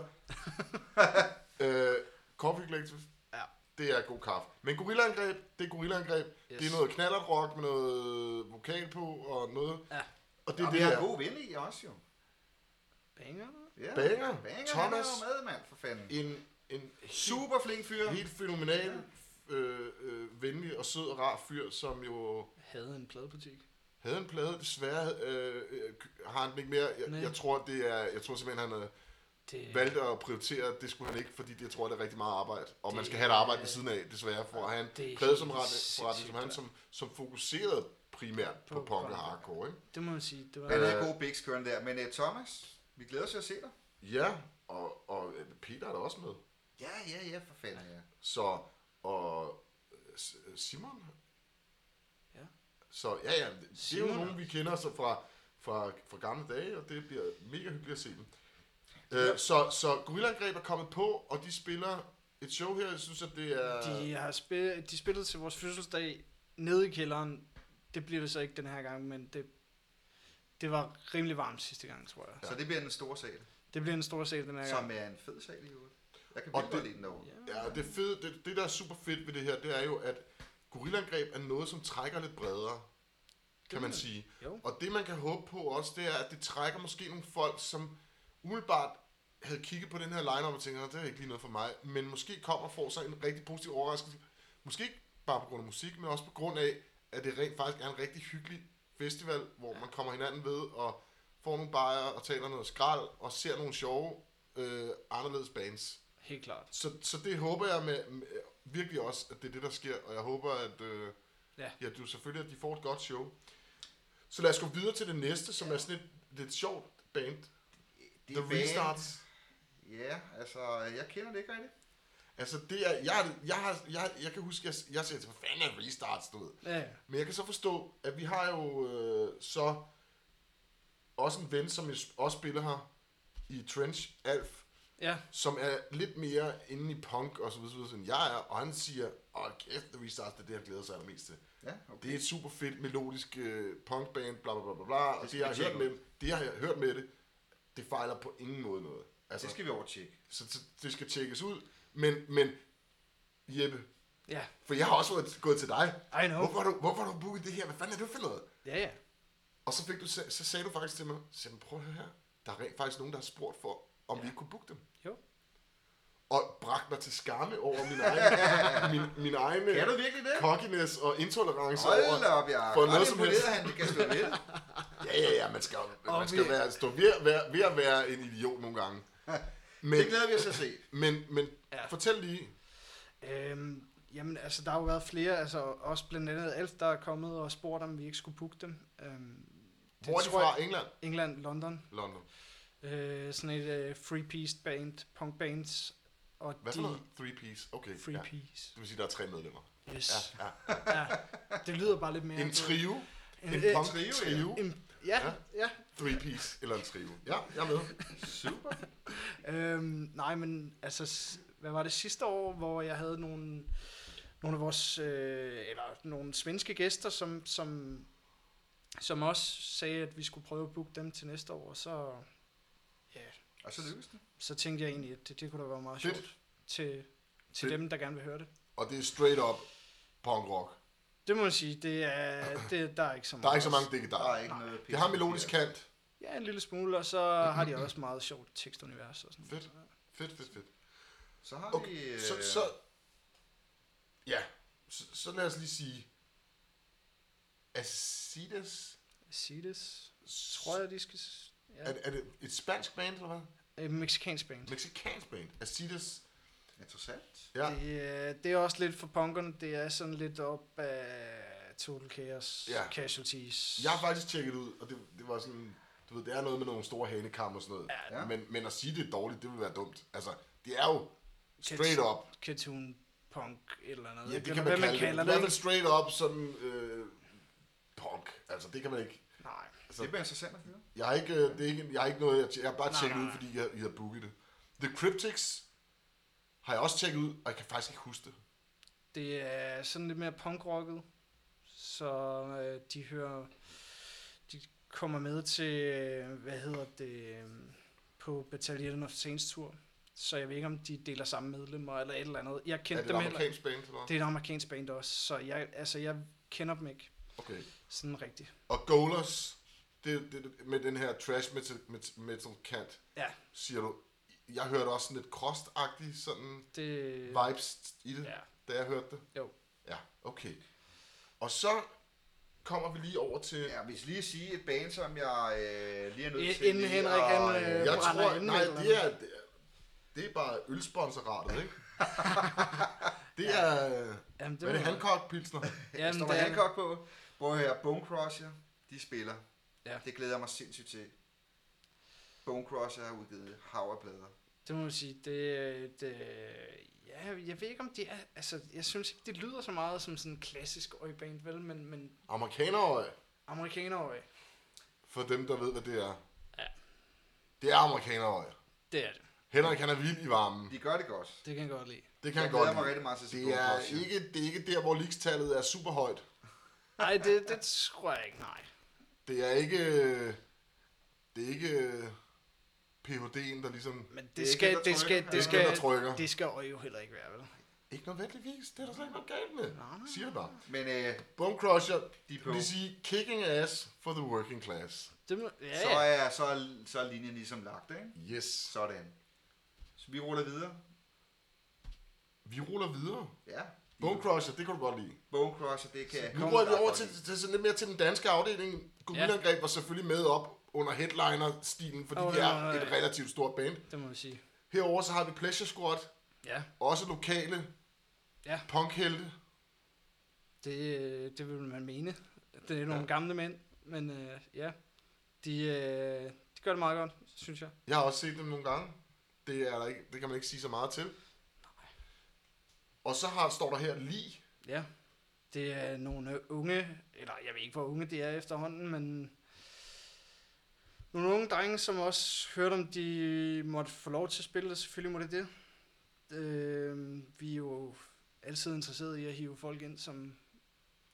[SPEAKER 1] øh, Coffee Collective,
[SPEAKER 3] Ja.
[SPEAKER 1] det er god kaffe. Men gorillaangreb, det er gorillaangreb. Yes.
[SPEAKER 3] Yes.
[SPEAKER 1] Det er noget knallerrock med noget vokal på og noget.
[SPEAKER 3] Ja.
[SPEAKER 1] Og det
[SPEAKER 2] Det
[SPEAKER 1] er
[SPEAKER 2] er
[SPEAKER 1] det,
[SPEAKER 2] vi har
[SPEAKER 1] her.
[SPEAKER 2] en god ven i også, jo.
[SPEAKER 3] Banger?
[SPEAKER 2] Ja,
[SPEAKER 1] Banger. Thomas.
[SPEAKER 2] Banger, Thomas. Han er jo med, mand, for fanden.
[SPEAKER 1] en, en super,
[SPEAKER 2] Super flink fyr.
[SPEAKER 1] helt fænomenal, øh, øh, venlig og sød og rar fyr, som jo
[SPEAKER 3] Havde en pladebutik.
[SPEAKER 1] havde en plade. Desværre øh, øh, har han den ikke mere. Jeg,
[SPEAKER 3] Nej.
[SPEAKER 1] jeg tror, det er, jeg tror simpelthen, han øh,
[SPEAKER 3] Det,
[SPEAKER 1] valgte at prioritere, at det skulle han ikke, fordi det, jeg tror, det er rigtig meget arbejde. Og man
[SPEAKER 3] Det
[SPEAKER 1] skal have et arbejde
[SPEAKER 3] er-
[SPEAKER 1] ved siden af, desværre, for at have
[SPEAKER 3] det
[SPEAKER 1] en
[SPEAKER 3] er
[SPEAKER 1] plade som
[SPEAKER 3] helt
[SPEAKER 1] rette, forretning, som
[SPEAKER 3] sindssygt,
[SPEAKER 1] han,
[SPEAKER 3] ja.
[SPEAKER 1] som, som fokuserede primært på,
[SPEAKER 3] På
[SPEAKER 1] punk og
[SPEAKER 3] punk, ja.
[SPEAKER 1] hardcore, ikke?
[SPEAKER 3] det må man sige. Det var,
[SPEAKER 2] Han
[SPEAKER 1] Øh.
[SPEAKER 2] havde gode bigs kørende der. Men uh, Thomas, vi glæder os til at se dig.
[SPEAKER 1] Ja, og, og øh, Peter er der også med.
[SPEAKER 2] Ja, ja, ja, for fanden. Ja.
[SPEAKER 1] Så, og øh, S- Simon?
[SPEAKER 3] Ja.
[SPEAKER 1] Så ja, ja, det, det er jo
[SPEAKER 3] Simon?
[SPEAKER 1] nogen, vi kender så fra, fra, fra gamle dage, og det bliver mega hyggeligt at se dem. Øh, så, så Gorillaangreb er kommet på, og de spiller et show her, jeg synes, at det er...
[SPEAKER 3] de, har spil, de spillede til vores fødselsdag nede i kælderen. Det bliver det så ikke den her gang, men det, det var rimelig varmt sidste gang, tror jeg.
[SPEAKER 2] Så det bliver en stor sal,
[SPEAKER 3] Det bliver en stor sal den her
[SPEAKER 2] som
[SPEAKER 3] gang.
[SPEAKER 2] er en fed sal i øvrigt. Jeg kan
[SPEAKER 1] Og
[SPEAKER 2] virkelig godt
[SPEAKER 1] det-
[SPEAKER 2] lide den derovre.
[SPEAKER 3] Ja.
[SPEAKER 1] Ja, og det, fede, det, det, der er super fedt ved det her, det er jo, at Gorillangreb er noget, som trækker lidt bredere, kan man sige.
[SPEAKER 3] Jo.
[SPEAKER 1] Og det, man kan håbe på også, det er, at det trækker måske nogle folk, som umiddelbart havde kigget på den her line og tænkt, "Nå, det er ikke lige noget for mig, men måske kommer og får sig en rigtig positiv overraskelse. Måske ikke bare på grund af musik, men også på grund af, at det rent faktisk er en rigtig hyggelig festival, hvor man kommer hinanden ved og får nogle bajer og taler noget skrald og ser nogle sjove, øh, anderledes bands.
[SPEAKER 3] Helt klart.
[SPEAKER 1] Så, så det håber jeg med, med, virkelig også, at det er det, der sker, og jeg håber, at øh,
[SPEAKER 3] Ja.
[SPEAKER 1] ja, du selvfølgelig, at de får et godt show. Så lad os gå videre til det næste, som er sådan et lidt sjovt band.
[SPEAKER 2] Det
[SPEAKER 1] The
[SPEAKER 2] er band.
[SPEAKER 1] Restarts.
[SPEAKER 2] Ja, altså, jeg kender det ikke rigtigt.
[SPEAKER 1] Altså, det er, jeg, er- jeg, har, jeg, jeg kan huske, jeg, jeg sagde til, hvad fanden er Restarts, du ved.
[SPEAKER 3] Ja, ja.
[SPEAKER 1] Men jeg kan så forstå, at vi har jo øh, så også en ven, som også spiller her i Trench, Alf.
[SPEAKER 3] ja.
[SPEAKER 1] som er lidt mere inde i punk og så videre, så videre som jeg er, og han siger, åh kæft, The Restarts, det er det, han glæder sig allermest til.
[SPEAKER 2] Ja, okay.
[SPEAKER 1] Det er et super fedt melodisk øh, punkband, bla bla bla bla, bla og
[SPEAKER 2] Det
[SPEAKER 1] det, jeg har
[SPEAKER 2] skal
[SPEAKER 1] hørt
[SPEAKER 2] vi
[SPEAKER 1] med, det, jeg har hørt med det, det fejler på ingen måde noget. Altså,
[SPEAKER 2] Det
[SPEAKER 1] det skal,
[SPEAKER 2] skal vi overtjekke.
[SPEAKER 1] så, så, det skal tjekkes ud, men, men Jeppe,
[SPEAKER 3] Ja,
[SPEAKER 1] for jeg har også været- gået til dig.
[SPEAKER 3] I know.
[SPEAKER 1] Hvorfor har, du, hvorfor har du booket det her? Hvad fanden er det for noget?
[SPEAKER 3] Ja, ja.
[SPEAKER 1] Og så, fik du, sa- så sagde du faktisk til mig, Simon, prøv at høre her. Der er rent faktisk nogen, der har spurgt for, om ja. vi ikke kunne booke dem.
[SPEAKER 3] Jo.
[SPEAKER 1] og bragte mig til skamme over min egen, min, min egen øh,
[SPEAKER 2] Kan du virkelig det?
[SPEAKER 1] cockiness og intolerance
[SPEAKER 2] Hold da
[SPEAKER 1] over.
[SPEAKER 2] op, jeg
[SPEAKER 1] for
[SPEAKER 2] er
[SPEAKER 1] noget
[SPEAKER 2] ret
[SPEAKER 1] som
[SPEAKER 2] imponeret, han det kan stå ved.
[SPEAKER 1] Ja, ja, ja, man skal, man
[SPEAKER 3] Og
[SPEAKER 1] skal
[SPEAKER 3] vi-
[SPEAKER 1] være, stå ved, at være, ved at være en idiot nogle gange. Men,
[SPEAKER 2] Det glæder vi os til at se.
[SPEAKER 1] men, men
[SPEAKER 3] Ja.
[SPEAKER 1] fortæl lige,
[SPEAKER 3] Øhm, jamen, altså, der har jo været flere, altså også blandt andet Alf, der er kommet og spurgt, om vi ikke skulle booke dem. Øhm, det
[SPEAKER 1] hvor er de
[SPEAKER 3] tror
[SPEAKER 1] fra? England?
[SPEAKER 3] England, London.
[SPEAKER 1] London.
[SPEAKER 3] Øh, sådan et øh, three-piece band, punk bands. Og
[SPEAKER 1] Hvad
[SPEAKER 3] de,
[SPEAKER 1] for noget? Three piece. Okay, ja. Det
[SPEAKER 3] Three-piece.
[SPEAKER 1] vil sige, der er tre medlemmer.
[SPEAKER 3] Yes.
[SPEAKER 1] Ja, ja.
[SPEAKER 3] Ja. Det lyder bare lidt mere...
[SPEAKER 1] En trio,
[SPEAKER 3] En,
[SPEAKER 1] en
[SPEAKER 3] øh,
[SPEAKER 1] punk
[SPEAKER 2] trio, ja.
[SPEAKER 1] trio,
[SPEAKER 3] en, ja,
[SPEAKER 1] Ja.
[SPEAKER 3] ja.
[SPEAKER 1] three piece eller en trio. Ja, jeg er med.
[SPEAKER 2] Super.
[SPEAKER 3] Øhm, nej, men altså, s- hvad var det sidste år, hvor jeg havde nogle, nogle af vores, øh, eller nogle svenske gæster, som, som, som også sagde, at vi skulle prøve at booke dem til næste år, og så, ja,
[SPEAKER 2] Og så lykkes det.
[SPEAKER 3] så tænkte jeg egentlig, at det, det kunne da være meget
[SPEAKER 1] Fedt.
[SPEAKER 3] sjovt til, til
[SPEAKER 1] Fedt.
[SPEAKER 3] dem, der gerne vil høre det.
[SPEAKER 1] Og det er straight up punk rock.
[SPEAKER 3] Det må man sige, det er, det, der er ikke så meget.
[SPEAKER 1] Der er ikke så mange digge
[SPEAKER 2] Der er
[SPEAKER 1] der.
[SPEAKER 2] ikke noget
[SPEAKER 1] Det har melodisk kant.
[SPEAKER 3] Ja, en lille smule, og så har de også meget sjovt tekstunivers og sådan
[SPEAKER 1] Fedt. Fedt, fedt, fedt.
[SPEAKER 2] Så har vi...
[SPEAKER 1] Okay,
[SPEAKER 2] øh,
[SPEAKER 1] så, så, ja, så, så lad os lige sige, Acides,
[SPEAKER 3] Cides, tror jeg, de skal... s- Ja.
[SPEAKER 1] er, det- er det et spansk band, eller hvad?
[SPEAKER 3] Et mexicansk band.
[SPEAKER 1] Mexikansk band, Acides,
[SPEAKER 2] Interessant.
[SPEAKER 1] ja,
[SPEAKER 3] Det, er- det er også lidt for punkerne. Det er sådan lidt op af Total Chaos,
[SPEAKER 1] Ja.
[SPEAKER 3] ja. Casualties.
[SPEAKER 1] jeg har faktisk tjekket det ud, og det, det var sådan, du ved, det er noget med nogle store hanekammer og sådan noget,
[SPEAKER 2] Ja.
[SPEAKER 1] men, men at sige det er dårligt, det vil være dumt, altså, det er jo straight up,
[SPEAKER 3] Cartoon punk et eller andet.
[SPEAKER 1] ja,
[SPEAKER 3] ikke?
[SPEAKER 1] det kan
[SPEAKER 3] Eller
[SPEAKER 1] man
[SPEAKER 3] hvad
[SPEAKER 1] kalde det, i
[SPEAKER 3] det.
[SPEAKER 1] hvert fald
[SPEAKER 3] ikke?
[SPEAKER 1] straight up, sådan, øh, punk, altså, det kan man ikke,
[SPEAKER 3] Nej.
[SPEAKER 1] altså,
[SPEAKER 2] Det bliver interessant at høre.
[SPEAKER 1] Jeg har ikke, øh, det er ikke, jeg har ikke noget, jeg, tje- jeg har bare
[SPEAKER 3] Nej,
[SPEAKER 1] tjekket
[SPEAKER 3] nej,
[SPEAKER 1] ud,
[SPEAKER 3] nej.
[SPEAKER 1] fordi jeg, jeg havde booket det. The Cryptics har jeg også tjekket ud, og jeg kan faktisk ikke huske det.
[SPEAKER 3] Det er sådan lidt mere punkrocket. Så øh, de hører... De kommer med til, øh, hvad hedder det, øh, på Battalion of Saints tur. Så jeg ved ikke, om de deler samme medlemmer eller et eller andet. Jeg
[SPEAKER 1] er
[SPEAKER 3] kendte
[SPEAKER 1] det
[SPEAKER 3] dem
[SPEAKER 1] et
[SPEAKER 3] heller.
[SPEAKER 1] amerikansk band, eller hvad?
[SPEAKER 3] Det er et amerikansk band også, så jeg, altså, jeg kender dem ikke
[SPEAKER 1] Okay.
[SPEAKER 3] sådan rigtigt.
[SPEAKER 1] Og Golas, det, det, det, med den her trash metal, met- metal kant,
[SPEAKER 3] Ja.
[SPEAKER 1] siger du, jeg hørte også sådan lidt crossed sådan
[SPEAKER 3] Det,
[SPEAKER 1] vibes i det,
[SPEAKER 3] ja,
[SPEAKER 1] da jeg hørte det.
[SPEAKER 3] Jo.
[SPEAKER 1] Ja, okay. Og så kommer vi lige over til...
[SPEAKER 2] Ja, hvis lige at sige et band, som jeg øh, lige er nødt
[SPEAKER 3] I-
[SPEAKER 2] til
[SPEAKER 3] inden
[SPEAKER 2] lige
[SPEAKER 3] Henrik,
[SPEAKER 2] at,
[SPEAKER 3] han, øh,
[SPEAKER 1] Jeg
[SPEAKER 3] brænder
[SPEAKER 1] tror,
[SPEAKER 3] inden
[SPEAKER 1] nej,
[SPEAKER 3] eller
[SPEAKER 1] det er, det er, det er bare ølsponsoratet, ikke? det er, øh,
[SPEAKER 3] jamen,
[SPEAKER 1] hvad er det,
[SPEAKER 3] må-
[SPEAKER 1] Hancock Pilsner?
[SPEAKER 3] Jamen,
[SPEAKER 2] står
[SPEAKER 3] det
[SPEAKER 2] der
[SPEAKER 3] er,
[SPEAKER 2] Hancock på. Prøv at høre, Bone Crusher, de spiller.
[SPEAKER 3] Ja.
[SPEAKER 2] Det glæder jeg mig sindssygt til. Bone Crusher har udgivet havrepladder.
[SPEAKER 3] det må man sige, det, er- det, er- ja, jeg ved ikke om det er, altså, jeg synes ikke, det lyder så meget som sådan en klassisk øjeband, vel, men, men øh,
[SPEAKER 1] Amerikanerøje,
[SPEAKER 3] amerikanerøje,
[SPEAKER 1] for dem, der ved, hvad det er.
[SPEAKER 3] Ja.
[SPEAKER 1] Det er amerikanerøje.
[SPEAKER 3] det er det.
[SPEAKER 1] Henrik, han er vild i varmen.
[SPEAKER 2] De gør det godt.
[SPEAKER 3] Det kan jeg godt lide.
[SPEAKER 1] Det kan
[SPEAKER 2] Jeg
[SPEAKER 1] han godt
[SPEAKER 2] glæder mig
[SPEAKER 1] lide.
[SPEAKER 2] rigtig meget til at se
[SPEAKER 1] Det
[SPEAKER 2] Bone
[SPEAKER 1] er,
[SPEAKER 2] Crusher.
[SPEAKER 1] ikke, det er ikke der, hvor ligestallet er super højt.
[SPEAKER 3] Nej, det, det tror jeg ikke, nej.
[SPEAKER 1] Det er ikke... øh, Det er ikke PHD'en, der ligesom...
[SPEAKER 3] Men det,
[SPEAKER 2] Det er
[SPEAKER 3] skal,
[SPEAKER 2] ikke
[SPEAKER 3] det,
[SPEAKER 2] det, der
[SPEAKER 3] skal,
[SPEAKER 2] trykker.
[SPEAKER 1] Det er
[SPEAKER 3] det
[SPEAKER 1] ikke den,
[SPEAKER 3] skal,
[SPEAKER 1] der trykker.
[SPEAKER 3] det skal øje jo heller ikke være, vel?
[SPEAKER 1] Ikke nødvendigvis. Det er der slet ikke noget galt med.
[SPEAKER 3] Nej, nej.
[SPEAKER 1] Siger jeg bare.
[SPEAKER 2] Men øh,
[SPEAKER 1] Bone Crusher,
[SPEAKER 2] de er
[SPEAKER 1] det
[SPEAKER 2] på.
[SPEAKER 1] vil sige kicking ass for the working class.
[SPEAKER 3] Det må, ja,
[SPEAKER 2] Så
[SPEAKER 3] ja.
[SPEAKER 2] er, så, er, så er linjen ligesom lagt, ikke?
[SPEAKER 1] Yes.
[SPEAKER 2] Sådan. Så vi ruller videre.
[SPEAKER 1] Vi ruller videre.
[SPEAKER 2] Ja.
[SPEAKER 1] Bone Crusher, det kan du godt lide.
[SPEAKER 2] Bone Crusher, det kan
[SPEAKER 1] Nu rører vi over til, til sådan lidt mere til den danske afdeling. Gorilla-angreb var selvfølgelig med op under headliner-stilen, fordi
[SPEAKER 3] Åh,
[SPEAKER 1] de
[SPEAKER 3] ja,
[SPEAKER 1] er
[SPEAKER 3] ja, ja.
[SPEAKER 1] et relativt stort band.
[SPEAKER 3] det må vi sige.
[SPEAKER 1] Herover så har vi Pleasure Squad,
[SPEAKER 3] Ja,
[SPEAKER 1] også lokale
[SPEAKER 3] Ja.
[SPEAKER 1] punkhelte.
[SPEAKER 3] det, øh, det vil man mene. Det er nogle ja. gamle mænd, men øh, ja, de, øh, de gør det meget godt, synes jeg.
[SPEAKER 1] Jeg har også set dem nogle gange. Det, er der ikke, det kan man ikke sige så meget til. Og så har, står der her lige.
[SPEAKER 3] Ja, det er nogle øh, unge, eller jeg ved ikke, hvor unge de er efterhånden, men nogle unge drenge, som også hørte, om de måtte få lov til at spille, og selvfølgelig må det det. Øh, vi er jo altid interesserede i at hive folk ind, som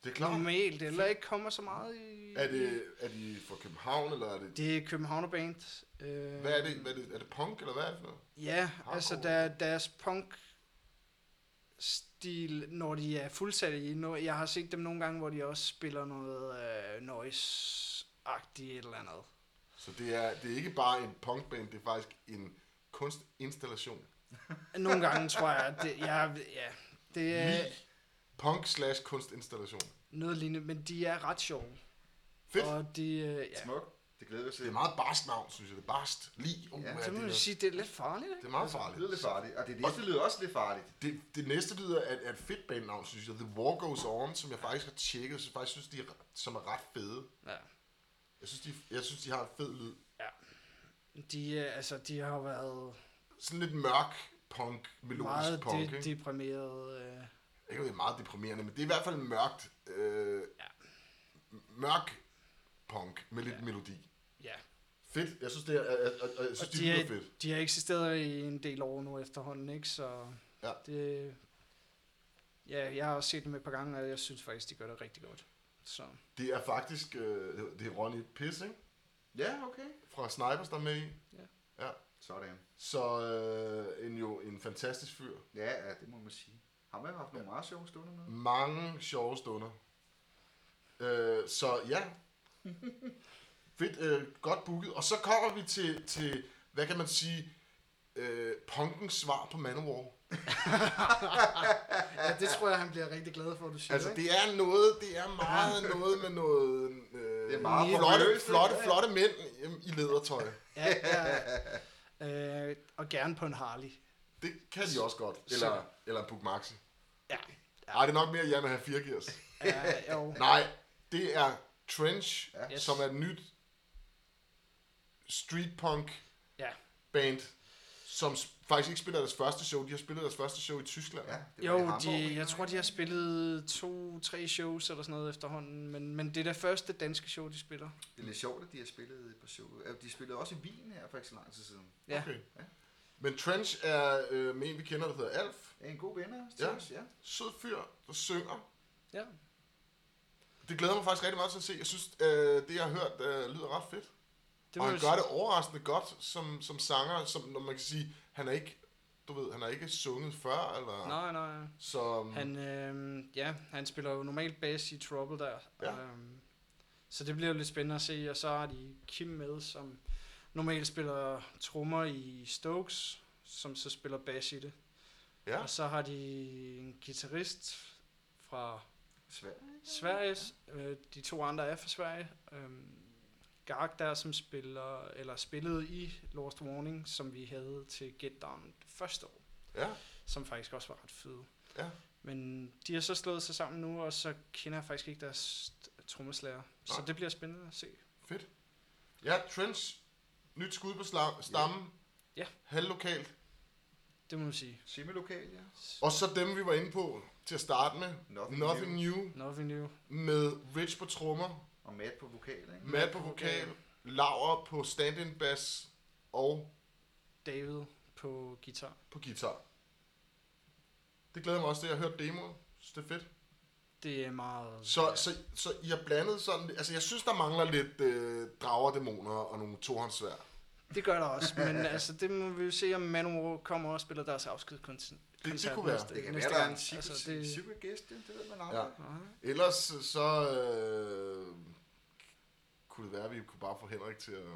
[SPEAKER 1] Det er klart.
[SPEAKER 3] normalt eller ikke kommer så meget i...
[SPEAKER 1] Er det, er de fra København, eller er det...
[SPEAKER 3] Det er Københavnerband. Øh,
[SPEAKER 1] Hvad er det? Hvad er det, er det punk, eller hvad er det for noget?
[SPEAKER 3] Ja, altså
[SPEAKER 1] Hardcore.
[SPEAKER 3] der, deres punk stil, når de er fuldsatte i noget. Jeg har set dem nogle gange, hvor de også spiller noget øh, noise-agtigt et eller andet.
[SPEAKER 1] Så det er, det er ikke bare en punkband, det er faktisk en kunstinstallation.
[SPEAKER 3] Nogle gange tror jeg, det, jeg, ja, det er
[SPEAKER 1] Lige punk slash kunstinstallation.
[SPEAKER 3] noget lignende, men de er ret sjove.
[SPEAKER 1] Fedt.
[SPEAKER 3] Og de, øh, ja.
[SPEAKER 2] Smuk. Det glæder vi os til.
[SPEAKER 1] Det er meget barst navn, synes jeg. Det er barst. Lige. Uh,
[SPEAKER 2] Ja,
[SPEAKER 1] ja,
[SPEAKER 3] Så
[SPEAKER 1] det,
[SPEAKER 3] må man
[SPEAKER 1] er,
[SPEAKER 3] sige, Altså, det er lidt farligt,
[SPEAKER 1] det
[SPEAKER 3] ikke?
[SPEAKER 1] er meget
[SPEAKER 2] Det lyder
[SPEAKER 1] farligt.
[SPEAKER 2] lidt farligt. Og det næste lyder også lidt farligt.
[SPEAKER 1] Det, det næste lyder er, er et fedt bandnavn, synes jeg. The War Goes On, som jeg faktisk har tjekket, så jeg faktisk synes, de er, re- som er ret fede.
[SPEAKER 3] Ja.
[SPEAKER 1] Jeg synes, de, jeg synes, de har en fed lyd.
[SPEAKER 3] De, øh, altså, de har jo været
[SPEAKER 1] Sådan lidt mørk punk, melodisk
[SPEAKER 3] meget
[SPEAKER 1] punk.
[SPEAKER 3] de,
[SPEAKER 1] ikke?
[SPEAKER 3] deprimerede. Øh,
[SPEAKER 1] Jeg ved, det er meget deprimerende, men det er i hvert fald mørkt. Øh,
[SPEAKER 3] Ja.
[SPEAKER 1] m- Mørk punk med lidt ja. melodi.
[SPEAKER 3] ja.
[SPEAKER 1] Fedt. Jeg synes, det er, og, og, og jeg synes,
[SPEAKER 3] Og
[SPEAKER 1] det
[SPEAKER 3] de,
[SPEAKER 1] lyder
[SPEAKER 3] er,
[SPEAKER 1] fedt.
[SPEAKER 3] de har eksisteret i en del år nu efterhånden, ikke? Så
[SPEAKER 1] Ja.
[SPEAKER 3] det... Ja, jeg har også set dem et par gange, og jeg synes faktisk, de gør det rigtig godt. Så
[SPEAKER 1] Det er faktisk, øh, det er Ronny Piss, ikke?
[SPEAKER 2] Ja, okay.
[SPEAKER 1] Fra Snipers, der er med i.
[SPEAKER 2] Sådan.
[SPEAKER 1] Så øh, en jo en fantastisk fyr.
[SPEAKER 2] Ja, ja, det må man sige. Har man haft nogle meget sjove stunder med?
[SPEAKER 1] Mange sjove stunder. Øh, så ja. Fedt, øh, godt booket. Og så kommer vi til, til hvad kan man sige, øh, punkens svar på Manowar.
[SPEAKER 3] ja, det tror jeg, han bliver rigtig glad for, at du siger,
[SPEAKER 1] Altså, det er noget, det er meget noget med noget... Øh,
[SPEAKER 2] Det er meget
[SPEAKER 1] flotte,
[SPEAKER 2] formøst,
[SPEAKER 1] flotte,
[SPEAKER 2] ikke?
[SPEAKER 1] flotte mænd øhm, i ledertøj.
[SPEAKER 3] Ja, ja. Øh, og gerne på en Harley.
[SPEAKER 1] Det kan de også godt. Eller, eller en Puk Maxi.
[SPEAKER 3] Ja.
[SPEAKER 1] Ej, det er nok mere Yamaha 4 gears.
[SPEAKER 3] ja jo.
[SPEAKER 1] Nej, det er Trench,
[SPEAKER 2] Ja.
[SPEAKER 1] ja. som er et nyt street punk
[SPEAKER 3] Ja.
[SPEAKER 1] band, som s- faktisk ikke spiller deres første show. De har spillet deres første show i Tyskland.
[SPEAKER 2] Ja, det var i
[SPEAKER 3] Jo,
[SPEAKER 2] Hamburg,
[SPEAKER 3] de,
[SPEAKER 2] ikke?
[SPEAKER 3] jeg tror, de har spillet to-tre shows eller sådan noget efterhånden, men, men det er det første danske show, de spiller.
[SPEAKER 2] Det er lidt sjovt, at de har spillet på show. øh, De spillede også i Wien her for ikke så lang tid siden.
[SPEAKER 3] Ja.
[SPEAKER 1] Okay.
[SPEAKER 2] Ja.
[SPEAKER 1] Men Trench er øh, med en, vi kender, der hedder Alf.
[SPEAKER 2] Ja, en god venner til
[SPEAKER 1] Ja.
[SPEAKER 2] os, ja.
[SPEAKER 1] Sød fyr, der synger.
[SPEAKER 3] Ja.
[SPEAKER 1] Det glæder mig faktisk rigtig meget til at se. Jeg synes, øh, det jeg har hørt øh, lyder ret fedt.
[SPEAKER 3] Det
[SPEAKER 1] og
[SPEAKER 3] må
[SPEAKER 1] han
[SPEAKER 3] vi
[SPEAKER 1] gør
[SPEAKER 3] sige.
[SPEAKER 1] det overraskende godt som, som sanger, som når man kan sige, han er ikke, du ved, han har ikke sunget før, eller...
[SPEAKER 3] Nej, nej.
[SPEAKER 1] Så, um,
[SPEAKER 3] Han, øh, ja, han spiller jo normalt bass i Trouble der.
[SPEAKER 1] Ja.
[SPEAKER 3] Øhm, så det bliver jo lidt spændende at se. Og så har de Kim med, som normalt spiller trommer i Stokes, som så spiller bass i det.
[SPEAKER 1] ja.
[SPEAKER 3] Og så har de en guitarist fra
[SPEAKER 2] Svært.
[SPEAKER 3] Sverige. Øh, de to andre er fra Sverige. Øhm, Garg der, som spiller, eller spillede i Lost Warning, som vi havde til Get Down første år
[SPEAKER 1] ja.
[SPEAKER 3] som faktisk også var ret fede.
[SPEAKER 1] Ja.
[SPEAKER 3] Men de har så slået sig sammen nu, og så kender jeg faktisk ikke deres trommeslager. Så
[SPEAKER 1] Nej.
[SPEAKER 3] det bliver spændende at se.
[SPEAKER 1] Fedt. Ja, Trends. Nyt skud på sla- stammen.
[SPEAKER 3] Ja.
[SPEAKER 1] Halvlokalt.
[SPEAKER 3] Det må man sige.
[SPEAKER 2] Semilokal, ja.
[SPEAKER 1] Og så dem, vi var inde på til at starte med.
[SPEAKER 2] Nothing
[SPEAKER 1] Nothing new. new.
[SPEAKER 3] Nothing new.
[SPEAKER 1] Med Rich på trommer,
[SPEAKER 2] Og Matt på vokal, ikke?
[SPEAKER 1] Matt på vokal, Laura på stand-in bass og
[SPEAKER 3] David på guitar.
[SPEAKER 1] på guitar. Det glæder mig også til, at jeg har hørt demoen. Synes, det er fedt.
[SPEAKER 3] Det er meget...
[SPEAKER 1] Så, så, så I har blandet sådan... Altså, jeg synes, der mangler lidt øh, drager, dæmoner og nogle tohåndssvær.
[SPEAKER 3] Det gør der også, men altså, det må vi jo se, om Manowar kommer og spiller deres afskedskoncert.
[SPEAKER 1] det kunne være.
[SPEAKER 2] Det kan være, der er en secret,
[SPEAKER 3] altså, det,
[SPEAKER 2] secret guest, det, det ved man
[SPEAKER 1] Ja.
[SPEAKER 2] aldrig. Ja.
[SPEAKER 3] Nej.
[SPEAKER 1] Ellers så øh, kunne det være, at vi kunne bare få Henrik til at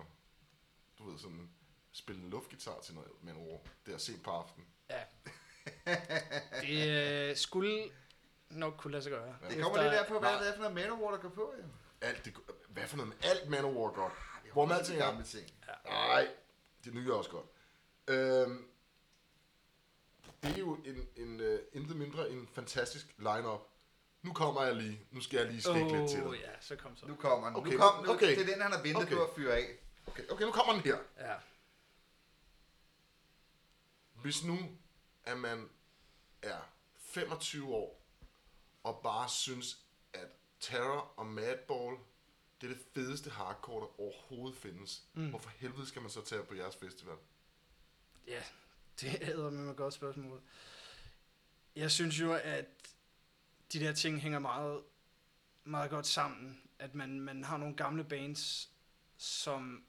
[SPEAKER 1] du ved, sådan, spille en luftgitar til noget med en der sent på aftenen.
[SPEAKER 3] Ja. Det øh, skulle nok kunne lade sig gøre.
[SPEAKER 1] Ja.
[SPEAKER 2] Det kommer
[SPEAKER 3] Efter-
[SPEAKER 2] lidt af på, hvad
[SPEAKER 1] nej.
[SPEAKER 2] det er for noget Manowar, der går på, jo.
[SPEAKER 1] Alt det, hvad for noget med alt Manowar godt? Hvor man alting er.
[SPEAKER 2] gamle ting.
[SPEAKER 1] Nej, det nye er også godt. Øhm, det er jo en, en, uh, intet mindre en fantastisk lineup. Nu kommer jeg lige. Nu skal jeg lige stikke oh, lidt til
[SPEAKER 3] Åh,
[SPEAKER 1] dig.
[SPEAKER 3] ja, så kom så.
[SPEAKER 2] Nu kommer den.
[SPEAKER 1] Okay,
[SPEAKER 2] Nu kom, nu,
[SPEAKER 1] okay,
[SPEAKER 2] Det er den, han har ventet
[SPEAKER 1] okay.
[SPEAKER 2] på at fyre af.
[SPEAKER 1] Okay, okay, nu kommer den her.
[SPEAKER 3] Ja.
[SPEAKER 1] Hvis nu, at man er 25 år, og bare synes, at Terror og Madball, det er det fedeste hardcore, der overhovedet findes. Mm. Hvorfor helvede skal man så tage på jeres festival?
[SPEAKER 3] Ja, det er med et godt spørgsmål. Jeg synes jo, at de der ting hænger meget, meget godt sammen. At man, man har nogle gamle bands, som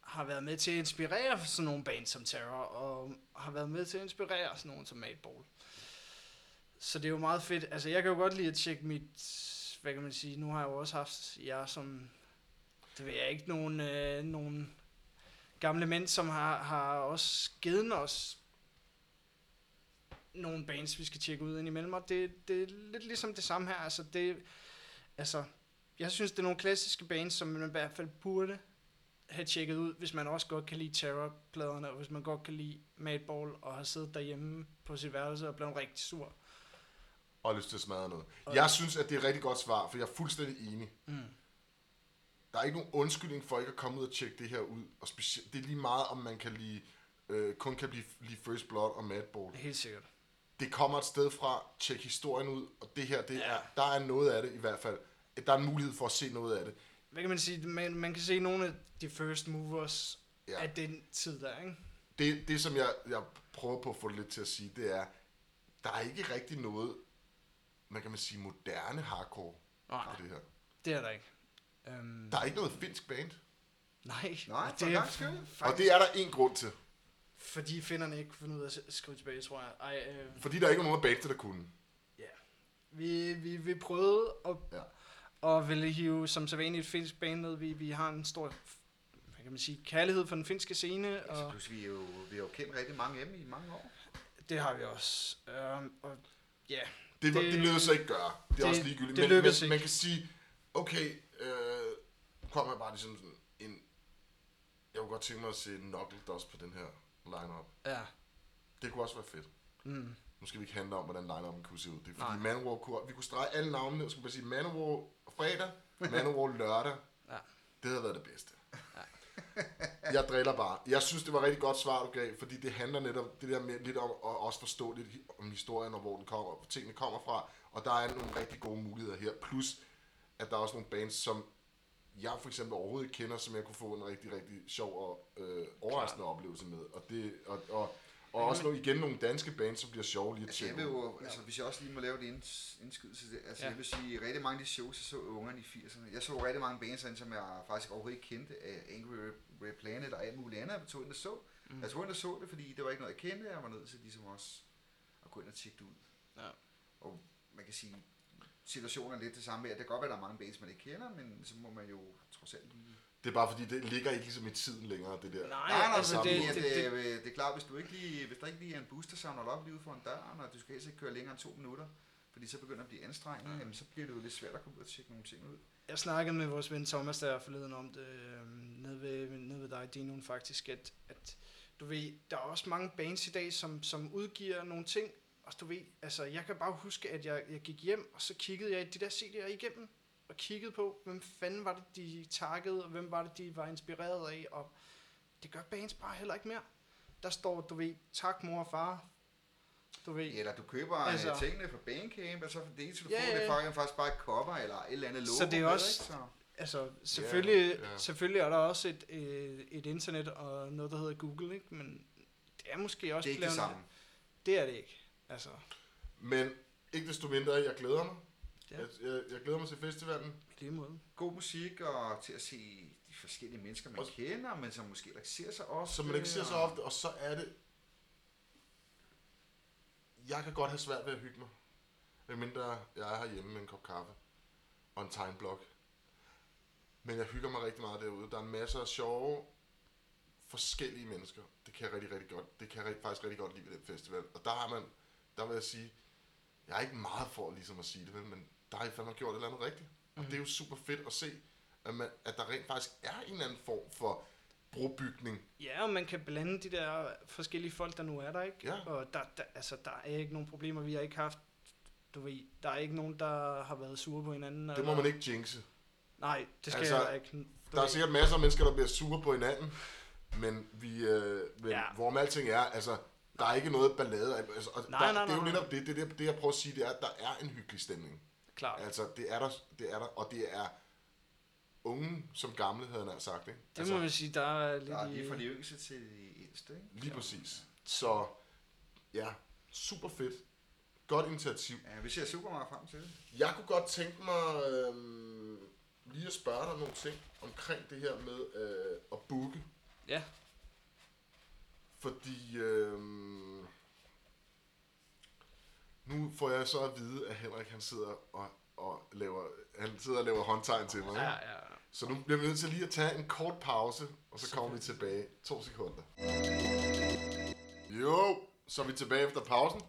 [SPEAKER 3] har været med til at inspirere sådan nogle bands som Terror, og har været med til at inspirere sådan nogle som Madball. Så det er jo meget fedt. Altså, jeg kan jo godt lide at tjekke mit... Hvad kan man sige? Nu har jeg jo også haft jer som... Det ved jeg ikke, nogen, øh, nogen gamle mænd, som har, har også givet os nogle bands, vi skal tjekke ud indimellem, og det, det er lidt ligesom det samme her. Altså, det, altså, jeg synes, det er nogle klassiske bands, som man i hvert fald burde have tjekket ud, hvis man også godt kan lide Terror-pladerne, og hvis man godt kan lide Madball, og har siddet derhjemme på sit værelse og blevet rigtig sur.
[SPEAKER 1] Og har lyst til at smadre noget. Jeg synes, at det er et rigtig godt svar, for jeg er fuldstændig enig.
[SPEAKER 3] Mm.
[SPEAKER 1] Der er ikke nogen undskyldning for ikke at komme ud og tjekke det her ud. Og specielt, det er lige meget, om man kan lide, øh, kun kan blive, lide First Blood og Madball.
[SPEAKER 3] Helt sikkert.
[SPEAKER 1] det kommer et sted fra, tjek historien ud, og det her, det
[SPEAKER 3] Ja.
[SPEAKER 1] er, der er noget af det i hvert fald. Der er en mulighed for at se noget af det.
[SPEAKER 3] Hvad kan man sige? Man, man kan se nogle af de first movers
[SPEAKER 1] Ja.
[SPEAKER 3] ja. af den tid der, ikke?
[SPEAKER 1] Det, det som jeg, jeg prøver på at få det lidt til at sige, det er, der er ikke rigtig noget, man kan man sige, moderne hardcore
[SPEAKER 3] Nej,
[SPEAKER 1] på det her.
[SPEAKER 3] det er der ikke. Um,
[SPEAKER 1] Der er ikke noget finsk band,
[SPEAKER 3] Nej,
[SPEAKER 2] Nej, for
[SPEAKER 3] og det er
[SPEAKER 2] langt skyld.
[SPEAKER 1] og
[SPEAKER 3] faktisk,
[SPEAKER 1] det er der en grund til.
[SPEAKER 3] fordi finderne ikke kunne finde ud af at skrive tilbage, tror jeg. Ej, øh,
[SPEAKER 1] Fordi der ikke var nogen af bands, der kunne.
[SPEAKER 3] vi, vi, vi prøvede at,
[SPEAKER 1] Ja.
[SPEAKER 3] ja. at ville hive, som så vanligt, et finsk band ned. Vi, vi har en stor, hvad kan man sige, kærlighed for den finske scene,
[SPEAKER 2] Altså,
[SPEAKER 3] og
[SPEAKER 2] plus, vi er jo, vi har jo kendt rigtig mange hjemme i mange år.
[SPEAKER 3] det har vi også. Um, og ja,
[SPEAKER 1] Det, det,
[SPEAKER 3] Det-
[SPEAKER 1] det lykkedes så ikke gøre. Det er
[SPEAKER 3] det-
[SPEAKER 1] også ligegyldigt.
[SPEAKER 3] det
[SPEAKER 1] men,
[SPEAKER 3] lykkedes
[SPEAKER 1] men
[SPEAKER 3] ikke.
[SPEAKER 1] man kan sige, okay, øh, nu kommer jeg bare ligesom sådan en... Jeg kunne godt tænke mig at se Knuckle Dust på den her lineup.
[SPEAKER 3] ja.
[SPEAKER 1] Det kunne også være fedt.
[SPEAKER 3] Mm.
[SPEAKER 1] Nu skal vi ikke handle om, hvordan line-up'en kunne se ud. Det er fordi
[SPEAKER 3] Nej.
[SPEAKER 1] Manowar kunne... Vi kunne strege alle navnene, og så kunne man sige Manowar fredag, Manowar lørdag.
[SPEAKER 3] Ja.
[SPEAKER 1] Det havde været det bedste. jeg driller bare. Jeg synes, det var et rigtig godt svar, du gav, fordi det handler netop det der med, lidt om at også forstå lidt om historien, og hvor den kommer, og hvor tingene kommer fra. Og der er nogle rigtig gode muligheder her. Plus, at der er også nogle bands, som jeg for eksempel overhovedet ikke kender, som jeg kunne få en rigtig, rigtig sjov og øh, overraskende Klar. oplevelse med. Og, det, og, og, og også nogle, igen nogle danske bands, som bliver sjove lige at
[SPEAKER 2] Altså,
[SPEAKER 1] tjekke.
[SPEAKER 2] jeg vil
[SPEAKER 1] ud.
[SPEAKER 2] jo, altså, hvis jeg også lige må lave det indskydelse, til det, altså,
[SPEAKER 3] Ja.
[SPEAKER 2] ja. jeg vil sige, rigtig mange af de shows, jeg så ungerne i 80'erne, jeg så rigtig mange bands, herinde, som jeg faktisk overhovedet ikke kendte, af Angry Red Planet og alt muligt andet, jeg tog ind og så. Mm. Jeg tog ind og så det, fordi det var ikke noget, jeg kendte, jeg var nødt til ligesom også at gå ind og tjekke det ud.
[SPEAKER 3] Ja.
[SPEAKER 2] Og man kan sige, situationen er lidt det samme med, at det kan godt være, at der er mange bands, man ikke kender, men så må man jo trods alt lige
[SPEAKER 1] Det er bare fordi, det ligger ikke ligesom i tiden længere, det der.
[SPEAKER 2] Nej, øh,
[SPEAKER 3] Nej,
[SPEAKER 2] nej,
[SPEAKER 3] altså, det, det, det,
[SPEAKER 2] det, det, det, er klart, hvis, du ikke lige, hvis der ikke lige er en bus, der samler dig op lige ud foran døren, og du skal helst ikke køre længere end to minutter, fordi så begynder det at blive anstrengende, jamen, så bliver det jo lidt svært at komme ud og tjekke nogle ting ud.
[SPEAKER 3] Jeg snakkede med vores ven Thomas der forleden om det, øh, nede, ved, nede ved dig, Dinoen faktisk, at, at du ved, der er også mange bands i dag, som, som udgiver nogle ting, og du ved, altså jeg kan bare huske, at jeg, jeg gik hjem, og så kiggede jeg de der CD'er igennem, og kiggede på, hvem fanden var det, de takkede, og hvem var det, de var inspireret af, og det gør bands bare heller ikke mere. Der står, du ved, tak mor og far, du ved,
[SPEAKER 2] Eller du køber
[SPEAKER 3] Altså-
[SPEAKER 2] altså, tingene fra Bandcamp, og så for det eneste, du
[SPEAKER 3] Ja,
[SPEAKER 2] yeah, får, det
[SPEAKER 3] ja,
[SPEAKER 2] er faktisk- faktisk bare et cover eller et eller andet logo.
[SPEAKER 3] Så det er
[SPEAKER 2] med,
[SPEAKER 3] også-
[SPEAKER 2] ikke? Så-
[SPEAKER 3] Altså, selvfølgelig, yeah,
[SPEAKER 1] ja.
[SPEAKER 3] yeah. selvfølgelig er der også et, øh, et internet og noget, der hedder Google, ikke? men det er måske også
[SPEAKER 2] Det er ikke det
[SPEAKER 3] blevet-
[SPEAKER 2] samme.
[SPEAKER 3] Det er det ikke. Altså,
[SPEAKER 1] Men ikke desto mindre, jeg glæder mig.
[SPEAKER 3] Ja.
[SPEAKER 1] Jeg, jeg, jeg glæder mig til festivalen.
[SPEAKER 3] i lige måde.
[SPEAKER 2] God musik og til at se de forskellige mennesker, man
[SPEAKER 1] Også-
[SPEAKER 2] kender, men som måske ikke ser sig ofte.
[SPEAKER 1] som man ikke ser så
[SPEAKER 2] og-
[SPEAKER 1] ofte, og så er det... Jeg kan godt have svært ved at hygge mig, medmindre jeg er herhjemme med en kop kaffe og en tegnblok. Men jeg hygger mig rigtig meget derude. Der er masser af sjove, forskellige mennesker. Det kan jeg rigtig, rigtig godt. Det kan jeg rigtig, faktisk rigtig godt lide ved den festival. Og der har man, der vil jeg sige, jeg er ikke meget for ligesom at sige det, vel, men der har I fandme gjort et eller andet rigtigt. Og det er jo super fedt at se, at, man, at der rent faktisk er en eller anden form for brobygning
[SPEAKER 3] Ja, og man kan blande de der forskellige folk, der nu er der, ikke?
[SPEAKER 1] Ja.
[SPEAKER 3] Og der, der, altså, der er ikke nogen problemer, vi har ikke haft. Du ved, der er ikke nogen, der har været sure på hinanden.
[SPEAKER 1] Det må man ikke jinxe.
[SPEAKER 3] Nej, det skal
[SPEAKER 1] Altså,
[SPEAKER 3] altså, jeg ikke. Du
[SPEAKER 1] Der er
[SPEAKER 3] ved.
[SPEAKER 1] sikkert masser af mennesker, der bliver sure på hinanden, men, vi, øh, men ja.
[SPEAKER 3] Ja.
[SPEAKER 1] hvorom alting er, altså, der er ikke noget ballade. Altså, og
[SPEAKER 3] Nej,
[SPEAKER 1] der,
[SPEAKER 3] nej,
[SPEAKER 1] det er jo
[SPEAKER 3] nej,
[SPEAKER 1] netop det, det, det, det, jeg prøver at sige, det er, at der er en hyggelig stemning.
[SPEAKER 3] Klart.
[SPEAKER 1] Altså, det er der, det er der og det er unge som gamle, havde jeg nær sagt. Ikke?
[SPEAKER 3] Det
[SPEAKER 1] altså,
[SPEAKER 3] må man sige, der er lidt
[SPEAKER 2] Der er lige
[SPEAKER 3] i-
[SPEAKER 2] fra de yngste til de ældste, ikke?
[SPEAKER 1] Lige præcis. Så ja, super fedt. Godt initiativ.
[SPEAKER 2] Ja, vi ser super meget frem til det.
[SPEAKER 1] Jeg kunne godt tænke mig øh, lige at spørge dig om nogle ting omkring det her med øh, at booke.
[SPEAKER 3] Ja,
[SPEAKER 1] Fordi øh, nu får jeg så at vide, at Henrik han sidder og, og laver, han sidder og laver håndtegn til mig.
[SPEAKER 3] ja,
[SPEAKER 1] ikke?
[SPEAKER 3] ja.
[SPEAKER 1] Så nu bliver vi nødt til lige at tage en kort pause, og så kommer vi tilbage. To sekunder. Jo, så er vi tilbage efter pausen.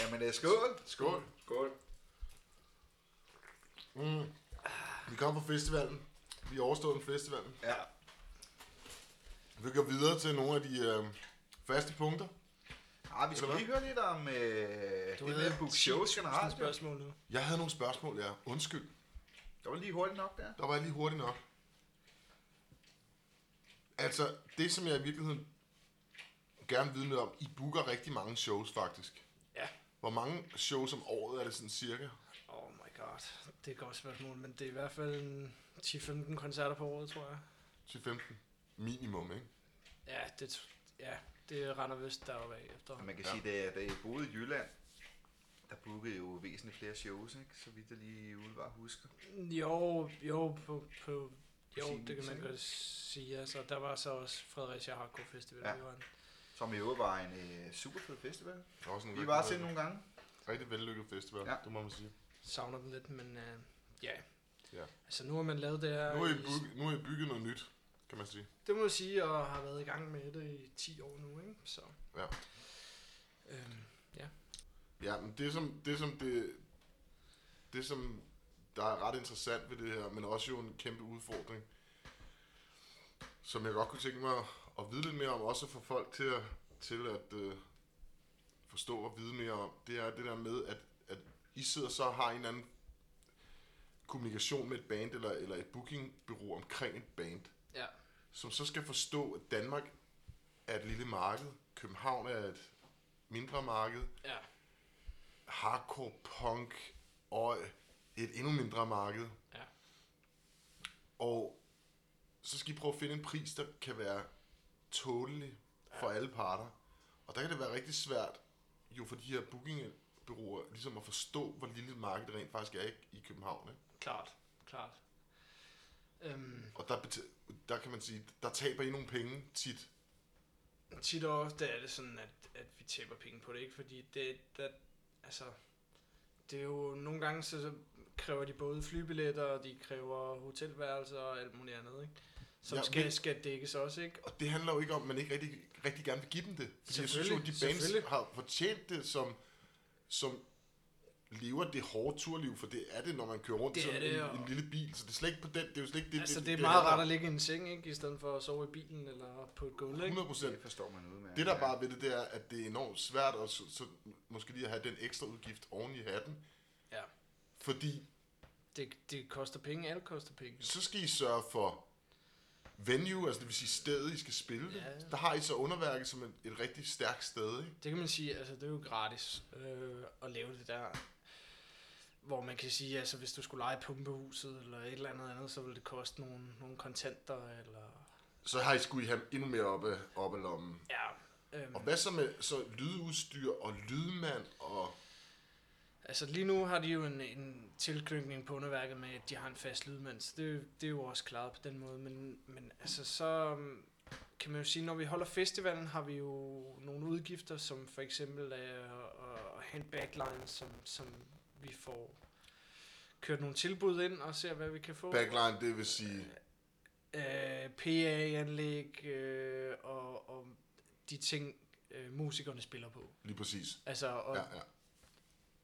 [SPEAKER 2] Jamen, øh, skål!
[SPEAKER 1] Skål.
[SPEAKER 4] Skål.
[SPEAKER 1] Mm. Vi kommer på festivalen. Vi overstod den festivalen.
[SPEAKER 2] Ja,
[SPEAKER 1] Vi går videre til nogle af de øh, faste punkter.
[SPEAKER 2] ah, vi skal
[SPEAKER 1] Eller
[SPEAKER 2] lige høre lidt om øh, det
[SPEAKER 3] ved,
[SPEAKER 2] med at booke shows
[SPEAKER 3] Sådan et
[SPEAKER 2] generelt. jo.
[SPEAKER 3] spørgsmål nu.
[SPEAKER 1] Jeg havde nogle spørgsmål, ja. Undskyld.
[SPEAKER 2] Det var lige hurtigt nok der.
[SPEAKER 1] Der var jeg lige hurtigt nok. Altså, det som jeg i virkeligheden gerne vil vide noget om, I booker rigtig mange shows faktisk.
[SPEAKER 3] Ja.
[SPEAKER 1] Hvor mange shows om året er det sådan cirka?
[SPEAKER 3] Oh my god, det er et godt spørgsmål, men det er i hvert fald en 10-15 koncerter på året, tror jeg.
[SPEAKER 1] 10-15? Minimum, ikke?
[SPEAKER 3] Ja, det, t- ja, det render vist deroppe af efter.
[SPEAKER 2] Og man kan
[SPEAKER 1] Ja.
[SPEAKER 2] ja. sige, da, da jeg boede i Jylland, der bookede jeg jo væsentligt flere shows, ikke? Så vidt jeg lige umiddelbart husker.
[SPEAKER 3] Jo, jo, på, på, jo
[SPEAKER 2] sin
[SPEAKER 3] det kan
[SPEAKER 2] vis,
[SPEAKER 3] man
[SPEAKER 2] ikke?
[SPEAKER 3] godt sige. Altså, der var så også Fredericia Hardcore Festival.
[SPEAKER 2] Ja.
[SPEAKER 3] Ja. Var en,
[SPEAKER 2] Som i øvrigt var en øh, super fed festival.
[SPEAKER 1] Der er også en
[SPEAKER 2] Vi
[SPEAKER 1] rigtig
[SPEAKER 2] var til
[SPEAKER 1] vellykket-
[SPEAKER 2] nogle gange.
[SPEAKER 1] Rigtig vellykket festival, ja.
[SPEAKER 2] Ja.
[SPEAKER 1] det må man sige.
[SPEAKER 3] savner dem lidt, men øh, ja.
[SPEAKER 1] Ja.
[SPEAKER 3] Altså, nu har man lavet det her.
[SPEAKER 1] Nu har I,
[SPEAKER 3] i-
[SPEAKER 1] bygget, nu har I bygget noget nyt, kan man sige.
[SPEAKER 3] Det må jeg sige, og har været i gang med det i 10 år nu, ikke? Så.
[SPEAKER 1] Ja.
[SPEAKER 3] Øhm,
[SPEAKER 1] Ja, men det som det, som det, det som der er ret interessant ved det her, men også jo en kæmpe udfordring, som jeg godt kunne tænke mig at vide lidt mere om, også for folk til at, til at øh, forstå og vide mere om, det er det der med, at, at I sidder så og har en eller anden kommunikation med et band eller, eller et bookingbureau omkring et band
[SPEAKER 3] ja.
[SPEAKER 1] som så skal forstå, at Danmark er et lille marked, København er et mindre marked,
[SPEAKER 3] Ja.
[SPEAKER 1] hardcore punk og et endnu mindre marked.
[SPEAKER 3] Ja.
[SPEAKER 1] Og så skal I prøve at finde en pris, der kan være tålelig for alle parter. Og der kan det være rigtig svært, jo for de her bookingbureauer, ligesom at forstå, hvor lille et marked det rent faktisk er i- i København. Ikke?
[SPEAKER 3] Klart, klart. Øhm,
[SPEAKER 1] Og der, beta- der kan man sige, der taber I nogle penge tit.
[SPEAKER 3] tit og ofte er det sådan, at, at vi taber penge på det, ikke? Fordi det, der, altså, det er jo nogle gange, så, så kræver de både flybilletter, og de kræver hotelværelser og alt muligt andet, ikke? Som
[SPEAKER 1] Ja,
[SPEAKER 3] ja, skal,
[SPEAKER 1] men-
[SPEAKER 3] skal dækkes også, ikke?
[SPEAKER 1] Og det handler jo ikke om, at man ikke rigtig, rigtig gerne vil give dem det. Fordi jeg synes jo, at
[SPEAKER 3] Selvfølgelig,
[SPEAKER 1] de bands
[SPEAKER 3] selvfølgelig.
[SPEAKER 1] har fortjent det, som, som lever det hårde turliv, for det er det, når man kører rundt i
[SPEAKER 3] Det er
[SPEAKER 1] sådan
[SPEAKER 3] det,
[SPEAKER 1] en,
[SPEAKER 3] og-
[SPEAKER 1] en lille bil. Så det er slet ikke på den, det er jo slet ikke det.
[SPEAKER 3] altså, det er meget rart
[SPEAKER 1] handler
[SPEAKER 3] at ligge i en seng, ikke? I stedet for at sove i bilen eller på et
[SPEAKER 1] om
[SPEAKER 3] gulv, ikke?
[SPEAKER 1] 100 procent.
[SPEAKER 2] Det forstår man udmærket.
[SPEAKER 1] Det der
[SPEAKER 2] ja.
[SPEAKER 1] bare er ved det, det er, at det er enormt svært at så, så måske lige at have den ekstra udgift oven i hatten.
[SPEAKER 3] Ja.
[SPEAKER 1] Fordi
[SPEAKER 3] Det, det koster penge, alt koster penge.
[SPEAKER 1] så skal I sørge for venue, altså det vil sige stedet, I skal spille det.
[SPEAKER 3] Ja.
[SPEAKER 1] Der har I så underværket som et, et rigtig stærkt sted, ikke?
[SPEAKER 3] Det kan man sige, altså det er jo gratis øh, at lave det der. Hvor man kan sige, altså hvis du skulle lege pumpehuset eller et eller andet andet, så ville det koste nogle, nogle kontanter eller...
[SPEAKER 1] Så har I skulle I have endnu mere op af, op af lommen.
[SPEAKER 3] Ja, øhm,
[SPEAKER 1] Og hvad så med så lydudstyr og lydmand og
[SPEAKER 3] Altså lige nu har de jo en, en tilknytning på underværket med, at de har en fast lydmand, så det, det er jo også klaret på den måde. Men, men altså så øhm, kan man jo sige, når vi holder festivalen, har vi jo nogle udgifter, som for eksempel øh, at hente backline, som, som vi får kørt nogle tilbud ind og ser, hvad vi kan få.
[SPEAKER 1] Backline, det vil sige...
[SPEAKER 3] øh, PA-anlæg øh, og, og de ting, øh, musikerne spiller på.
[SPEAKER 1] Lige præcis.
[SPEAKER 3] Altså, og,
[SPEAKER 1] Ja,
[SPEAKER 3] ja,
[SPEAKER 1] ja.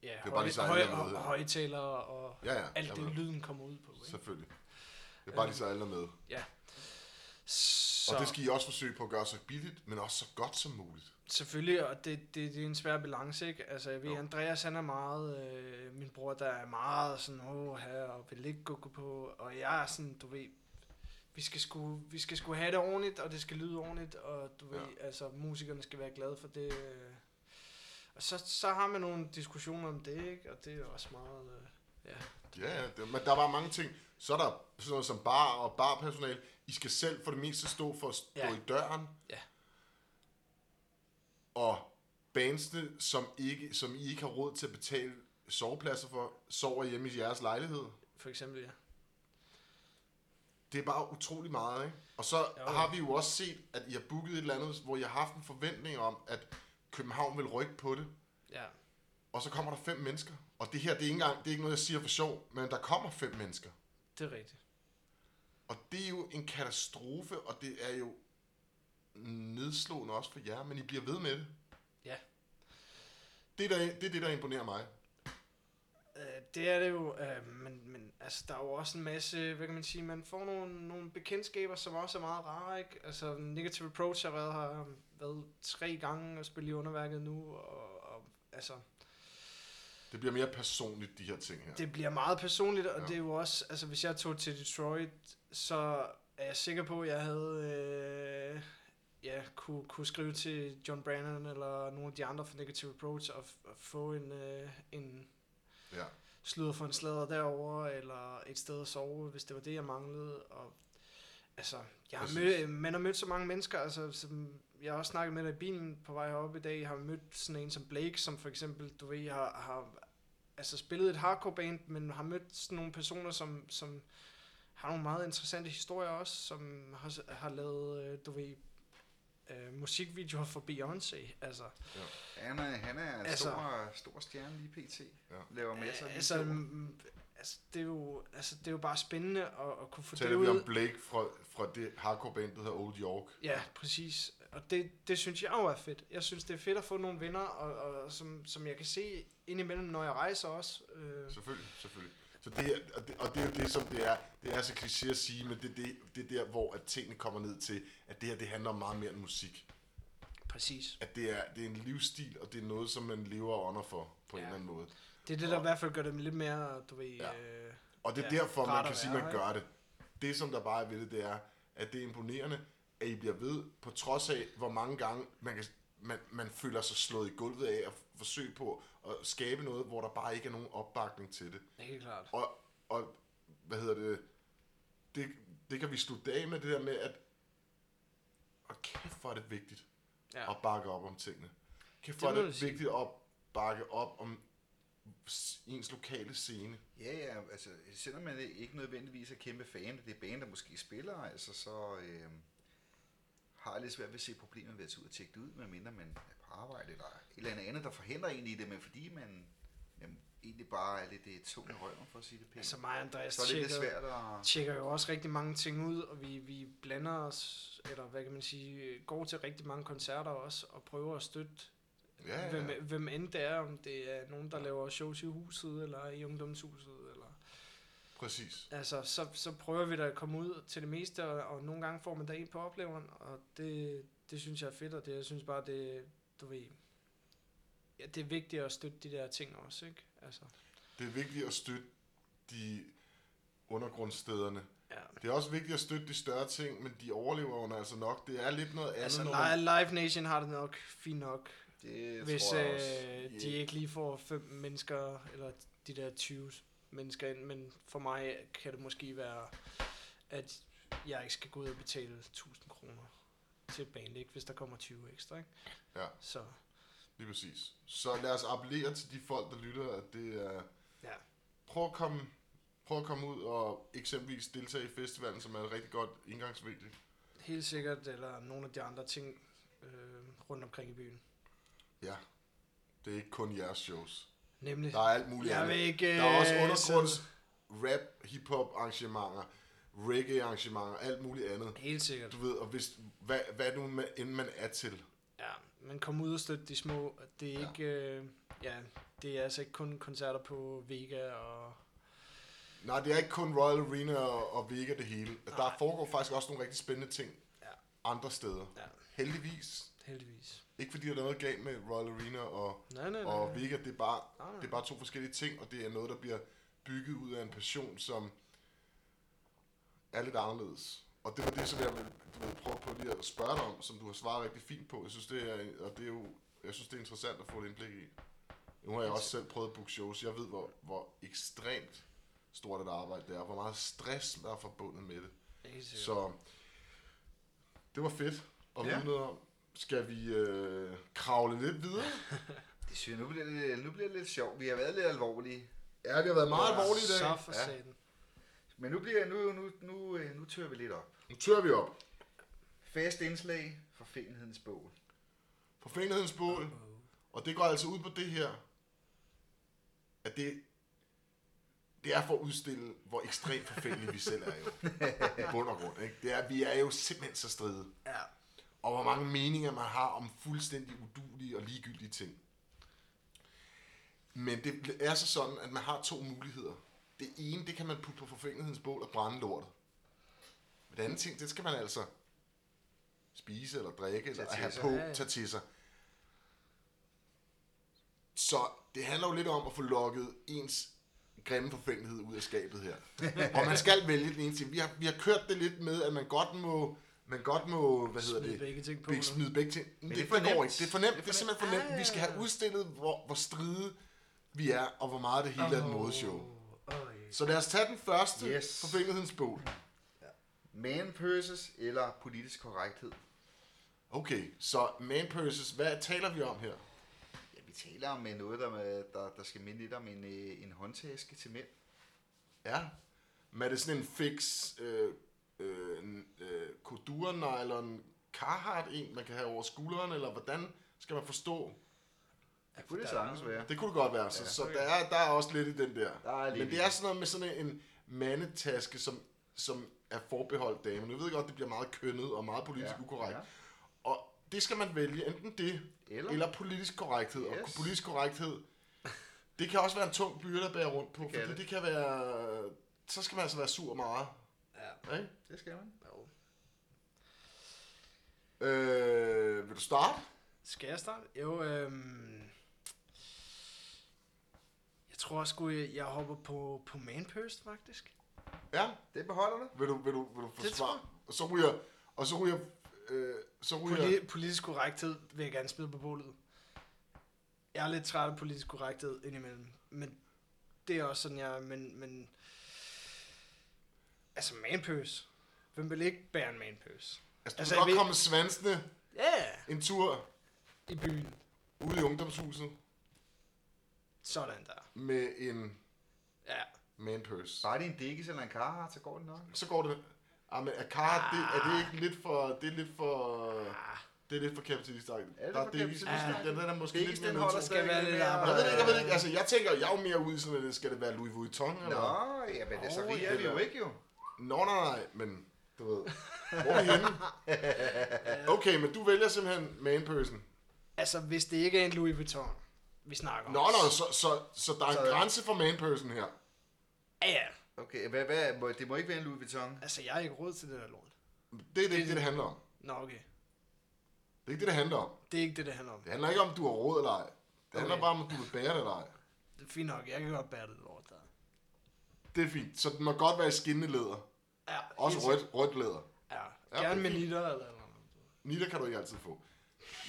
[SPEAKER 3] ja
[SPEAKER 1] er
[SPEAKER 3] høj,
[SPEAKER 1] bare lige så
[SPEAKER 3] høj,
[SPEAKER 1] alle er med.
[SPEAKER 3] høj, højtalere og
[SPEAKER 1] Ja, ja.
[SPEAKER 3] alt
[SPEAKER 1] jeg
[SPEAKER 3] det,
[SPEAKER 1] ved.
[SPEAKER 3] lyden kommer ud på. Ikke?
[SPEAKER 1] Selvfølgelig. Det er bare lige så alle er med.
[SPEAKER 3] Så
[SPEAKER 1] Og det skal I også forsøge på at gøre så billigt, men også så godt som muligt.
[SPEAKER 3] selvfølgelig, og det, det, det er en svær balance, ikke? Altså, jeg ved,
[SPEAKER 1] Jo.
[SPEAKER 3] Andreas, han er meget, øh, min bror, der er meget sådan, åh, her, og vil ikke gå på, og jeg er sådan, du ved, vi skal, sgu, vi skal sgu have det ordentligt, og det skal lyde ordentligt, og du ved, ja. altså, musikerne skal være glade for det. Øh. Og så, så har man nogle diskussioner om det, ikke? Og det er også meget, øh, ja.
[SPEAKER 1] Ja, ja, det, men der var mange ting. Så er der sådan noget som bar og barpersonal. I skal selv for det meste stå for at stå
[SPEAKER 3] Ja.
[SPEAKER 1] i døren.
[SPEAKER 3] Ja.
[SPEAKER 1] Og bandsene, som, ikke, som I ikke har råd til at betale sovepladser for, sover hjemme i jeres lejlighed.
[SPEAKER 3] For eksempel, ja.
[SPEAKER 1] Det er bare utrolig meget, ikke? Og så
[SPEAKER 3] Jo.
[SPEAKER 1] har vi jo også set, at I har booket et eller andet, hvor I har haft en forventning om, at København vil rykke på det.
[SPEAKER 3] Ja,
[SPEAKER 1] Og så kommer der fem mennesker. Og det her, det er ikke, engang, det er ikke noget, jeg siger for sjov, men der kommer fem mennesker.
[SPEAKER 3] det er rigtigt.
[SPEAKER 1] Og det er jo en katastrofe, og det er jo nedslående også for jer, men I bliver ved med det.
[SPEAKER 3] Ja.
[SPEAKER 1] Det, der, det er det, der imponerer mig.
[SPEAKER 3] Øh, det er det jo, øh, men, men altså, der er jo også en masse, hvad kan man sige, man får nogle, nogle bekendtskaber, som også er meget rare, ikke? Altså, Negative Approach har været her været tre gange og spille i underværket nu, og, og altså,
[SPEAKER 1] Det bliver mere personligt, de her ting her. Det,
[SPEAKER 3] det bliver meget personligt, og
[SPEAKER 1] Ja.
[SPEAKER 3] ja. det er jo også, altså, hvis jeg tog til Detroit, så er jeg sikker på, at jeg havde, øh, ja, kunne, kunne skrive til John Brannon eller nogle af de andre fra Negative Approach og, f- og få en, øh, en
[SPEAKER 1] ja.
[SPEAKER 3] sludder for en sladder derover eller et sted at sove, hvis det var det, jeg manglede. Og, altså, jeg har
[SPEAKER 1] Præcis.
[SPEAKER 3] mød, man har mødt så mange mennesker, altså, som jeg har også snakket med dig i bilen på vej herop i dag, jeg har mødt sådan en som Blake, som for eksempel, du ved, har, har altså, spillet i et hardcore band, men har mødt sådan nogle personer, som, som har nogle meget interessante historier også, som har, har lavet, øh, du ved, øh, musikvideoer for Beyoncé, altså.
[SPEAKER 2] Han er, han er en
[SPEAKER 3] Altså-
[SPEAKER 2] stor, stor stjerne lige pt.
[SPEAKER 1] Ja.
[SPEAKER 2] Laver masser af
[SPEAKER 3] Ja,
[SPEAKER 2] altså,
[SPEAKER 3] altså, mm, altså, det er jo, altså, det er jo bare spændende at, at kunne få det
[SPEAKER 1] Taler vi om
[SPEAKER 3] ud.
[SPEAKER 1] Blake fra, fra det hardcore band, der hedder Old York.
[SPEAKER 3] Ja, præcis. Og det, det synes jeg jo er fedt. Jeg synes, det er fedt at få nogle venner, og, og som, som jeg kan se indimellem, når jeg rejser også. Øh,
[SPEAKER 1] Selvfølgelig, selvfølgelig. Så det, her, og, det, og det er jo det, som det er. Det er så kliché at sige, men det, er det, det er der, hvor at tingene kommer ned til, at det her det handler om meget mere end musik.
[SPEAKER 3] præcis.
[SPEAKER 1] At det er, det er en livsstil, og det er noget, som man lever og ånder for, på ja. en
[SPEAKER 3] Ja.
[SPEAKER 1] eller anden måde.
[SPEAKER 3] Det er det, der i hvert fald gør dem lidt mere, du ved...
[SPEAKER 1] Ja.
[SPEAKER 3] Ja. Øh,
[SPEAKER 1] Og det er ja,
[SPEAKER 3] Ja,
[SPEAKER 1] derfor, man
[SPEAKER 3] rart
[SPEAKER 1] kan
[SPEAKER 3] at
[SPEAKER 1] sige, at
[SPEAKER 3] være,
[SPEAKER 1] man
[SPEAKER 3] ikke?
[SPEAKER 1] gør det. Det, som der bare er ved det, det er, at det er imponerende, at I bliver ved, på trods af, hvor mange gange man, kan, man, man føler sig slået i gulvet af at forsøge på at skabe noget, hvor der bare ikke er nogen opbakning til det.
[SPEAKER 3] helt klart.
[SPEAKER 1] Og, og hvad hedder det, det, det kan vi slutte af med det der med, at og kæft, hvor er det vigtigt
[SPEAKER 3] Ja.
[SPEAKER 1] at bakke op om tingene. Kæft, hvor
[SPEAKER 3] Det
[SPEAKER 1] er
[SPEAKER 3] må
[SPEAKER 1] det
[SPEAKER 3] du sige.
[SPEAKER 1] vigtigt at bakke op om s- ens lokale scene.
[SPEAKER 2] Ja, ja, altså, selvom man ikke nødvendigvis er kæmpe fan af det band, der måske spiller, altså, så øh, har jeg lidt svært ved at se problemet ved at tage ud og tjekke det ud, medmindre man er på arbejde eller et eller andet andet, der forhindrer en i det, men fordi man jamen, egentlig bare er lidt øh, tung i røven, for at sige det pænt,
[SPEAKER 3] Altså mig og Andreas
[SPEAKER 2] så er det lidt
[SPEAKER 3] tjekker,
[SPEAKER 2] svært at...
[SPEAKER 3] tjekker jo også rigtig mange ting ud, og vi, vi blander os, eller hvad kan man sige, går til rigtig mange koncerter også, og prøver at støtte
[SPEAKER 1] Ja, ja, ja.
[SPEAKER 3] hvem, hvem end det er, om det er nogen, der laver shows i huset, eller i ungdomshuset, eller...
[SPEAKER 1] Præcis.
[SPEAKER 3] Altså, så, så prøver vi da at komme ud til det meste, og, og nogle gange får man da en på opleveren, og det, det synes jeg er fedt, og det, jeg synes bare, det, du ved... Ja, det er vigtigt at støtte de der ting også, ikke? Altså,
[SPEAKER 1] Det er vigtigt at støtte de undergrundsstederne.
[SPEAKER 3] ja.
[SPEAKER 1] Det er også vigtigt at støtte de større ting, men de overlever under altså nok. Det er lidt noget andet,
[SPEAKER 3] Altså,
[SPEAKER 1] når man...
[SPEAKER 3] Li- Live Nation har det nok fint nok,
[SPEAKER 2] Det
[SPEAKER 3] hvis
[SPEAKER 2] tror jeg også.
[SPEAKER 3] øh, de
[SPEAKER 1] Ja.
[SPEAKER 3] ikke lige får fem mennesker, eller de der 20 mennesker ind, men for mig kan det måske være, at jeg ikke skal gå ud og betale 1000 kroner til et band, ikke, hvis der kommer 20 ekstra. Ikke?
[SPEAKER 1] Ja.
[SPEAKER 3] Så
[SPEAKER 1] Lige præcis. Så lad os appellere til de folk, der lytter, at det er...
[SPEAKER 3] Ja.
[SPEAKER 1] Prøv at komme, prøv at komme ud og eksempelvis deltage i festivalen, som er et rigtig godt indgangsvinkel.
[SPEAKER 3] Helt sikkert, eller nogle af de andre ting øh, rundt omkring i byen.
[SPEAKER 1] Ja. Det er ikke kun jeres shows.
[SPEAKER 3] Nemlig.
[SPEAKER 1] Der er alt muligt
[SPEAKER 3] jeg vil
[SPEAKER 1] andet.
[SPEAKER 3] ikke...
[SPEAKER 1] Der er også
[SPEAKER 3] øh,
[SPEAKER 1] undergrunds, rap, hip-hop arrangementer, reggae arrangementer, alt muligt andet.
[SPEAKER 3] sidde- Helt sikkert.
[SPEAKER 1] Du ved, og hvis, hvad, hvad nu ma- end man er til.
[SPEAKER 3] Ja, men kom ud og støtte de små. Det
[SPEAKER 1] Ja.
[SPEAKER 3] er ja. ikke... Øh, ja, det er altså ikke kun koncerter på Vega og...
[SPEAKER 1] Nej, det er ikke kun Royal Arena og, og Vega det hele. Altså, Der
[SPEAKER 3] Nej.
[SPEAKER 1] foregår faktisk også nogle rigtig spændende ting
[SPEAKER 3] Ja.
[SPEAKER 1] andre steder.
[SPEAKER 3] Ja,
[SPEAKER 1] Heldigvis.
[SPEAKER 3] heldigvis.
[SPEAKER 1] Ikke fordi der er noget galt med Royal Arena og,
[SPEAKER 3] Nej, nej, nej.
[SPEAKER 1] og Vega, det er, bare,
[SPEAKER 3] nej, nej.
[SPEAKER 1] det er bare to forskellige ting, og det er noget, der bliver bygget ud af en passion, som er lidt anderledes. Og det var det, som jeg ville du ved, prøve på lige at spørge dig om, som du har svaret rigtig fint på. Jeg synes, det er, og det er jo, jeg synes, det er interessant at få et indblik i. Nu har jeg også selv prøvet at booke shows. Jeg ved, hvor, hvor ekstremt stort et arbejde det er, og hvor meget stress der er forbundet med det.
[SPEAKER 3] Helt sikkert.
[SPEAKER 1] Så det var fedt at
[SPEAKER 2] Ja.
[SPEAKER 1] vide noget om. Skal vi øh, kravle lidt videre?
[SPEAKER 2] Det synes jeg, nu bliver det, lidt- nu bliver det lidt sjovt. Vi har været lidt alvorlige.
[SPEAKER 1] Ja, det har været meget
[SPEAKER 3] Ja,
[SPEAKER 1] alvorligt i dag.
[SPEAKER 3] Så for
[SPEAKER 2] Ja.
[SPEAKER 3] satan.
[SPEAKER 2] Men nu bliver nu, nu, nu, øh, nu tør vi lidt op.
[SPEAKER 1] Nu tør vi op.
[SPEAKER 2] Fast indslag fra Fenhedens bål.
[SPEAKER 1] Forfængelighedens bål. Og det går altså ud på det her, at det, det er for at udstille, hvor ekstremt forfængelige vi selv er jo. I bund og grund. Ikke? Det er, vi er jo simpelthen så stride.
[SPEAKER 3] Ja.
[SPEAKER 1] Og hvor mange meninger man har om fuldstændig udulige og ligegyldige ting. Men det er så sådan, at man har to muligheder. Det ene, det kan man putte på forfængelighedens bål og brænde lortet. Men det andet ting, det skal man altså spise eller drikke eller
[SPEAKER 2] til
[SPEAKER 1] have
[SPEAKER 2] sig.
[SPEAKER 1] på,
[SPEAKER 3] Ja, ja.
[SPEAKER 1] tage til sig. Så det handler jo lidt om at få lukket ens grimme forfængelighed ud af skabet her. og man skal vælge den ene ting. Vi har, vi har kørt det lidt med, at man godt må, man godt må hvad hedder
[SPEAKER 3] Smid
[SPEAKER 1] det,
[SPEAKER 3] begge ting på.
[SPEAKER 1] Big,
[SPEAKER 3] nu.
[SPEAKER 1] smide begge ting. Men det,
[SPEAKER 2] det er
[SPEAKER 1] det,
[SPEAKER 2] for
[SPEAKER 1] går ikke. Det er
[SPEAKER 2] nemt.
[SPEAKER 1] for nemt. Det er, for nemt. Det er simpelthen for nemt.
[SPEAKER 3] Ah.
[SPEAKER 1] Vi skal have udstillet, hvor, hvor stride vi er, og hvor meget det hele oh. er et modeshow.
[SPEAKER 3] Åh, åh, ja.
[SPEAKER 1] Så lad os tage den første yes.
[SPEAKER 2] Yes.
[SPEAKER 1] forfængelighedens bog.
[SPEAKER 2] Man purses eller politisk korrekthed.
[SPEAKER 1] Okay, så man purses, hvad taler vi om her?
[SPEAKER 2] Ja, vi taler om øh, noget, der, øh, der, der skal minde lidt om en, øh, en håndtaske til mænd.
[SPEAKER 1] Ja. Men er det sådan en fix øh, øh, en, øh, kodur nylon Carhartt en, man kan have over skulderen, eller hvordan skal man forstå?
[SPEAKER 2] Det kunne det
[SPEAKER 3] der er-
[SPEAKER 2] sagtens være.
[SPEAKER 1] Det kunne det godt være, så, ja,
[SPEAKER 2] Ja.
[SPEAKER 1] så der, er, der er også lidt i den der.
[SPEAKER 2] Der er lidt
[SPEAKER 1] Men
[SPEAKER 2] i
[SPEAKER 1] det er sådan noget med sådan en mandetaske, som, som er forbeholdt damen. Jeg ved godt, det bliver meget kønnet og meget politisk ja, ukorrekt. Ja. Og det skal man vælge, enten det, eller,
[SPEAKER 2] Eller-
[SPEAKER 1] eller politisk korrekthed. Yes. Og
[SPEAKER 2] Yes.
[SPEAKER 1] politisk korrekthed, det kan også være en tung byrde at bære rundt på, det
[SPEAKER 2] kan
[SPEAKER 1] fordi det.
[SPEAKER 2] det.
[SPEAKER 1] det kan være... Så skal man altså være sur meget.
[SPEAKER 3] Ja.
[SPEAKER 1] Ikke?
[SPEAKER 2] Det skal man.
[SPEAKER 3] Jo.
[SPEAKER 1] Øh, vil du starte?
[SPEAKER 3] Skal jeg starte? Jo, øhm... Jeg tror sgu, jeg, jeg hopper på, på manpurse, faktisk.
[SPEAKER 1] Ja,
[SPEAKER 2] Det beholder du.
[SPEAKER 1] vil du, vil du, vil du
[SPEAKER 3] Det tror
[SPEAKER 1] forsvare? Og så ryger... Og så ryger... Øh, så ryger...
[SPEAKER 3] Poli- politisk korrekthed vil jeg gerne smide på bålet. Jeg er lidt træt af politisk korrekthed indimellem, men det er også sådan, jeg... Men, men altså, manpøs. Hvem vil ikke bære en manpøs?
[SPEAKER 1] Altså, du
[SPEAKER 3] Altså,
[SPEAKER 1] altså, kan
[SPEAKER 3] jeg
[SPEAKER 1] godt
[SPEAKER 3] ved-
[SPEAKER 1] komme svansende
[SPEAKER 3] Ja, yeah.
[SPEAKER 1] en tur
[SPEAKER 3] i byen.
[SPEAKER 1] ude i ungdomshuset
[SPEAKER 3] Sådan der.
[SPEAKER 1] med en
[SPEAKER 3] Ja,
[SPEAKER 1] manpurse.
[SPEAKER 2] Bare det er en dikkes eller en karhart, så går det nok.
[SPEAKER 1] Så går det... Ah, men er, kar, det, er det ikke lidt for... Det er lidt for... Det er lidt for kapitalistisk. Er
[SPEAKER 2] Ah. Er det
[SPEAKER 1] der er
[SPEAKER 2] for
[SPEAKER 1] Davies,
[SPEAKER 2] kapitalistisk?
[SPEAKER 1] den, den er måske
[SPEAKER 2] Dikkes,
[SPEAKER 1] lidt mere
[SPEAKER 2] den holder
[SPEAKER 1] neutral.
[SPEAKER 3] skal være
[SPEAKER 2] stadig
[SPEAKER 3] lidt
[SPEAKER 2] mere.
[SPEAKER 3] larmere.
[SPEAKER 1] Jeg ved det ikke, jeg ved det ikke. Altså, jeg tænker, jeg er jo mere ude i sådan, at skal det være Louis Vuitton?
[SPEAKER 2] Nå,
[SPEAKER 1] Eller?
[SPEAKER 2] ja, men det, så
[SPEAKER 1] Åh,
[SPEAKER 2] rige
[SPEAKER 1] ja.
[SPEAKER 2] er vi jo ikke jo.
[SPEAKER 1] Nå, nej, nej, men du ved. Hvor er vi henne? Okay, men du vælger simpelthen manperson.
[SPEAKER 3] altså hvis det ikke er en Louis Vuitton, vi snakker om.
[SPEAKER 1] Nå, nå, så, så, så der er en
[SPEAKER 2] Så-
[SPEAKER 1] grænse for manperson her.
[SPEAKER 3] Ja, ja.
[SPEAKER 2] Okay, hvad, hvad, må, det må ikke være en Louis Vuitton.
[SPEAKER 3] Altså, jeg har ikke råd til det der lort.
[SPEAKER 1] Det er det ikke det, det handler om.
[SPEAKER 3] Nå, okay.
[SPEAKER 1] Det er ikke det, det handler om.
[SPEAKER 3] Det er ikke det, det handler om.
[SPEAKER 1] Det handler ikke om, du har råd eller ej. Det handler
[SPEAKER 3] Okay.
[SPEAKER 1] bare om, at du vil bære det eller ej.
[SPEAKER 3] Det er fint nok, jeg kan godt bære det lort der.
[SPEAKER 1] Det er fint. Så den må godt være i skinnende læder.
[SPEAKER 3] Ja,
[SPEAKER 1] Også
[SPEAKER 3] helt
[SPEAKER 1] rødt, rødt læder.
[SPEAKER 3] Ja,
[SPEAKER 1] Ja,
[SPEAKER 3] gerne med
[SPEAKER 1] fint.
[SPEAKER 3] nitter eller eller noget.
[SPEAKER 1] Nita kan du ikke altid få.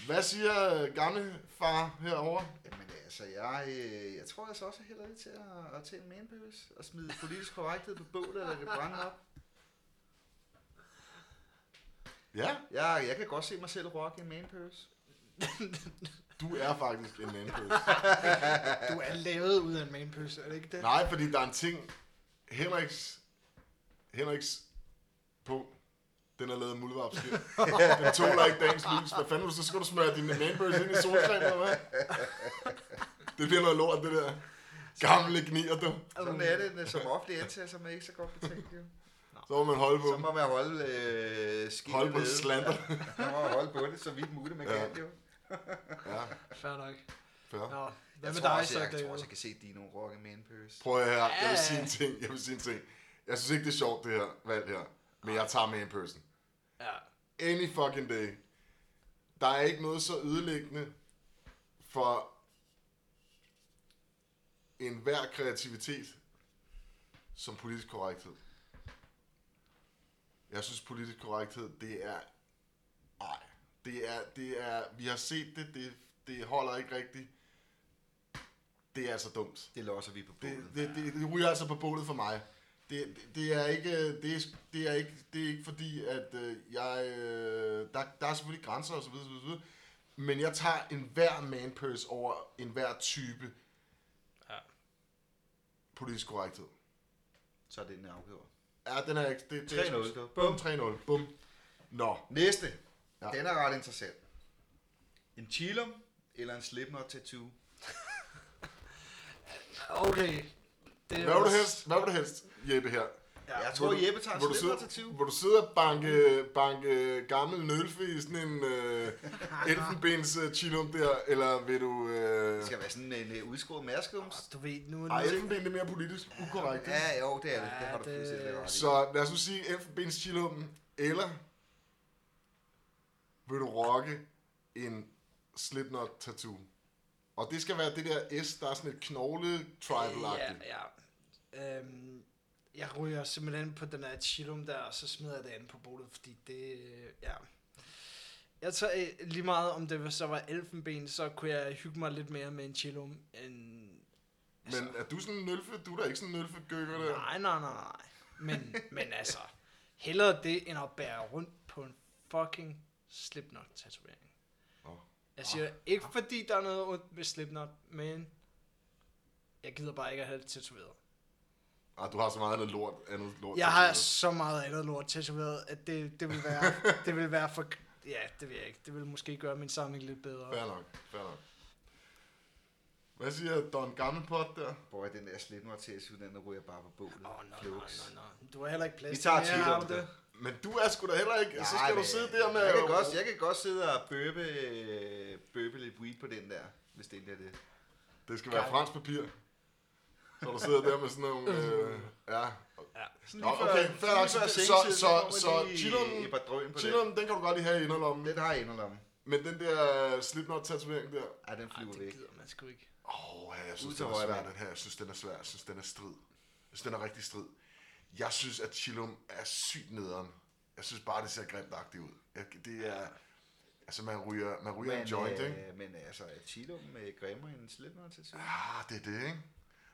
[SPEAKER 1] Hvad siger øh, gamle far herovre?
[SPEAKER 2] Jamen altså, jeg, øh, jeg tror altså også, jeg hælder lidt til at, at tage en manbøs og smide politisk korrekthed på bålet eller det brænde op.
[SPEAKER 1] Ja,
[SPEAKER 2] Jeg, jeg kan godt se mig selv rocke en manpurse.
[SPEAKER 1] Du er faktisk en mandpøls.
[SPEAKER 3] Du er lavet ud af en manpølse, er det ikke det?
[SPEAKER 1] Nej, fordi der er en ting. Henriks, Henriks punkt, den er lavet af muldvarpskin. Den tåler ikke dagens lys. Hvad fanden vil du så? Skal du smøre din manbørs ind i solcreme, eller hvad? Det bliver noget lort, det der. Gamle gnier, du.
[SPEAKER 2] Sådan er det når- som offentlig ansat, som er ikke så godt betalt. Jo.
[SPEAKER 1] Så må man holde på
[SPEAKER 2] Så
[SPEAKER 1] dem.
[SPEAKER 2] må man holde øh, skinnet
[SPEAKER 1] Holde på
[SPEAKER 2] nede.
[SPEAKER 1] slander.
[SPEAKER 2] Man må holde på det så vidt muligt, man
[SPEAKER 1] Ja.
[SPEAKER 2] kan. Jo.
[SPEAKER 1] Ja,
[SPEAKER 3] Fair nok.
[SPEAKER 1] fair.
[SPEAKER 3] Nå, hvad
[SPEAKER 2] Jeg
[SPEAKER 3] med
[SPEAKER 2] tror
[SPEAKER 3] dig
[SPEAKER 2] også,
[SPEAKER 3] så,
[SPEAKER 2] jeg, jeg tror
[SPEAKER 3] David?
[SPEAKER 2] også, jeg kan se Dino Rock Man Purse.
[SPEAKER 1] Prøv at høre her. Jeg vil
[SPEAKER 3] Ja.
[SPEAKER 1] sige en ting. Jeg vil sige en ting. Jeg synes ikke, det er sjovt, det her valg her. Men jeg tager med en person.
[SPEAKER 3] Ja.
[SPEAKER 1] Any fucking day. Der er ikke noget så ødelæggende for enhver kreativitet som politisk korrekthed. Jeg synes, politisk korrekthed, det er... Ej. Det er, det er, vi har set det, det, det holder ikke rigtigt. Det er altså dumt.
[SPEAKER 2] Det låser vi på
[SPEAKER 1] Det,
[SPEAKER 2] bålet.
[SPEAKER 1] det, det, det ryger altså på bålet for mig. Det, det, det er ikke det er, det er ikke det er ikke fordi at øh, jeg øh, der, der er selvfølgelig grænser og så videre, så videre, så videre. Men jeg tager enhver manpurse over enhver type
[SPEAKER 3] Ja.
[SPEAKER 1] politisk korrekthed.
[SPEAKER 2] Så er det den afgjort.
[SPEAKER 1] Ja, den er ikke det, det er
[SPEAKER 2] 3-0.
[SPEAKER 1] sgu- Bum 3-0. Bum. Nå,
[SPEAKER 2] Næste.
[SPEAKER 1] Ja.
[SPEAKER 2] Ja. Den er ret interessant. En chillum eller en Slipknot tattoo?
[SPEAKER 3] Okay. Det er
[SPEAKER 1] hvad vil du
[SPEAKER 3] også-
[SPEAKER 1] helst? Hvad vil du helst, Jeppe her?
[SPEAKER 2] Ja, jeg tror,
[SPEAKER 1] Hvor du-
[SPEAKER 2] Jeppe tager
[SPEAKER 1] hvor
[SPEAKER 2] en
[SPEAKER 1] du
[SPEAKER 2] Slipknot
[SPEAKER 1] sidder,
[SPEAKER 2] tattoo.
[SPEAKER 1] hvor du sidder og banke, banke gammel nølfe i sådan en øh, elfenbens øh, chillum der, eller vil du... Øh,
[SPEAKER 2] Det skal være sådan en øh, udskåret
[SPEAKER 1] Ah,
[SPEAKER 2] maskums.
[SPEAKER 3] Du ved, nu er
[SPEAKER 1] Ej,
[SPEAKER 3] det...
[SPEAKER 1] elfenben det er mere politisk ukorrekt. ikke?
[SPEAKER 2] Ja, jo, det er det.
[SPEAKER 3] Ja,
[SPEAKER 2] Det har du
[SPEAKER 3] det-
[SPEAKER 2] fuldstændig ret i.
[SPEAKER 1] Så lad os nu sige elfenbens chillummen, eller vil du rocke en Slipknot tattoo? Og det skal være det der S, der er sådan et knogle tribal
[SPEAKER 3] Ja,
[SPEAKER 1] yeah.
[SPEAKER 3] ja. Øhm, jeg ryger simpelthen på den her chillum der, og så smider jeg det andet på bordet, fordi det... øh, Ja. Jeg tager øh, lige meget, om det så var elfenben, så kunne jeg hygge mig lidt mere med en chillum end...
[SPEAKER 1] Men er du sådan en nølfe? Du er da ikke sådan en nølfe gøkker der.
[SPEAKER 3] Nej, nej, nej, nej. Men, men altså, hellere det, end at bære rundt på en fucking Slipknot-tatovering.
[SPEAKER 1] Nå.
[SPEAKER 3] Jeg siger ikke, fordi der er noget ondt med Slipknot, men jeg gider bare ikke at have det tatoveret.
[SPEAKER 1] Ej, Ah, du har så meget andet lort. Andet lort
[SPEAKER 3] Jeg har
[SPEAKER 1] tatoveret.
[SPEAKER 3] så meget andet lort tatoveret, at det, det vil være, det vil være for... Ja, det vil jeg ikke. Det vil måske gøre min samling lidt bedre.
[SPEAKER 1] Fair nok, fair nok. Hvad siger Don Gammelpot der?
[SPEAKER 2] Prøv at den der Slipknot tattoo, den der ryger bare på bålet.
[SPEAKER 3] Åh, oh, nej, nej,
[SPEAKER 2] Flux.
[SPEAKER 3] nej, nej. Du har heller ikke plads
[SPEAKER 2] Vi tager
[SPEAKER 3] til mere, har du
[SPEAKER 2] titlen,
[SPEAKER 3] det.
[SPEAKER 1] Men du er sgu da heller ikke. så skal
[SPEAKER 2] men
[SPEAKER 1] du sidde der med...
[SPEAKER 2] Jeg kan, godt, jeg kan godt sidde og bøbe, øh, bøbe lidt weed på den der, hvis det endelig er det.
[SPEAKER 1] Det skal være fransk papir. Så du sidder der med sådan nogle... Øh, ja.
[SPEAKER 2] Sådan
[SPEAKER 1] Nå, okay, fair nok. Så- så- så- så chilleren-
[SPEAKER 2] Chillum.
[SPEAKER 1] Chilleren, den kan du godt lige have i inderlommen.
[SPEAKER 2] Den har jeg inderlommen.
[SPEAKER 1] Men den der øh, Slipknot-tatovering der...
[SPEAKER 2] Ej, den
[SPEAKER 3] Ej,
[SPEAKER 2] flyver
[SPEAKER 3] det
[SPEAKER 2] væk.
[SPEAKER 3] gider man sgu ikke.
[SPEAKER 1] Åh, oh, jeg synes,
[SPEAKER 2] Ud til
[SPEAKER 1] den er
[SPEAKER 2] højre
[SPEAKER 1] svær,
[SPEAKER 2] bag.
[SPEAKER 1] den her. Jeg synes, den er svær. Jeg synes, den er strid. Jeg synes, den er rigtig strid. Jeg synes, at Chillum er sygt nederen. Jeg synes bare, det ser grimtagtigt ud. Jeg, det er... Altså, man ryger, man ryger en joint, ikke?
[SPEAKER 2] øh, men altså, er Chillum med grimmere end Slipknot til sig?
[SPEAKER 1] Ah, det er det, ikke?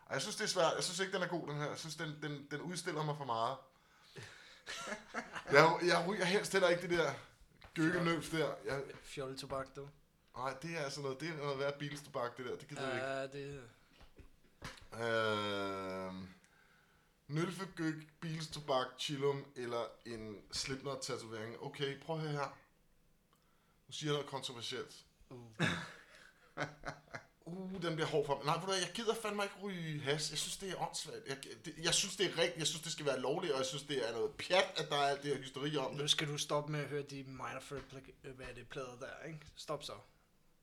[SPEAKER 1] Og jeg synes, det er svært. Jeg synes ikke, den er god, den her. Jeg synes, den, den, den udstiller mig for meget. jeg, jeg ryger helst heller ikke det der gøkkenøbs der. Jeg,
[SPEAKER 3] Fjolletobak, du.
[SPEAKER 1] nej, det er sådan noget, det er noget værd bilstobak, det der. Det gider jeg ikke.
[SPEAKER 3] Ja, det...
[SPEAKER 1] Øh, Nølfegøk, bilstobak, chillum eller en Slipknot-tatovering. Okay, prøv at høre her. Nu siger jeg noget kontroversielt.
[SPEAKER 3] Uh.
[SPEAKER 1] Uh, den bliver hård for mig. Nej, ved du hvad, jeg gider fandme ikke ryge has. Jeg synes, det er åndssvagt. Jeg, det, jeg synes, det er rigtigt. Jeg synes, det skal være lovligt, og jeg synes, det er noget pjat, at der er alt det her hysteri om det.
[SPEAKER 3] Nu skal du stoppe med at høre de minor threat pla- øh, hvad er det, plader der, ikke? Stop så.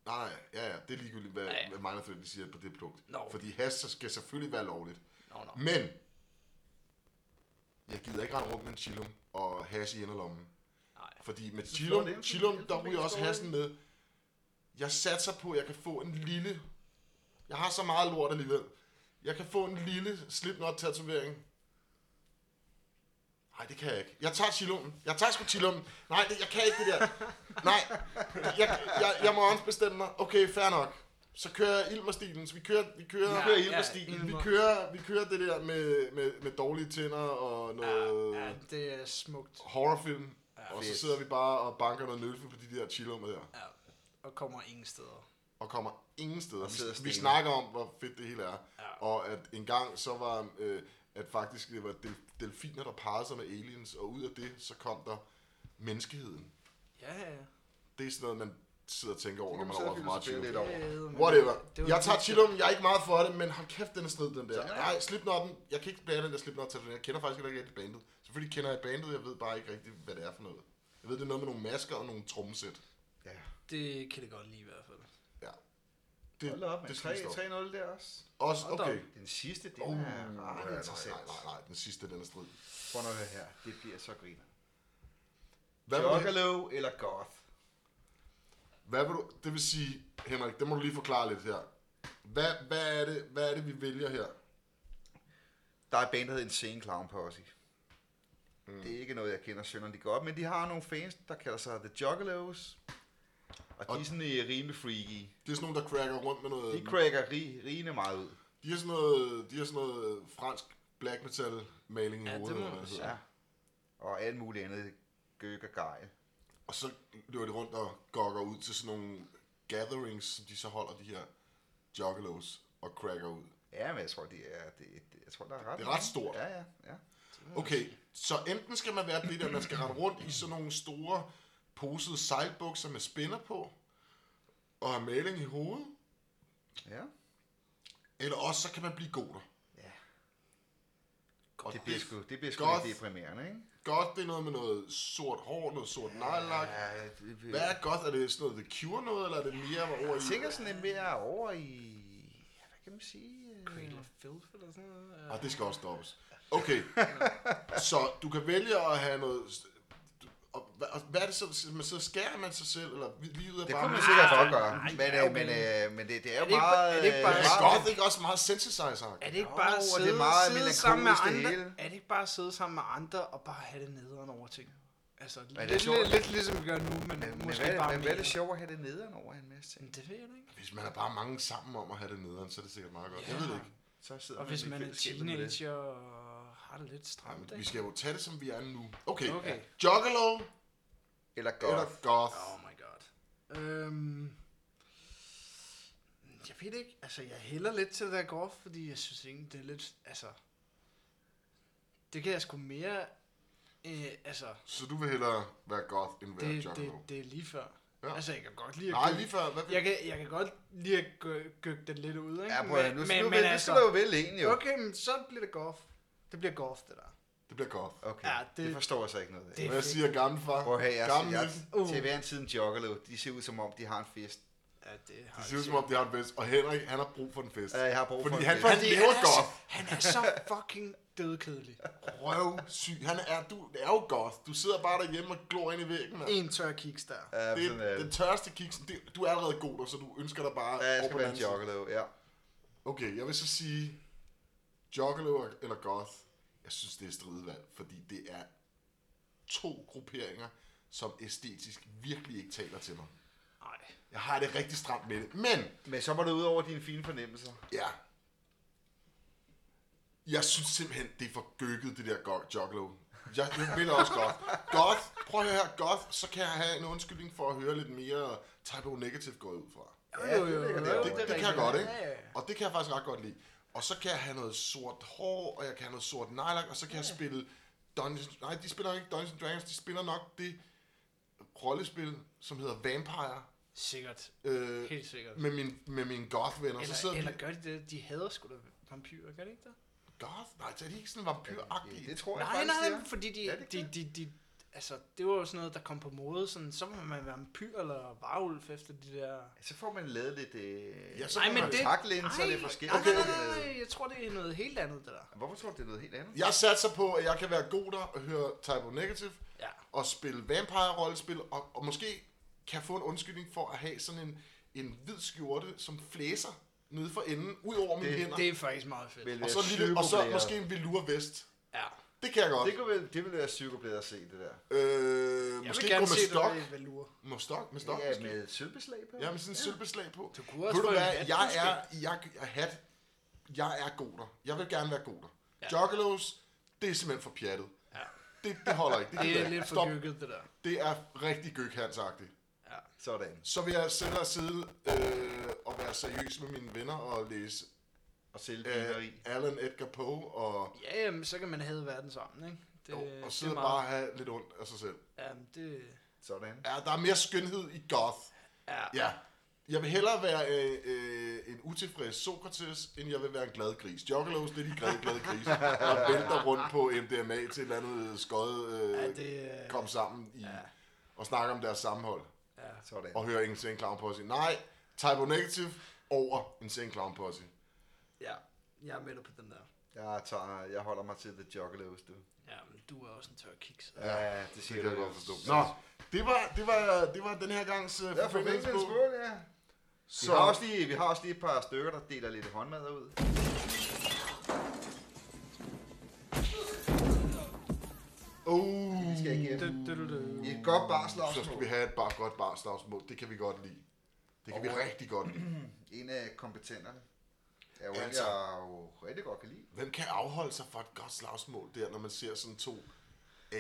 [SPEAKER 1] Nej, nej, ja, ja. Det er ligegyldigt, hvad,
[SPEAKER 3] Ja, ja.
[SPEAKER 1] hvad Minor Threat de siger på det produkt.
[SPEAKER 3] Nå.
[SPEAKER 1] Fordi has så skal selvfølgelig være lovligt.
[SPEAKER 3] Nå, nå.
[SPEAKER 1] Men, jeg gider ikke rende rundt med en chillum og has i inderlommen.
[SPEAKER 3] Nej.
[SPEAKER 1] Fordi med
[SPEAKER 2] Så
[SPEAKER 1] chillum,
[SPEAKER 2] slår det ind på
[SPEAKER 1] chillum
[SPEAKER 2] den
[SPEAKER 1] der ryger også
[SPEAKER 2] skål.
[SPEAKER 1] hassen med. Jeg satser på, at jeg kan få en lille... Jeg har så meget lort alligevel. Jeg kan få en lille Slipknot-tatovering. Nej, det kan jeg ikke. Jeg tager chillummen. Jeg tager sgu chillummen. Nej, det, jeg kan ikke det der. Nej, jeg, jeg, jeg må også bestemme mig. Okay, fair nok. Så kører jeg Ilmer-stilen. Så vi kører, vi kører,
[SPEAKER 3] Ja,
[SPEAKER 1] vi kører
[SPEAKER 3] ja,
[SPEAKER 1] Ilmer-stilen. Vi
[SPEAKER 3] Ilmer.
[SPEAKER 1] kører, vi kører det der med, med, med dårlige tænder og noget
[SPEAKER 3] Ja, ja, det er smukt.
[SPEAKER 1] horrorfilm, ja, og så
[SPEAKER 2] Fedt.
[SPEAKER 1] sidder vi bare og banker noget nølfe på de der chillummer der.
[SPEAKER 3] Ja. Og kommer ingen steder.
[SPEAKER 1] og kommer ingen steder.
[SPEAKER 2] Og sidder
[SPEAKER 1] Vi, vi
[SPEAKER 2] stenet.
[SPEAKER 1] snakker om, hvor fedt det hele er.
[SPEAKER 3] Ja.
[SPEAKER 1] Og at engang så var, øh, at faktisk det var del, delfiner, der parrede sig med aliens, og ud af det, så kom der menneskeheden.
[SPEAKER 3] Ja, ja, ja.
[SPEAKER 1] Det er sådan noget, man sidder og tænker over,
[SPEAKER 2] Det
[SPEAKER 1] når
[SPEAKER 2] kan
[SPEAKER 1] man
[SPEAKER 2] man
[SPEAKER 1] har
[SPEAKER 2] sidde
[SPEAKER 1] over for
[SPEAKER 2] og
[SPEAKER 1] meget
[SPEAKER 2] filosofere
[SPEAKER 1] chillum.
[SPEAKER 2] lidt over.
[SPEAKER 3] over.
[SPEAKER 1] Whatever.
[SPEAKER 3] Det var
[SPEAKER 1] Jeg
[SPEAKER 3] det
[SPEAKER 1] tager
[SPEAKER 3] sidste.
[SPEAKER 1] chillum, jeg er ikke meget for det, men hold kæft, den er strid, den der.
[SPEAKER 3] Ja, ja.
[SPEAKER 1] Nej, Slipknotten, jeg kan ikke bære den der Slipknot tatovering. Jeg kender faktisk heller ikke rigtig bandet. Selvfølgelig kender jeg bandet, jeg ved bare ikke rigtig, hvad det er for noget. Jeg ved, det er noget med nogle masker og nogle trommesæt.
[SPEAKER 2] Ja.
[SPEAKER 3] Det kan det godt lide i hvert fald.
[SPEAKER 1] Det,
[SPEAKER 2] Hold da op, det
[SPEAKER 1] skal vi stoppe.
[SPEAKER 2] 3-0 der også.
[SPEAKER 1] Også,
[SPEAKER 3] Hold da op.
[SPEAKER 1] okay.
[SPEAKER 2] Den sidste, det
[SPEAKER 1] Oh,
[SPEAKER 2] er
[SPEAKER 1] nej, nej,
[SPEAKER 2] ret
[SPEAKER 1] nej,
[SPEAKER 2] interessant.
[SPEAKER 1] nej, nej, den sidste, den er strid.
[SPEAKER 2] Prøv nu at høre her, det bliver så griner.
[SPEAKER 1] Hvad vil, du,
[SPEAKER 2] Juggalo eller Goth?
[SPEAKER 1] hvad vil du, det vil sige, Henrik, det må du lige forklare lidt her. Hvad, hvad, er, det, hvad er det, vi vælger her?
[SPEAKER 2] Der er et band, der hedder Insane Clown Posse. Mm. Det er ikke noget, jeg kender sønderlig godt, men de har nogle fans, der kalder sig The Juggalos. Og, og
[SPEAKER 1] Og-
[SPEAKER 2] de er sådan øh, rimelig freaky.
[SPEAKER 1] Det er sådan nogle, der cracker rundt med noget...
[SPEAKER 2] De cracker rig, rigende meget ud.
[SPEAKER 1] De har sådan noget, de har sådan noget fransk black metal maling i
[SPEAKER 3] Ja, det
[SPEAKER 1] hovedet.
[SPEAKER 3] må
[SPEAKER 1] eller hvad
[SPEAKER 3] man
[SPEAKER 1] det
[SPEAKER 3] sige.
[SPEAKER 1] hedder.
[SPEAKER 2] Ja. Og alt muligt andet gøk og gejl.
[SPEAKER 1] Og så løber de rundt og gokker ud til sådan nogle gatherings, som de så holder de her juggalos og cracker ud.
[SPEAKER 2] Ja, men jeg tror, de er, det, det, jeg tror, der er ret
[SPEAKER 1] Det er ret stort.
[SPEAKER 2] Ja, ja, ja.
[SPEAKER 1] Okay, så enten skal man være det der, man skal rende rundt i sådan nogle store posede sejlbukser med spænder på, og have maling i hovedet,
[SPEAKER 2] ja.
[SPEAKER 1] eller også så kan man blive goder.
[SPEAKER 2] ja.
[SPEAKER 1] Og
[SPEAKER 2] Det bliver sgu, det bliver sgu
[SPEAKER 1] Goth.
[SPEAKER 2] lidt deprimerende, ikke?
[SPEAKER 1] Godt, det er noget med noget sort hår, noget sort nejlak.
[SPEAKER 2] Ja, det,
[SPEAKER 1] Hvad er godt? Er det sådan noget The Cure noget, eller er det mere over
[SPEAKER 2] Jeg
[SPEAKER 1] i...
[SPEAKER 2] tænker sådan lidt mere over i... ja, Hvad kan man sige? øh,
[SPEAKER 3] Cradle of Filth eller sådan noget. Ja.
[SPEAKER 1] Og det skal også stoppes. Okay, så du kan vælge at have noget... Og hvad, og hvad er det så? Man så skærer man sig selv, eller vi- livet er
[SPEAKER 2] Det
[SPEAKER 1] bare...
[SPEAKER 2] kunne man sikkert godt gøre,
[SPEAKER 3] Ah, nej,
[SPEAKER 2] men,
[SPEAKER 3] ja,
[SPEAKER 2] øh,
[SPEAKER 3] okay.
[SPEAKER 2] men, øh, men det, det er
[SPEAKER 3] Er
[SPEAKER 2] jo
[SPEAKER 3] det ikke ba-
[SPEAKER 2] meget...
[SPEAKER 3] er det ikke
[SPEAKER 2] øh,
[SPEAKER 3] bare-
[SPEAKER 1] Men
[SPEAKER 2] meget-
[SPEAKER 1] er goth ikke også meget synthesizer?
[SPEAKER 3] Er det ikke
[SPEAKER 2] Jo,
[SPEAKER 3] bare
[SPEAKER 2] og
[SPEAKER 3] at
[SPEAKER 2] det er
[SPEAKER 3] sidde, det
[SPEAKER 2] meget
[SPEAKER 3] sidde sammen med
[SPEAKER 2] melankolisk, det
[SPEAKER 3] andre?
[SPEAKER 2] hele.
[SPEAKER 3] Er det ikke bare at sidde sammen med andre og bare have det nederen over ting? Altså, lidt,
[SPEAKER 2] er
[SPEAKER 3] lidt,
[SPEAKER 2] sjovt.
[SPEAKER 3] lidt, lidt, ligesom vi gør nu, men,
[SPEAKER 2] Men, men
[SPEAKER 3] måske
[SPEAKER 2] hvad, er det-
[SPEAKER 3] bare
[SPEAKER 2] men hvad er det
[SPEAKER 3] mere.
[SPEAKER 2] sjovt at have det nederen over en masse ting?
[SPEAKER 3] Men det ved jeg da ikke.
[SPEAKER 1] Hvis man er bare mange sammen om at have det nederen, så er det sikkert meget godt. Jeg ved det ikke.
[SPEAKER 2] Så sidder
[SPEAKER 3] Og hvis
[SPEAKER 2] i
[SPEAKER 3] man er
[SPEAKER 2] fællesskabet med det.
[SPEAKER 3] teenager og har det lidt stramt,
[SPEAKER 1] Jamen, vi
[SPEAKER 3] ikke?
[SPEAKER 1] skal jo tage det, som vi er nu. Okay,
[SPEAKER 3] Okay.
[SPEAKER 1] okay. Juggalo eller
[SPEAKER 2] Eller godt.
[SPEAKER 1] goth?
[SPEAKER 3] Oh my god. Øhm, jeg ved det ikke. Altså, jeg hælder lidt til det der golf, fordi jeg synes egentlig, det er lidt... Altså, det kan jeg sgu mere... Øh, altså,
[SPEAKER 1] Så du vil hellere være goth end være
[SPEAKER 3] det,
[SPEAKER 1] juggalo?
[SPEAKER 3] det, det er lige før.
[SPEAKER 1] Ja.
[SPEAKER 3] Ja. Altså, jeg kan godt lide at
[SPEAKER 1] Nej,
[SPEAKER 3] gå-
[SPEAKER 1] lige før. Hvad vil...
[SPEAKER 3] Jeg kan, jeg kan godt lide at gø- gøgge den lidt ud, ikke? altså-
[SPEAKER 2] Ja, prøv at høre, nu, nu, nu, nu skal du jo vælge en, jo.
[SPEAKER 3] Okay, men så bliver det golf. Det bliver golf, det der.
[SPEAKER 1] Det bliver goth.
[SPEAKER 2] Okay,
[SPEAKER 3] Ja,
[SPEAKER 2] det
[SPEAKER 3] det-
[SPEAKER 2] forstår jeg så ikke noget af.
[SPEAKER 3] det-
[SPEAKER 1] Hvad
[SPEAKER 3] fedt.
[SPEAKER 1] siger gamle far?
[SPEAKER 2] Prøv at høre, jeg,
[SPEAKER 1] Gammel
[SPEAKER 2] jeg,
[SPEAKER 1] Nielsen.
[SPEAKER 3] Uh.
[SPEAKER 2] til hver en tid en juggalo, de ser ud som om, de har en fest.
[SPEAKER 3] Ja, det har
[SPEAKER 1] Det ser ud som om, de har en fest. Og Henrik, han har brug for en fest.
[SPEAKER 2] Ja, jeg har brug for
[SPEAKER 1] Fordi
[SPEAKER 2] en
[SPEAKER 1] han
[SPEAKER 2] fest.
[SPEAKER 1] får-
[SPEAKER 3] Fordi
[SPEAKER 1] lever
[SPEAKER 3] han, er så,
[SPEAKER 1] goth.
[SPEAKER 3] han er så fucking dødkedelig.
[SPEAKER 1] Røvsyg. Han er, du er jo goth. Du sidder bare derhjemme og glor ind i væggen. mand.
[SPEAKER 3] En tør kiks der.
[SPEAKER 2] Ja,
[SPEAKER 1] Det
[SPEAKER 2] sådan er
[SPEAKER 1] er den
[SPEAKER 2] det.
[SPEAKER 1] tørste kiks. Det- Du er allerede god, og så du ønsker dig bare
[SPEAKER 2] Ja, jeg
[SPEAKER 1] over
[SPEAKER 2] skal
[SPEAKER 1] på den
[SPEAKER 2] være en
[SPEAKER 1] anden side.
[SPEAKER 2] juggalo, ja.
[SPEAKER 1] Okay, jeg vil så sige Juggalo eller Goth. Jeg synes, det er stridevalg, fordi det er to grupperinger, som æstetisk virkelig ikke taler til mig.
[SPEAKER 3] Nej.
[SPEAKER 1] Jeg har det rigtig stramt med det. Men,
[SPEAKER 2] Men så var det ud over dine fine fornemmelser.
[SPEAKER 1] ja. Jeg synes simpelthen, det er for gøkket, det der go- Juggalo. Jeg, jeg vil også Goth. Goth, prøv at høre her, Goth, så kan jeg have en undskyldning for at høre lidt mere Typo Negative går jeg ud fra.
[SPEAKER 2] Ja, det ligger derovre.
[SPEAKER 1] Det,
[SPEAKER 2] er
[SPEAKER 1] det, det kan jeg
[SPEAKER 3] rigtigt.
[SPEAKER 1] godt, ikke?
[SPEAKER 3] Ja, ja, ja.
[SPEAKER 1] Og det kan jeg faktisk ret godt lide. Og så kan jeg have noget sort hår, og jeg kan have noget sort nylak, og så kan jeg spille Dungeons... Nej, de spiller ikke Dungeons and Dragons, de spiller nok det rollespil, som hedder Vampire,
[SPEAKER 3] Sikkert.
[SPEAKER 1] øh,
[SPEAKER 3] Helt sikkert.
[SPEAKER 1] med, min, med mine goth-venner. så
[SPEAKER 3] Eller,
[SPEAKER 1] sidder
[SPEAKER 3] eller
[SPEAKER 1] de...
[SPEAKER 3] gør de det? De hader sgu da vampyrer, gør de ikke det?
[SPEAKER 1] Goth? Nej, så er de ikke sådan vampyragtige.
[SPEAKER 2] Det tror jeg
[SPEAKER 3] Nej,
[SPEAKER 2] faktisk, det
[SPEAKER 3] nej,
[SPEAKER 2] er.
[SPEAKER 3] fordi
[SPEAKER 2] Er
[SPEAKER 3] de,
[SPEAKER 2] det
[SPEAKER 3] de,
[SPEAKER 2] ikke
[SPEAKER 3] de, de, altså, det var jo sådan noget, der kom på mode. Sådan, så må man være vampyr eller varulv efter de der...
[SPEAKER 2] Så får man lavet lidt... Øh,
[SPEAKER 1] Ja,
[SPEAKER 2] ja,
[SPEAKER 1] så
[SPEAKER 2] så
[SPEAKER 1] får
[SPEAKER 2] nej,
[SPEAKER 1] man
[SPEAKER 2] men det... Kontaktlinser,
[SPEAKER 3] nej,
[SPEAKER 2] lidt forskelligt.
[SPEAKER 3] Nej, nej, nej, nej, jeg tror, det er noget helt andet, det der.
[SPEAKER 2] Hvorfor tror du, det er noget helt andet?
[SPEAKER 1] Jeg satser på, at jeg kan være god der og høre Typo Negative,
[SPEAKER 3] Ja.
[SPEAKER 1] og spille vampire-rollespil, og, og måske kan få en undskyldning for at have sådan en, en hvid skjorte, som flæser nede for enden, ud over mine
[SPEAKER 2] Det-
[SPEAKER 1] hænder.
[SPEAKER 3] Det er faktisk meget fedt.
[SPEAKER 2] Vil
[SPEAKER 1] Og
[SPEAKER 2] være
[SPEAKER 1] så, en lille, og så
[SPEAKER 2] psykoblære.
[SPEAKER 1] måske en velour vest.
[SPEAKER 3] Ja.
[SPEAKER 1] Det kan jeg godt.
[SPEAKER 2] Det, kunne vel, det ville være psykoblæder at se, det der.
[SPEAKER 1] Øh,
[SPEAKER 3] Jeg
[SPEAKER 1] måske
[SPEAKER 3] vil
[SPEAKER 1] gå
[SPEAKER 3] gerne
[SPEAKER 1] med
[SPEAKER 3] se det
[SPEAKER 1] stok.
[SPEAKER 3] der i Valur.
[SPEAKER 1] Med stok, med stok.
[SPEAKER 2] Ja,
[SPEAKER 1] Ja,
[SPEAKER 2] med sølvbeslag på.
[SPEAKER 1] ja med sådan en sølvbeslag på.
[SPEAKER 3] Du kunne
[SPEAKER 1] Ved
[SPEAKER 3] også
[SPEAKER 1] du
[SPEAKER 3] få en
[SPEAKER 1] hvad,
[SPEAKER 3] hat,
[SPEAKER 1] jeg
[SPEAKER 3] måske.
[SPEAKER 1] er, jeg, jeg, hat, jeg er goder. Jeg vil gerne være goder.
[SPEAKER 3] Ja.
[SPEAKER 1] Juggalos, det er simpelthen for pjattet.
[SPEAKER 3] Ja.
[SPEAKER 1] Det, det holder ikke. Det,
[SPEAKER 3] Det
[SPEAKER 1] gider
[SPEAKER 3] er
[SPEAKER 1] jeg
[SPEAKER 3] lidt
[SPEAKER 1] ikke.
[SPEAKER 3] for gykket, det der.
[SPEAKER 1] Det er rigtig gøkhandsagtigt.
[SPEAKER 3] Ja. Ja.
[SPEAKER 2] Sådan.
[SPEAKER 1] Så vil jeg sætte af side øh, og være seriøs med mine venner og læse
[SPEAKER 2] Og sælge
[SPEAKER 1] øh,
[SPEAKER 2] øh,
[SPEAKER 1] Alan Edgar Poe og,
[SPEAKER 3] Ja, jamen, så kan man have verden sammen, ikke? Det,
[SPEAKER 1] det, og
[SPEAKER 3] Øh, det
[SPEAKER 1] sidde
[SPEAKER 3] er
[SPEAKER 1] bare og have lidt ondt af sig selv.
[SPEAKER 3] Ja, det...
[SPEAKER 2] Sådan.
[SPEAKER 1] Ja, der er mere skønhed i goth.
[SPEAKER 3] Ja,
[SPEAKER 1] Ja. Jeg vil hellere være øh, øh, en utilfreds Sokrates, end jeg vil være en glad gris. Joggelos, det er de glade, glade gris, der vælter rundt på MDMA til et eller andet skød, øh,
[SPEAKER 3] ja
[SPEAKER 1] ja,
[SPEAKER 3] det... øh,
[SPEAKER 1] kom sammen i,
[SPEAKER 3] Ja.
[SPEAKER 1] og snakker om deres sammenhold.
[SPEAKER 3] Ja.
[SPEAKER 2] Sådan.
[SPEAKER 1] Og hører ingen Sane Clown Posse. Nej, Typo Negative over en Sane Clown Posse.
[SPEAKER 3] ja, jeg er med dig på den der.
[SPEAKER 2] Jeg, tager, jeg holder mig til The Juggalos, du.
[SPEAKER 3] Ja, men du er også en tør kiks.
[SPEAKER 2] Ja, ja det
[SPEAKER 1] Det
[SPEAKER 2] siger
[SPEAKER 1] kan jeg
[SPEAKER 2] du.
[SPEAKER 1] godt forstå. Nå, det var, det var, det var den her gangs uh,
[SPEAKER 2] Ja, for vinkel
[SPEAKER 1] forbindelse.
[SPEAKER 2] skål, ja. Vi
[SPEAKER 1] Så
[SPEAKER 2] har, også lige, vi har også lige et par stykker, der deler lidt håndmad ud.
[SPEAKER 1] oh,
[SPEAKER 2] Vi skal ikke
[SPEAKER 3] Du, du, du, du.
[SPEAKER 2] I et godt
[SPEAKER 1] så skal vi
[SPEAKER 2] barslagsmål.
[SPEAKER 1] have et bare godt barslagsmål. Det kan vi godt lide. Det kan vi
[SPEAKER 2] Og-
[SPEAKER 1] rigtig godt lide.
[SPEAKER 2] En af kompetenterne. Er jo en,
[SPEAKER 1] Altså.
[SPEAKER 2] jeg jo rigtig godt kan lide.
[SPEAKER 1] Hvem kan afholde sig fra et godt slagsmål der, når man ser sådan to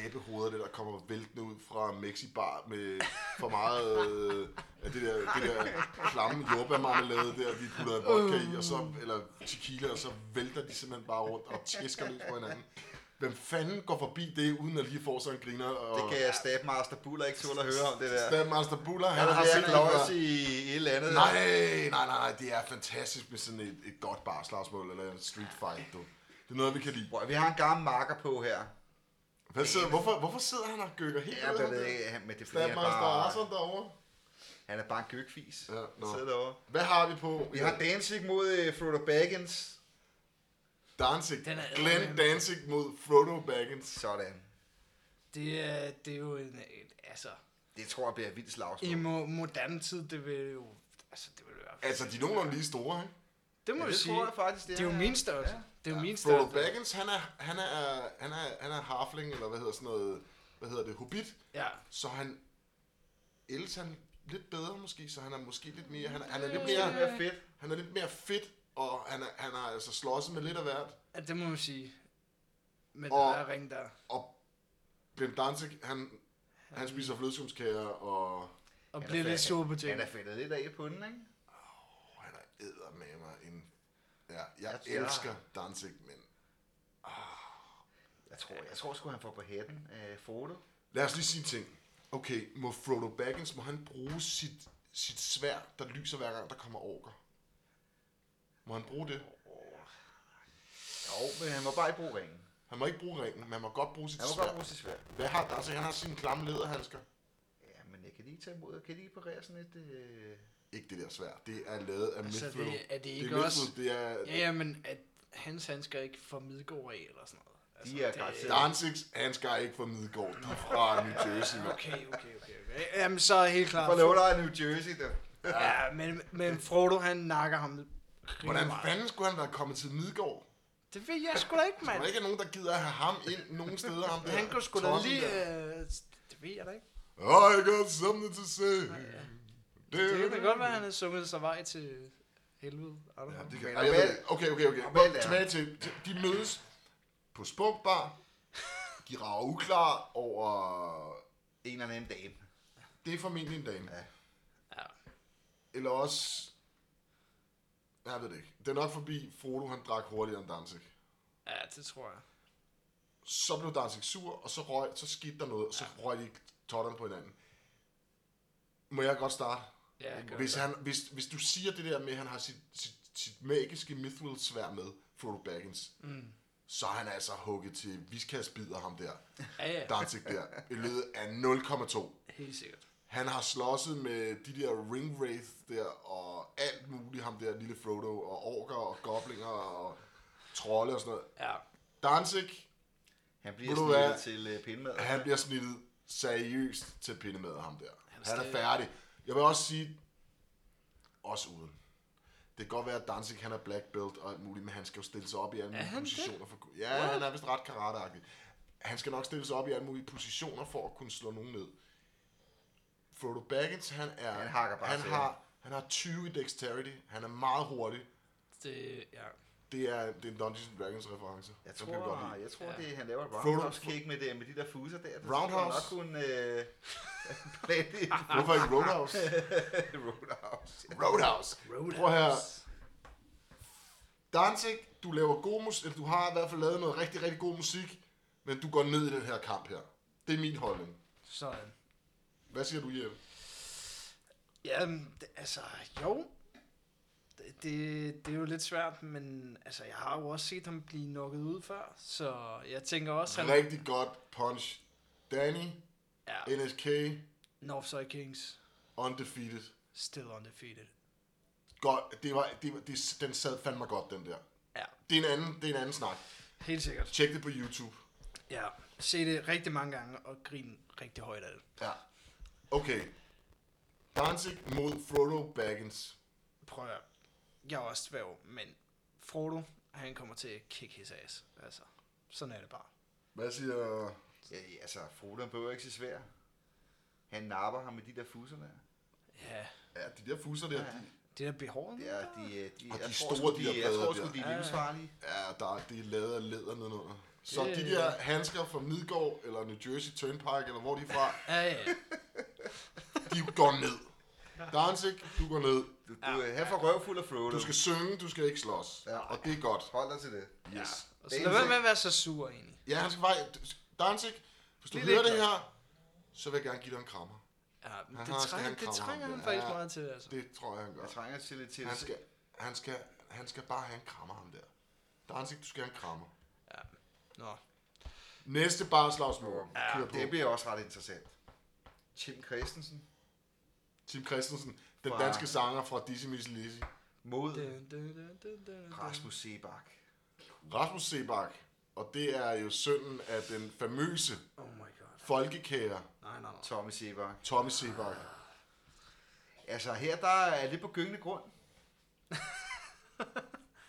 [SPEAKER 1] abehoveder, der, der kommer væltende ud fra Mexibar med for meget øh, af det der, det der klamme jordbærmarmelade der, de putter en vodka i, og så, eller tequila, og så vælter de simpelthen bare rundt og tæsker løs på hinanden. Hvem fanden går forbi det, uden at lige få sig en griner? Og
[SPEAKER 2] Det kan Stabmaster Buller ikke tåle at høre om det der.
[SPEAKER 1] Stabmaster Buller,
[SPEAKER 2] Han
[SPEAKER 1] han
[SPEAKER 2] har
[SPEAKER 1] har
[SPEAKER 2] ikke lov at
[SPEAKER 1] set
[SPEAKER 2] sige et eller andet.
[SPEAKER 1] Nej, nej, nej, nej, det er fantastisk med sådan et, et godt barslagsmål, eller en street fight, du. Det er noget, vi kan lide.
[SPEAKER 2] Bror, vi har en gammel marker på her.
[SPEAKER 1] Hvad sidder, hvorfor, hvorfor sidder han og gykker helt
[SPEAKER 2] Ja,
[SPEAKER 1] ud?
[SPEAKER 2] det ved jeg ikke, han- men det er fordi, han er
[SPEAKER 1] Stabmaster
[SPEAKER 2] bare,
[SPEAKER 1] Arsson derovre.
[SPEAKER 2] han er bare en gøkfis.
[SPEAKER 1] Ja,
[SPEAKER 2] Han
[SPEAKER 1] nå.
[SPEAKER 2] sidder derovre.
[SPEAKER 1] Hvad har vi på?
[SPEAKER 2] Vi har Danzig mod øh, Frodo Baggins.
[SPEAKER 1] Danzig.
[SPEAKER 3] Den er-
[SPEAKER 1] Glenn Danzig mod Frodo Baggins.
[SPEAKER 2] Sådan.
[SPEAKER 3] Det, er, det er jo en... Et, altså,
[SPEAKER 2] Det tror jeg bliver et vildt slagsmål.
[SPEAKER 3] i mo- moderne tid, det vil jo... Altså, det vil være...
[SPEAKER 1] Altså, de er nogenlunde lige store, ikke?
[SPEAKER 3] det må
[SPEAKER 2] Ja,
[SPEAKER 3] jeg
[SPEAKER 2] det
[SPEAKER 3] sige.
[SPEAKER 2] tror jeg faktisk, det
[SPEAKER 3] Det er jo
[SPEAKER 2] er.
[SPEAKER 3] min størrelse.
[SPEAKER 2] Ja.
[SPEAKER 3] Det er jo min
[SPEAKER 1] Frodo
[SPEAKER 3] størrelse.
[SPEAKER 1] Baggins, han er, han er, han er, han er harfling, eller hvad hedder sådan noget, hvad hedder det, hobbit.
[SPEAKER 3] Ja.
[SPEAKER 1] Så han ældes han lidt bedre måske, så han er måske lidt mere, han er, han er lidt mere,
[SPEAKER 2] er fedt.
[SPEAKER 1] han er lidt mere fedt, og han er, han er altså slåsset med lidt af hvert.
[SPEAKER 3] ja, det må man sige. Men
[SPEAKER 1] Og-
[SPEAKER 3] der er ring der.
[SPEAKER 1] Og Glenn Danzig, han, han spiser flødeskumskager, og
[SPEAKER 3] Og
[SPEAKER 2] Han er
[SPEAKER 3] bliver lidt
[SPEAKER 2] fa-
[SPEAKER 3] sur på
[SPEAKER 2] Han
[SPEAKER 3] ting.
[SPEAKER 2] er fældet lidt af på den, ikke?
[SPEAKER 1] Og han er eddermame en... Ja, jeg
[SPEAKER 2] Ja.
[SPEAKER 1] elsker Danzig, men...
[SPEAKER 2] Jeg tror, jeg tror sgu, han får på hatten af Frodo.
[SPEAKER 1] Lad os lige sige en ting. Okay, må Frodo Baggins, må han bruge sit, sit svær, der lyser hver gang, der kommer orker? Må han bruge det?
[SPEAKER 2] Jo, men han må bare ikke bruge ringen.
[SPEAKER 1] Han må ikke bruge ringen, men han må godt bruge sit
[SPEAKER 2] Han må
[SPEAKER 1] svær.
[SPEAKER 2] godt bruge sit svær.
[SPEAKER 1] Hvad har Danzig? Han har sine klamme lederhandsker.
[SPEAKER 2] Ja, men jeg kan lige tage imod. Jeg kan lige parere sådan et... Øh...
[SPEAKER 1] Ikke det der svær. Det er lavet af
[SPEAKER 3] Altså,
[SPEAKER 1] altså,
[SPEAKER 3] det-
[SPEAKER 1] mithril.
[SPEAKER 3] er det ikke
[SPEAKER 1] mithril,
[SPEAKER 3] også-
[SPEAKER 1] Det er
[SPEAKER 3] Ja, ja, men at hans handsker ikke får Midgård af, eller sådan noget. Altså,
[SPEAKER 2] De er
[SPEAKER 3] det-
[SPEAKER 2] garanteret-
[SPEAKER 1] Danzigs handsker er ikke fra Midgård. De er fra New Jersey. mand.
[SPEAKER 3] Okay, okay, okay, okay. Jamen, så er jeg helt
[SPEAKER 2] For lov
[SPEAKER 3] klar.
[SPEAKER 2] dig New Jersey, der.
[SPEAKER 3] Ja, men, men Frodo, han nakker ham rimelig
[SPEAKER 1] Hvordan
[SPEAKER 3] meget.
[SPEAKER 1] fanden skulle han være kommet til Midgård?
[SPEAKER 3] Det ved jeg sgu da ikke,
[SPEAKER 1] Der
[SPEAKER 3] mand.
[SPEAKER 1] er ikke nogen, der gider at have ham ind nogen steder. Ham der
[SPEAKER 3] Han kunne sgu da
[SPEAKER 1] tossen
[SPEAKER 3] lige...
[SPEAKER 1] der.
[SPEAKER 3] Øh, det ved jeg da ikke.
[SPEAKER 1] I got something to say.
[SPEAKER 3] Det kan da godt være, at han havde sunget sig vej til helvede. I don't
[SPEAKER 1] Ja,
[SPEAKER 3] know.
[SPEAKER 1] det
[SPEAKER 2] Men
[SPEAKER 1] kan. Ej, jeg ved
[SPEAKER 2] Abel-
[SPEAKER 1] det. Okay, okay, okay.
[SPEAKER 2] Abel er-
[SPEAKER 1] Tilbage til, til- de mødes på Spunkbar. De rager uklar over...
[SPEAKER 2] En eller anden dame.
[SPEAKER 1] Det er formentlig en dame.
[SPEAKER 2] Ja.
[SPEAKER 3] Ja.
[SPEAKER 1] Eller også... Jeg ved det ikke. Det er nok forbi Frodo, han drak hurtigere end Danzig.
[SPEAKER 3] ja, det tror jeg.
[SPEAKER 1] Så blev Danzig sur, og så, røg, så skete der noget, og så røg de totterne på hinanden. Må jeg godt starte?
[SPEAKER 3] Ja, jeg gør
[SPEAKER 1] Hvis,
[SPEAKER 3] det.
[SPEAKER 1] han, hvis, hvis du siger det der med, at han har sit, sit, sit magiske mithril svær med, Frodo Baggins,
[SPEAKER 3] Mm.
[SPEAKER 1] så er han altså hugget til viskasbider ham der,
[SPEAKER 3] Ja, ja,
[SPEAKER 1] Danzig der, i løbet af 0,2.
[SPEAKER 3] helt sikkert.
[SPEAKER 1] Han har slåsset med de der ringwraith der, og alt muligt ham der, lille Frodo, og orker, og goblinger, og trolde og sådan noget.
[SPEAKER 3] Ja.
[SPEAKER 1] Danzig,
[SPEAKER 2] Han bliver
[SPEAKER 1] Ved du
[SPEAKER 2] snittet
[SPEAKER 1] hvad?
[SPEAKER 2] til øh, pindmad.
[SPEAKER 1] han bliver snittet seriøst til pindemad af ham der.
[SPEAKER 3] er
[SPEAKER 1] Han er
[SPEAKER 3] stadig-
[SPEAKER 1] færdig. Jeg vil også sige, også uden. Det kan godt være, at Danzig han er black belt og alt muligt, men han skal jo stille sig op i alle mulige
[SPEAKER 3] han det?
[SPEAKER 1] positioner. For, ku- ja, What? han er vist ret karateagtig. Han skal nok stille sig op i alle mulige positioner for at kunne slå nogen ned. Frodo Baggins, han er...
[SPEAKER 2] Han hakker bare
[SPEAKER 1] han
[SPEAKER 2] til.
[SPEAKER 1] har, han har 20 i dexterity. Han er meget hurtig.
[SPEAKER 3] Det, ja.
[SPEAKER 1] Det er, det er en Dungeons and Dragons reference.
[SPEAKER 2] Jeg
[SPEAKER 1] Den kan jeg
[SPEAKER 2] tror,
[SPEAKER 1] lide.
[SPEAKER 2] jeg tror
[SPEAKER 3] Ja.
[SPEAKER 2] det, han laver et
[SPEAKER 1] Frodo-
[SPEAKER 2] roundhouse kick med, det, med de der fuser der. Det
[SPEAKER 1] Roundhouse?
[SPEAKER 2] Skal man nok kunne øh, plante i
[SPEAKER 1] Hvorfor ikke Roadhouse?
[SPEAKER 2] roundhouse.
[SPEAKER 1] Roadhouse!
[SPEAKER 3] Roadhouse.
[SPEAKER 1] Prøv her. Danzig, du laver god musik, eller du har i hvert fald lavet noget rigtig, rigtig god musik, men du går ned i den her kamp her. Det er min holdning.
[SPEAKER 3] Sådan.
[SPEAKER 1] Hvad siger du, Jeppe?
[SPEAKER 3] Jamen, det, altså, jo. Det, det, det er jo lidt svært, men altså, jeg har jo også set ham blive nokket ud før, så jeg tænker også, han...
[SPEAKER 1] Rigtig godt punch. Danny,
[SPEAKER 3] Ja,
[SPEAKER 1] NSK,
[SPEAKER 3] Northside Kings,
[SPEAKER 1] undefeated.
[SPEAKER 3] still undefeated.
[SPEAKER 1] Godt, det var, det, var- det, den sad fandme godt, den der.
[SPEAKER 3] Ja,
[SPEAKER 1] Det er en anden, det er en anden snak.
[SPEAKER 3] helt sikkert.
[SPEAKER 1] Tjek det på YouTube.
[SPEAKER 3] Ja, se det rigtig mange gange og grin rigtig højt af det.
[SPEAKER 1] Ja. Okay. Danzig mod Frodo Baggins.
[SPEAKER 3] Prøv at høre. Jeg er også tværv, men Frodo, han kommer til at kick his ass. Altså, sådan er det bare.
[SPEAKER 1] Hvad siger...
[SPEAKER 2] Ja, altså, Frodo han behøver ikke så svær. Han napper ham med de der fuser der.
[SPEAKER 3] Ja,
[SPEAKER 1] Ja, de der fuser der,
[SPEAKER 2] Ja, ja.
[SPEAKER 1] de,
[SPEAKER 3] det der behåret.
[SPEAKER 2] Det er, de, øh, de,
[SPEAKER 1] Og de
[SPEAKER 2] jeg
[SPEAKER 1] er
[SPEAKER 2] tror
[SPEAKER 1] store,
[SPEAKER 2] sgu,
[SPEAKER 1] de der
[SPEAKER 2] Jeg
[SPEAKER 1] plader
[SPEAKER 2] tror sgu,
[SPEAKER 1] der.
[SPEAKER 2] de
[SPEAKER 3] Ja,
[SPEAKER 2] er
[SPEAKER 3] ja.
[SPEAKER 2] livsfarlige.
[SPEAKER 1] Ja, der, det er lavet af læder nedenunder. Så
[SPEAKER 3] Det-
[SPEAKER 1] de der handsker fra Midgård, eller New Jersey Turnpike, eller hvor de er fra,
[SPEAKER 3] Ja, ja, ja.
[SPEAKER 1] de går ned. Danzig, du går ned.
[SPEAKER 2] Du, du, øh, ja. Han får røvfuld af Frodo.
[SPEAKER 1] Du skal synge, du skal ikke slås.
[SPEAKER 2] Ja.
[SPEAKER 1] Og det er godt.
[SPEAKER 2] holde dig til det.
[SPEAKER 1] Yes.
[SPEAKER 3] Og så lad være med at være så sur, egentlig.
[SPEAKER 1] Ja, han skal bare... Danzig, hvis du
[SPEAKER 3] Lidt
[SPEAKER 1] hører det
[SPEAKER 3] ekstra.
[SPEAKER 1] her, så vil jeg gerne give dig en krammer.
[SPEAKER 3] Ja, men
[SPEAKER 1] Han
[SPEAKER 3] det,
[SPEAKER 1] har-
[SPEAKER 3] trænger,
[SPEAKER 1] han
[SPEAKER 3] det
[SPEAKER 1] krammer
[SPEAKER 3] trænger
[SPEAKER 1] ham.
[SPEAKER 3] han faktisk
[SPEAKER 1] Ja.
[SPEAKER 3] meget til, altså.
[SPEAKER 1] Det tror jeg, han
[SPEAKER 2] Jeg
[SPEAKER 1] gør.
[SPEAKER 2] trænger til lidt til
[SPEAKER 1] Han skal, han skal, han skal bare have en krammer, ham der. Danzig, du skal have en krammer.
[SPEAKER 3] Nå.
[SPEAKER 1] Næste barslagsmål.
[SPEAKER 2] Ja,
[SPEAKER 1] Kør på.
[SPEAKER 2] det bliver også ret interessant. Tim Christensen
[SPEAKER 1] Tim Christensen, den
[SPEAKER 2] Fra-
[SPEAKER 1] danske sanger fra Dizzy Missy Lizzy.
[SPEAKER 2] mod
[SPEAKER 3] Dun, dun, dun, dun, dun, dun.
[SPEAKER 2] Rasmus Sebak.
[SPEAKER 1] Rasmus Sebak, og det er jo sønnen af den famøse
[SPEAKER 3] Oh my god.
[SPEAKER 1] folkekære
[SPEAKER 3] Nej, nej, nej.
[SPEAKER 2] Tommy Sebak.
[SPEAKER 1] Tommy Sebak.
[SPEAKER 2] Altså her, der er lidt på gyngende grund.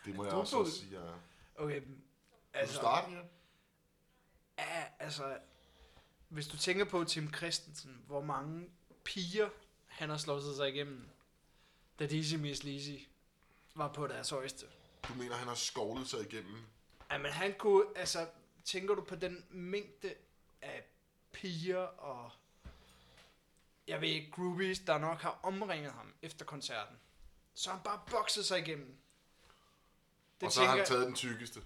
[SPEAKER 1] Det må
[SPEAKER 3] Er
[SPEAKER 1] jeg
[SPEAKER 3] du
[SPEAKER 1] også
[SPEAKER 3] på-
[SPEAKER 1] også sige. Ja.
[SPEAKER 3] Okay, men
[SPEAKER 1] Vil du
[SPEAKER 3] altså,
[SPEAKER 1] starte, ja?
[SPEAKER 3] ja, altså, hvis du tænker på Tim Christensen, hvor mange piger han har slået sig igennem, da Dizzy Miss Lizzy var på deres højeste.
[SPEAKER 1] Du mener, han har skovlet sig igennem?
[SPEAKER 3] Jamen, han kunne, altså, tænker du på den mængde af piger og, jeg ved ikke, groupies, der nok har omringet ham efter koncerten. Så har han bare bokset sig igennem.
[SPEAKER 1] Det og så har han taget den tykkeste.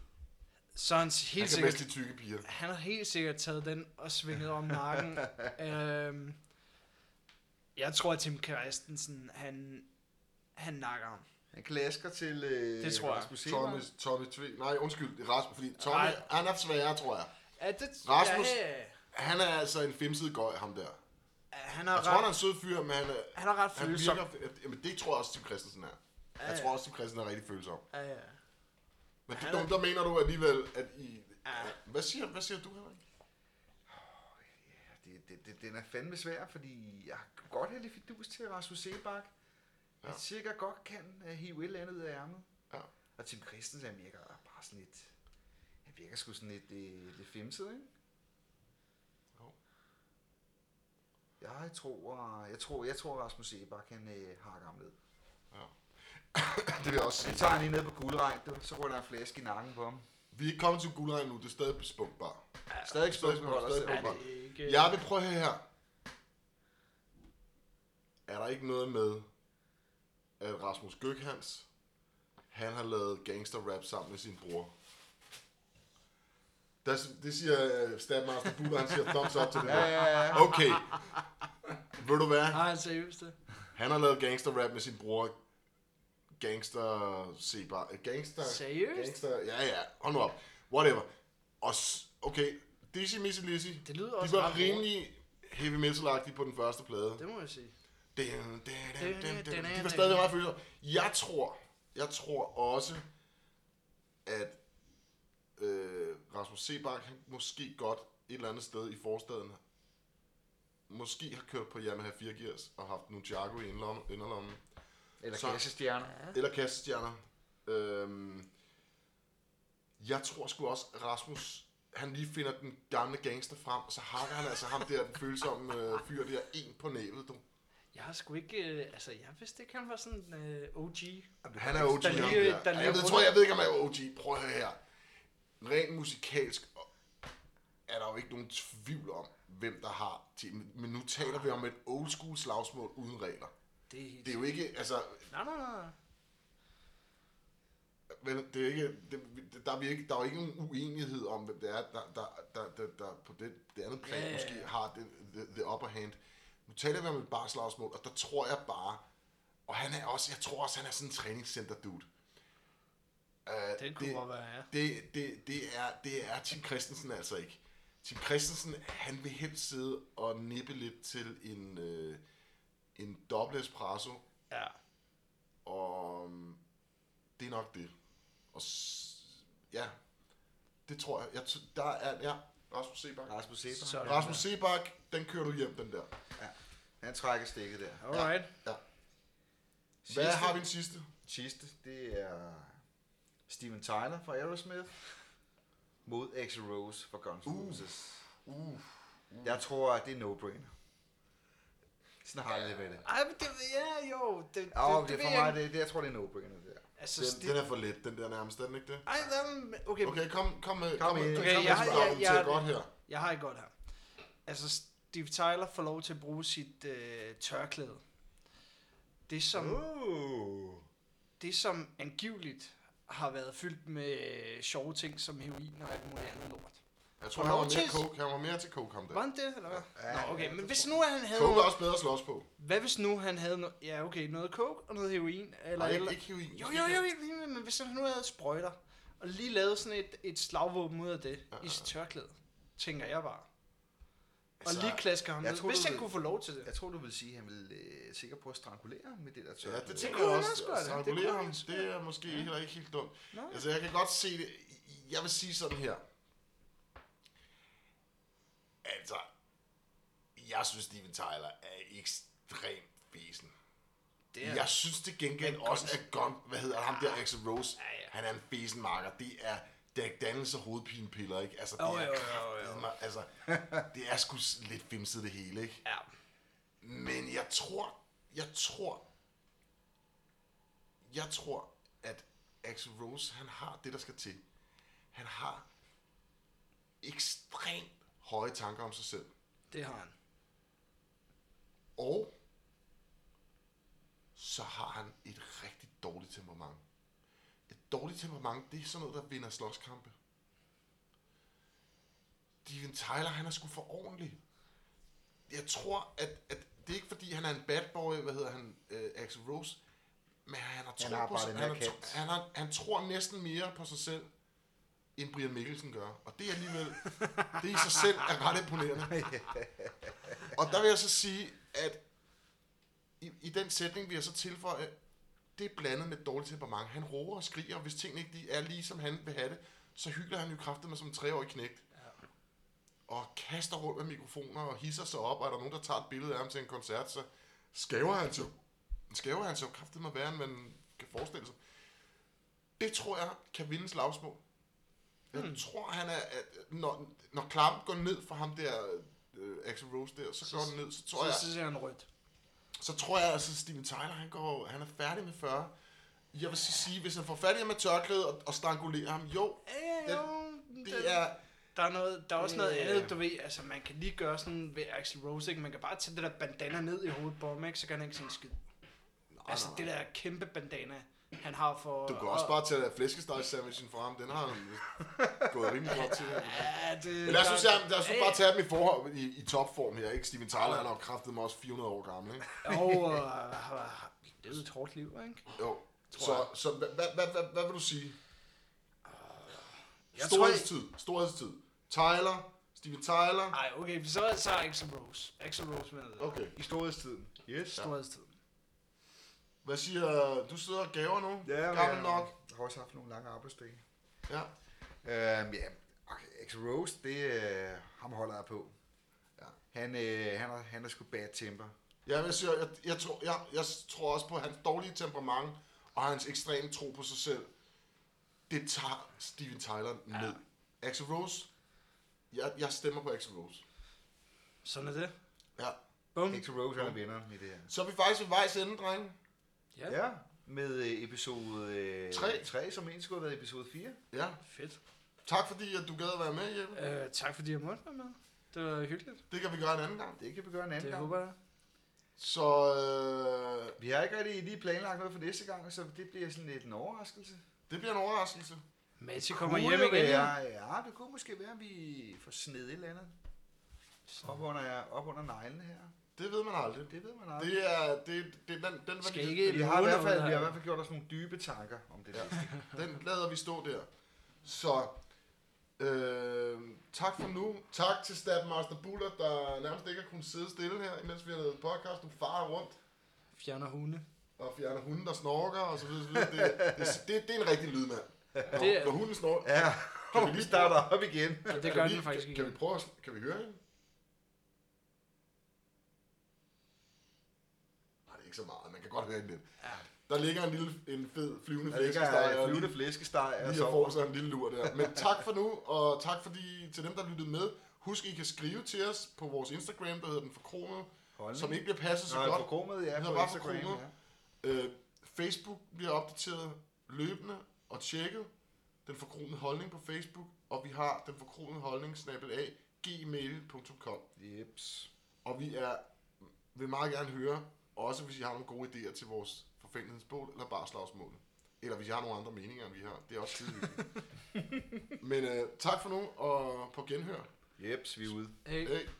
[SPEAKER 3] så er han s-
[SPEAKER 1] Han
[SPEAKER 3] helt
[SPEAKER 1] kan
[SPEAKER 3] sikkert,
[SPEAKER 1] bedst lide tykke piger.
[SPEAKER 3] han har helt sikkert taget den og svinget om nakken. øhm, jeg tror, at Tim Christensen, han, han nakker ham.
[SPEAKER 2] Han klasker til øh,
[SPEAKER 3] Det tror jeg.
[SPEAKER 2] Rasmus Sebak.
[SPEAKER 1] Tommy, Tommy Tve. Nej, undskyld, Rasmus, fordi Tommy,
[SPEAKER 3] Nej.
[SPEAKER 1] han er sværere, tror jeg.
[SPEAKER 3] Er det,
[SPEAKER 1] Rasmus?
[SPEAKER 3] Ja,
[SPEAKER 1] Han er altså en femsid gøj, ham der.
[SPEAKER 3] han er
[SPEAKER 1] Jeg tror, han er
[SPEAKER 3] ret,
[SPEAKER 1] en sød fyr, men han er...
[SPEAKER 3] han er ret
[SPEAKER 1] Han
[SPEAKER 3] følsom.
[SPEAKER 1] virker, jamen, det tror jeg også, Tim Christensen er. Jeg
[SPEAKER 3] Ja.
[SPEAKER 1] tror også, Tim Christensen er rigtig følsom.
[SPEAKER 3] Ja, ja.
[SPEAKER 1] Men
[SPEAKER 3] Han
[SPEAKER 1] du,
[SPEAKER 3] er-
[SPEAKER 1] der mener du alligevel, at I...
[SPEAKER 3] Ja.
[SPEAKER 1] Hvad siger, hvad siger du, Henrik?
[SPEAKER 2] det, det, det, den er fandme svær, fordi jeg kan godt have lidt fidus til Rasmus Sebak. Ja.
[SPEAKER 1] Ja.
[SPEAKER 2] Han sikkert godt kan uh, hive et eller andet ud af ærmet.
[SPEAKER 1] Ja.
[SPEAKER 2] Og Tim Christensen, han virker bare sådan lidt... Han virker sgu sådan lidt, øh, lidt femset, ikke?
[SPEAKER 1] Jo.
[SPEAKER 2] Jeg tror, jeg tror, jeg tror Rasmus Sebak, han øh, hakker ham ned.
[SPEAKER 1] Det vil jeg også sige.
[SPEAKER 2] Så tager han lige ned på guldregn, du. så ruller der en flaske i nakken på ham.
[SPEAKER 1] Vi er ikke kommet til guldregn nu, det er stadig spunkbar. stadig
[SPEAKER 2] Stadig spørgsmål, stadig
[SPEAKER 1] spørgsmål.
[SPEAKER 2] spørgsmål.
[SPEAKER 3] Det er ikke,
[SPEAKER 1] Jeg vil prøve her, her. Er der ikke noget med, at Rasmus Gøkhans, han har lavet gangster rap sammen med sin bror? Der, det siger øh, Stabmaster Buller, han siger thumbs up til det
[SPEAKER 2] Ja,
[SPEAKER 1] der.
[SPEAKER 2] ja, ja.
[SPEAKER 1] Okay. Ved du hvad?
[SPEAKER 3] Nej, han seriøst det.
[SPEAKER 1] Han har lavet gangster rap med sin bror. Gangster Seba. Gangster.
[SPEAKER 3] Seriøst?
[SPEAKER 1] Gangster. Ja, ja. Hold nu op. Whatever. Og s- okay. Dizzy Missy Lizzy.
[SPEAKER 3] Det lyder
[SPEAKER 1] De
[SPEAKER 3] også
[SPEAKER 1] var
[SPEAKER 3] ret
[SPEAKER 1] rimelig heavy metal på den første plade.
[SPEAKER 3] Det må jeg sige.
[SPEAKER 1] Dun, dun, dun, dun, dun. De var stadig meget følelser. Jeg tror, jeg tror også, at øh, Rasmus Sebak, han måske godt et eller andet sted i forstaden, måske har kørt på Yamaha 4 Gears og haft Nunchaku i indlom- inderlommen.
[SPEAKER 2] Eller
[SPEAKER 1] Så-
[SPEAKER 2] kassestjerner.
[SPEAKER 1] Eller kastestjerner. Øhm, jeg tror sgu også, at Rasmus, han lige finder den gamle gangster frem, og så hakker han altså ham der, den følsomme øh, fyr der, en på næbet, du.
[SPEAKER 3] Jeg har sgu ikke... Øh, altså, jeg vidste ikke, han var sådan en øh, OG.
[SPEAKER 1] Han er OG.
[SPEAKER 3] Der
[SPEAKER 1] Der
[SPEAKER 3] lige-
[SPEAKER 1] lige,
[SPEAKER 3] der lige
[SPEAKER 1] jeg, ved,
[SPEAKER 3] runder.
[SPEAKER 1] tror, jeg ved ikke, om han er OG. Prøv at høre her. Rent musikalsk er der jo ikke nogen tvivl om, hvem der har teamet. Men nu taler vi om et old school slagsmål uden regler.
[SPEAKER 3] Det er helt...
[SPEAKER 1] Det er jo ikke, altså,
[SPEAKER 3] Nej, nej, nej.
[SPEAKER 1] vel, det er ikke, det, der, er vi ikke, der er jo ikke nogen uenighed om, hvem det er, der, der, der, der, der på det, det andet plan
[SPEAKER 3] Ja,
[SPEAKER 1] ja,
[SPEAKER 3] ja,
[SPEAKER 1] ja.
[SPEAKER 3] ja.
[SPEAKER 1] måske har det, the, the upper hand. Nu taler vi om et barslagsmål, og der tror jeg bare, og han er også, jeg tror også, han er sådan en træningscenter dude. Uh,
[SPEAKER 3] Det kunne godt være, ja.
[SPEAKER 1] det, det, det, er, det er Tim Christensen altså ikke. Tim Christensen, han vil helst sidde og nippe lidt til en, øh, en dobbelt espresso,
[SPEAKER 3] Ja.
[SPEAKER 1] og øhm, det er nok det. Og s- ja, det tror jeg. jeg t- der er, ja, Rasmus Sebak.
[SPEAKER 2] Rasmus Sebak.
[SPEAKER 3] Sådan.
[SPEAKER 1] Rasmus Sebak, den kører du hjem, den der.
[SPEAKER 2] Han trækker stikket der.
[SPEAKER 3] Alright.
[SPEAKER 1] Hvad har vi den sidste?
[SPEAKER 2] Sidste, det er Steven Tyler fra Aerosmith mod Axl Rose fra Guns N'
[SPEAKER 1] Uh.
[SPEAKER 2] Roses.
[SPEAKER 1] Uh,
[SPEAKER 2] Jeg tror, at det er no-brainer. Sådan har jeg det ved det.
[SPEAKER 3] Ej, men det... Ja, jo. Det, det,
[SPEAKER 2] Ja, det,
[SPEAKER 3] ved
[SPEAKER 2] for
[SPEAKER 3] jeg
[SPEAKER 2] mig,
[SPEAKER 3] ikke.
[SPEAKER 2] det, det, jeg tror, det er no-brainer, det der.
[SPEAKER 3] Altså,
[SPEAKER 1] den, den er for let, den der nærmest, den ikke det?
[SPEAKER 3] Ej, jamen, okay, okay.
[SPEAKER 1] Okay, kom, kom med,
[SPEAKER 2] Kom
[SPEAKER 1] kom med,
[SPEAKER 2] med.
[SPEAKER 1] kom
[SPEAKER 3] Okay,
[SPEAKER 1] med,
[SPEAKER 3] jeg-
[SPEAKER 1] jeg,
[SPEAKER 3] jeg-
[SPEAKER 1] jeg,
[SPEAKER 3] jeg-
[SPEAKER 1] jeg, godt her.
[SPEAKER 3] Jeg har ikke godt her. Altså, Steve Tyler får lov til at bruge sit øh, tørklæde. Det som, uh.
[SPEAKER 2] Uh.
[SPEAKER 3] det, som angiveligt har været fyldt med øh, sjove ting som heroin og alt muligt andet lort.
[SPEAKER 1] Jeg tror,
[SPEAKER 3] Og
[SPEAKER 1] han var mere
[SPEAKER 3] Nortis.
[SPEAKER 1] coke, han var mere til coke, ham der.
[SPEAKER 3] Var han det, eller hvad?
[SPEAKER 2] Ja,
[SPEAKER 3] Nå, okay,
[SPEAKER 2] ja,
[SPEAKER 3] men hvis nu han havde...
[SPEAKER 1] Coke er også bedre at slås på.
[SPEAKER 3] Hvad hvis nu han havde... No- ja, okay, noget coke og noget heroin, eller...
[SPEAKER 1] Nej, ikke,
[SPEAKER 3] eller
[SPEAKER 1] ikke heroin.
[SPEAKER 3] jo, jo, jo, jo, men hvis han nu havde sprøjter, og lige lavet sådan et, et slagvåben ud af det, i sit tørklæde, tænker jeg bare. Og
[SPEAKER 1] Altså,
[SPEAKER 3] lige klasker ham
[SPEAKER 2] jeg
[SPEAKER 3] ned,
[SPEAKER 2] tror,
[SPEAKER 3] hvis
[SPEAKER 2] du
[SPEAKER 3] jeg
[SPEAKER 2] ved-
[SPEAKER 3] kunne få lov til det.
[SPEAKER 2] Jeg tror, du vil sige, at han vil øh, sikkert prøve at strangulere ham med det der
[SPEAKER 1] Ja,
[SPEAKER 2] tørklæde.
[SPEAKER 1] det tænker
[SPEAKER 3] kunne
[SPEAKER 1] jeg
[SPEAKER 3] han
[SPEAKER 1] også.
[SPEAKER 3] også gøre,
[SPEAKER 1] At
[SPEAKER 3] det. Det
[SPEAKER 1] strangulere
[SPEAKER 3] kunne han
[SPEAKER 1] ham,
[SPEAKER 3] også
[SPEAKER 1] det er måske heller ikke helt dumt.
[SPEAKER 3] Nej.
[SPEAKER 1] Altså, jeg kan godt se det. Jeg vil sige sådan her. Altså, jeg synes, Steven Tyler er ekstremt fesen.
[SPEAKER 3] Det
[SPEAKER 1] Jeg synes det gengæld også, at Gun, hvad hedder ham der, Axel Rose,
[SPEAKER 3] Ah, Ja, ja.
[SPEAKER 1] han er en fesen marker. Det er, det er dannelse og hovedpinepiller, ikke? Altså, det
[SPEAKER 3] Jo,
[SPEAKER 1] er
[SPEAKER 3] jo, jo, jo.
[SPEAKER 1] kraftedeme- altså, det er sgu lidt fimset det hele, ikke?
[SPEAKER 3] Ja.
[SPEAKER 1] Men jeg tror, jeg tror, jeg tror, at Axel Rose, han har det, der skal til. Han har ekstremt høje tanker om sig selv.
[SPEAKER 3] Det har han.
[SPEAKER 1] Og så har han et rigtig dårligt temperament. Et dårligt temperament, det er sådan noget, der vinder slåskampe. Steven Tyler, han er sgu for ordentlig. Jeg tror, at, at det er ikke fordi, han er en bad boy, hvad hedder han, øh, Axel Rose, men han har tro
[SPEAKER 2] har
[SPEAKER 1] på
[SPEAKER 2] bare
[SPEAKER 1] sig,
[SPEAKER 2] den
[SPEAKER 1] han,
[SPEAKER 2] her
[SPEAKER 1] har tro-
[SPEAKER 2] kant.
[SPEAKER 1] han, har, han tror næsten mere på sig selv, end Brian Mikkelsen gør. Og det er alligevel, det i sig selv er ret imponerende. Og der vil jeg så sige, at i, i den sætning vil jeg så tilføje, det er blandet med et dårligt temperament. Han roer og skriger, og hvis tingene ikke lige er lige som han vil have det, så hylder han jo kraften med som en treårig knægt. Og kaster rundt med mikrofoner og hisser sig op, og er der nogen, der tager et billede af ham til en koncert, så skæver han sig skæver han sig jo kraftigt med værre, end man kan forestille sig. Det tror jeg kan vinde slagsmål. Jeg hmm. tror, han er, at når, når klampen går ned for ham der, øh, Axel Rose der, så, går den ned, så tror jeg,
[SPEAKER 3] Så ser han rødt.
[SPEAKER 1] så tror jeg altså, Steven Tyler, han, går, han er færdig med 40. Jeg vil så sige, hvis han får fat i ham med tørklædet og, og strangulerer ham, jo,
[SPEAKER 3] Ja, jo, den-
[SPEAKER 1] det er...
[SPEAKER 3] der er, noget, der er også noget
[SPEAKER 1] Øh.
[SPEAKER 3] andet, du ved, altså man kan lige gøre sådan ved Axel Rose, ikke? man kan bare tage det der bandana ned i hovedet på ham, ikke? så kan han ikke se en skid. altså det der kæmpe bandana, han har for...
[SPEAKER 1] Du kan også bare tage flæskestegs-sandwichen fra ham, den har han gået rimelig godt til.
[SPEAKER 3] Ja, det...
[SPEAKER 1] Men lad os, nu
[SPEAKER 3] der-
[SPEAKER 1] se- lad os nu bare tage dem i, forhold, i, i topform her, ikke? Steven Tyler, han har jo kraftet mig også 400 år gammel, ikke?
[SPEAKER 3] Jo, og øh, har- har levet et hårdt liv, ikke?
[SPEAKER 1] Jo. Så, så hvad, hvad, hvad, hvad, hvad vil du sige?
[SPEAKER 2] Jeg tror, jeg-
[SPEAKER 1] Storhedstid. Storhedstid. Tyler. Steven Tyler.
[SPEAKER 3] Ej, okay, så, så er Axel Rose. Axel Rose med det.
[SPEAKER 1] Okay.
[SPEAKER 2] I storhedstiden. Yes.
[SPEAKER 3] Storhedstiden.
[SPEAKER 1] Hvad siger... Du sidder og gaver nu?
[SPEAKER 2] Ja,
[SPEAKER 1] Gammel
[SPEAKER 2] men-
[SPEAKER 1] nok.
[SPEAKER 2] Jeg har også haft nogle lange arbejdsdage.
[SPEAKER 1] Ja.
[SPEAKER 2] Øhm, ja, okay, Axel Rose, det øh, ham holder jeg på. Ja. Han, øh, han, er, han er sgu bad temper.
[SPEAKER 1] Ja, men jeg, siger, jeg, jeg, tror, jeg, jeg tror også på hans dårlige temperament og hans ekstreme tro på sig selv. Det tager Steven Tyler ned. Ja. Axel Rose. Jeg, jeg stemmer på Axel Rose.
[SPEAKER 3] Sådan er det.
[SPEAKER 1] Ja.
[SPEAKER 3] Bum.
[SPEAKER 2] Hector Rose
[SPEAKER 3] Mm.
[SPEAKER 2] er vinderen i det her.
[SPEAKER 1] Så er vi faktisk ved vejs ende, drenge.
[SPEAKER 3] Ja.
[SPEAKER 2] Ja, med øh, episode øh,
[SPEAKER 1] Tre.
[SPEAKER 2] 3, som egentlig skulle have været episode 4.
[SPEAKER 1] Ja.
[SPEAKER 3] Fedt.
[SPEAKER 1] Tak fordi at du gad at være med, Jeppe.
[SPEAKER 3] Øh, tak fordi jeg måtte være med. Det var hyggeligt.
[SPEAKER 1] Det kan vi gøre en anden gang.
[SPEAKER 2] Det kan vi gøre en anden
[SPEAKER 3] Det
[SPEAKER 2] gang.
[SPEAKER 3] håber jeg.
[SPEAKER 1] Så øh,
[SPEAKER 2] Vi har ikke rigtig lige planlagt noget for næste gang, så det bliver sådan lidt en overraskelse.
[SPEAKER 1] det bliver en overraskelse.
[SPEAKER 3] Mati kommer
[SPEAKER 2] Kunne
[SPEAKER 3] hjem
[SPEAKER 2] det
[SPEAKER 3] igen.
[SPEAKER 2] Være, ja, det kunne måske være, at vi får sned et eller andet. Op under, op under neglene her.
[SPEAKER 1] Det ved man aldrig.
[SPEAKER 2] Det ved man aldrig.
[SPEAKER 1] Det er, det, det er den, den,
[SPEAKER 3] Skal
[SPEAKER 1] værdi-
[SPEAKER 3] ikke
[SPEAKER 2] vi, har i hvert fald, vi har i hvert
[SPEAKER 3] fald...
[SPEAKER 2] fald gjort os nogle dybe tanker om det der.
[SPEAKER 1] den lader vi stå der. Så øh, tak for nu. Tak til Stabmaster Buller, der nærmest ikke har kunnet sidde stille her, imens vi har lavet podcast. Du farer rundt
[SPEAKER 3] Fjerner hunde.
[SPEAKER 1] og fjerner hunden, der snorker og så videre. Så videre. Det, det, det, det, er en rigtig lydmand. Når,
[SPEAKER 3] Det er-
[SPEAKER 1] når hunden snorker,
[SPEAKER 2] Ja,
[SPEAKER 1] Kan vi
[SPEAKER 2] og vi
[SPEAKER 1] lige-
[SPEAKER 2] starter op igen.
[SPEAKER 3] Ja, det
[SPEAKER 1] kan
[SPEAKER 3] gør
[SPEAKER 1] vi,
[SPEAKER 3] den faktisk
[SPEAKER 1] kan,
[SPEAKER 3] ikke.
[SPEAKER 1] kan vi prøve at, sn- kan vi høre hende? Ah, Nej, det er ikke så meget. Man kan godt høre hende lidt.
[SPEAKER 3] Ja.
[SPEAKER 1] Der ligger en lille en fed flyvende
[SPEAKER 2] Der ligger
[SPEAKER 1] flæskesteg og
[SPEAKER 2] øh,
[SPEAKER 1] en lille
[SPEAKER 2] flyvende flæskesteg og
[SPEAKER 1] lige at få
[SPEAKER 2] så.
[SPEAKER 1] sig en lille lur der. Men tak for nu, og tak fordi, til dem, der lyttede med. Husk, I kan skrive til os på vores Instagram, der hedder Den Forkromede, som ikke bliver passet så
[SPEAKER 2] Nå,
[SPEAKER 1] godt.
[SPEAKER 2] forkromet, ja,
[SPEAKER 1] Den
[SPEAKER 2] på
[SPEAKER 1] hedder bare
[SPEAKER 2] Instagram.
[SPEAKER 1] forkromet.
[SPEAKER 2] Ja.
[SPEAKER 1] Øh, Facebook bliver opdateret løbende og tjekket. Den forkromede holdning på Facebook, og vi har den forkromede holdning, snappet af, gmail.com.
[SPEAKER 2] Jeps.
[SPEAKER 1] Og vi er, vil meget gerne høre, også hvis I har nogle gode idéer til vores forfængelighedsbål eller bare slagsmål. Eller hvis I har nogle andre meninger, end vi har. Det er også tidligt. Men øh, tak for nu, og på genhør.
[SPEAKER 2] Jeps, vi er ude.
[SPEAKER 3] Hey.
[SPEAKER 1] Hey.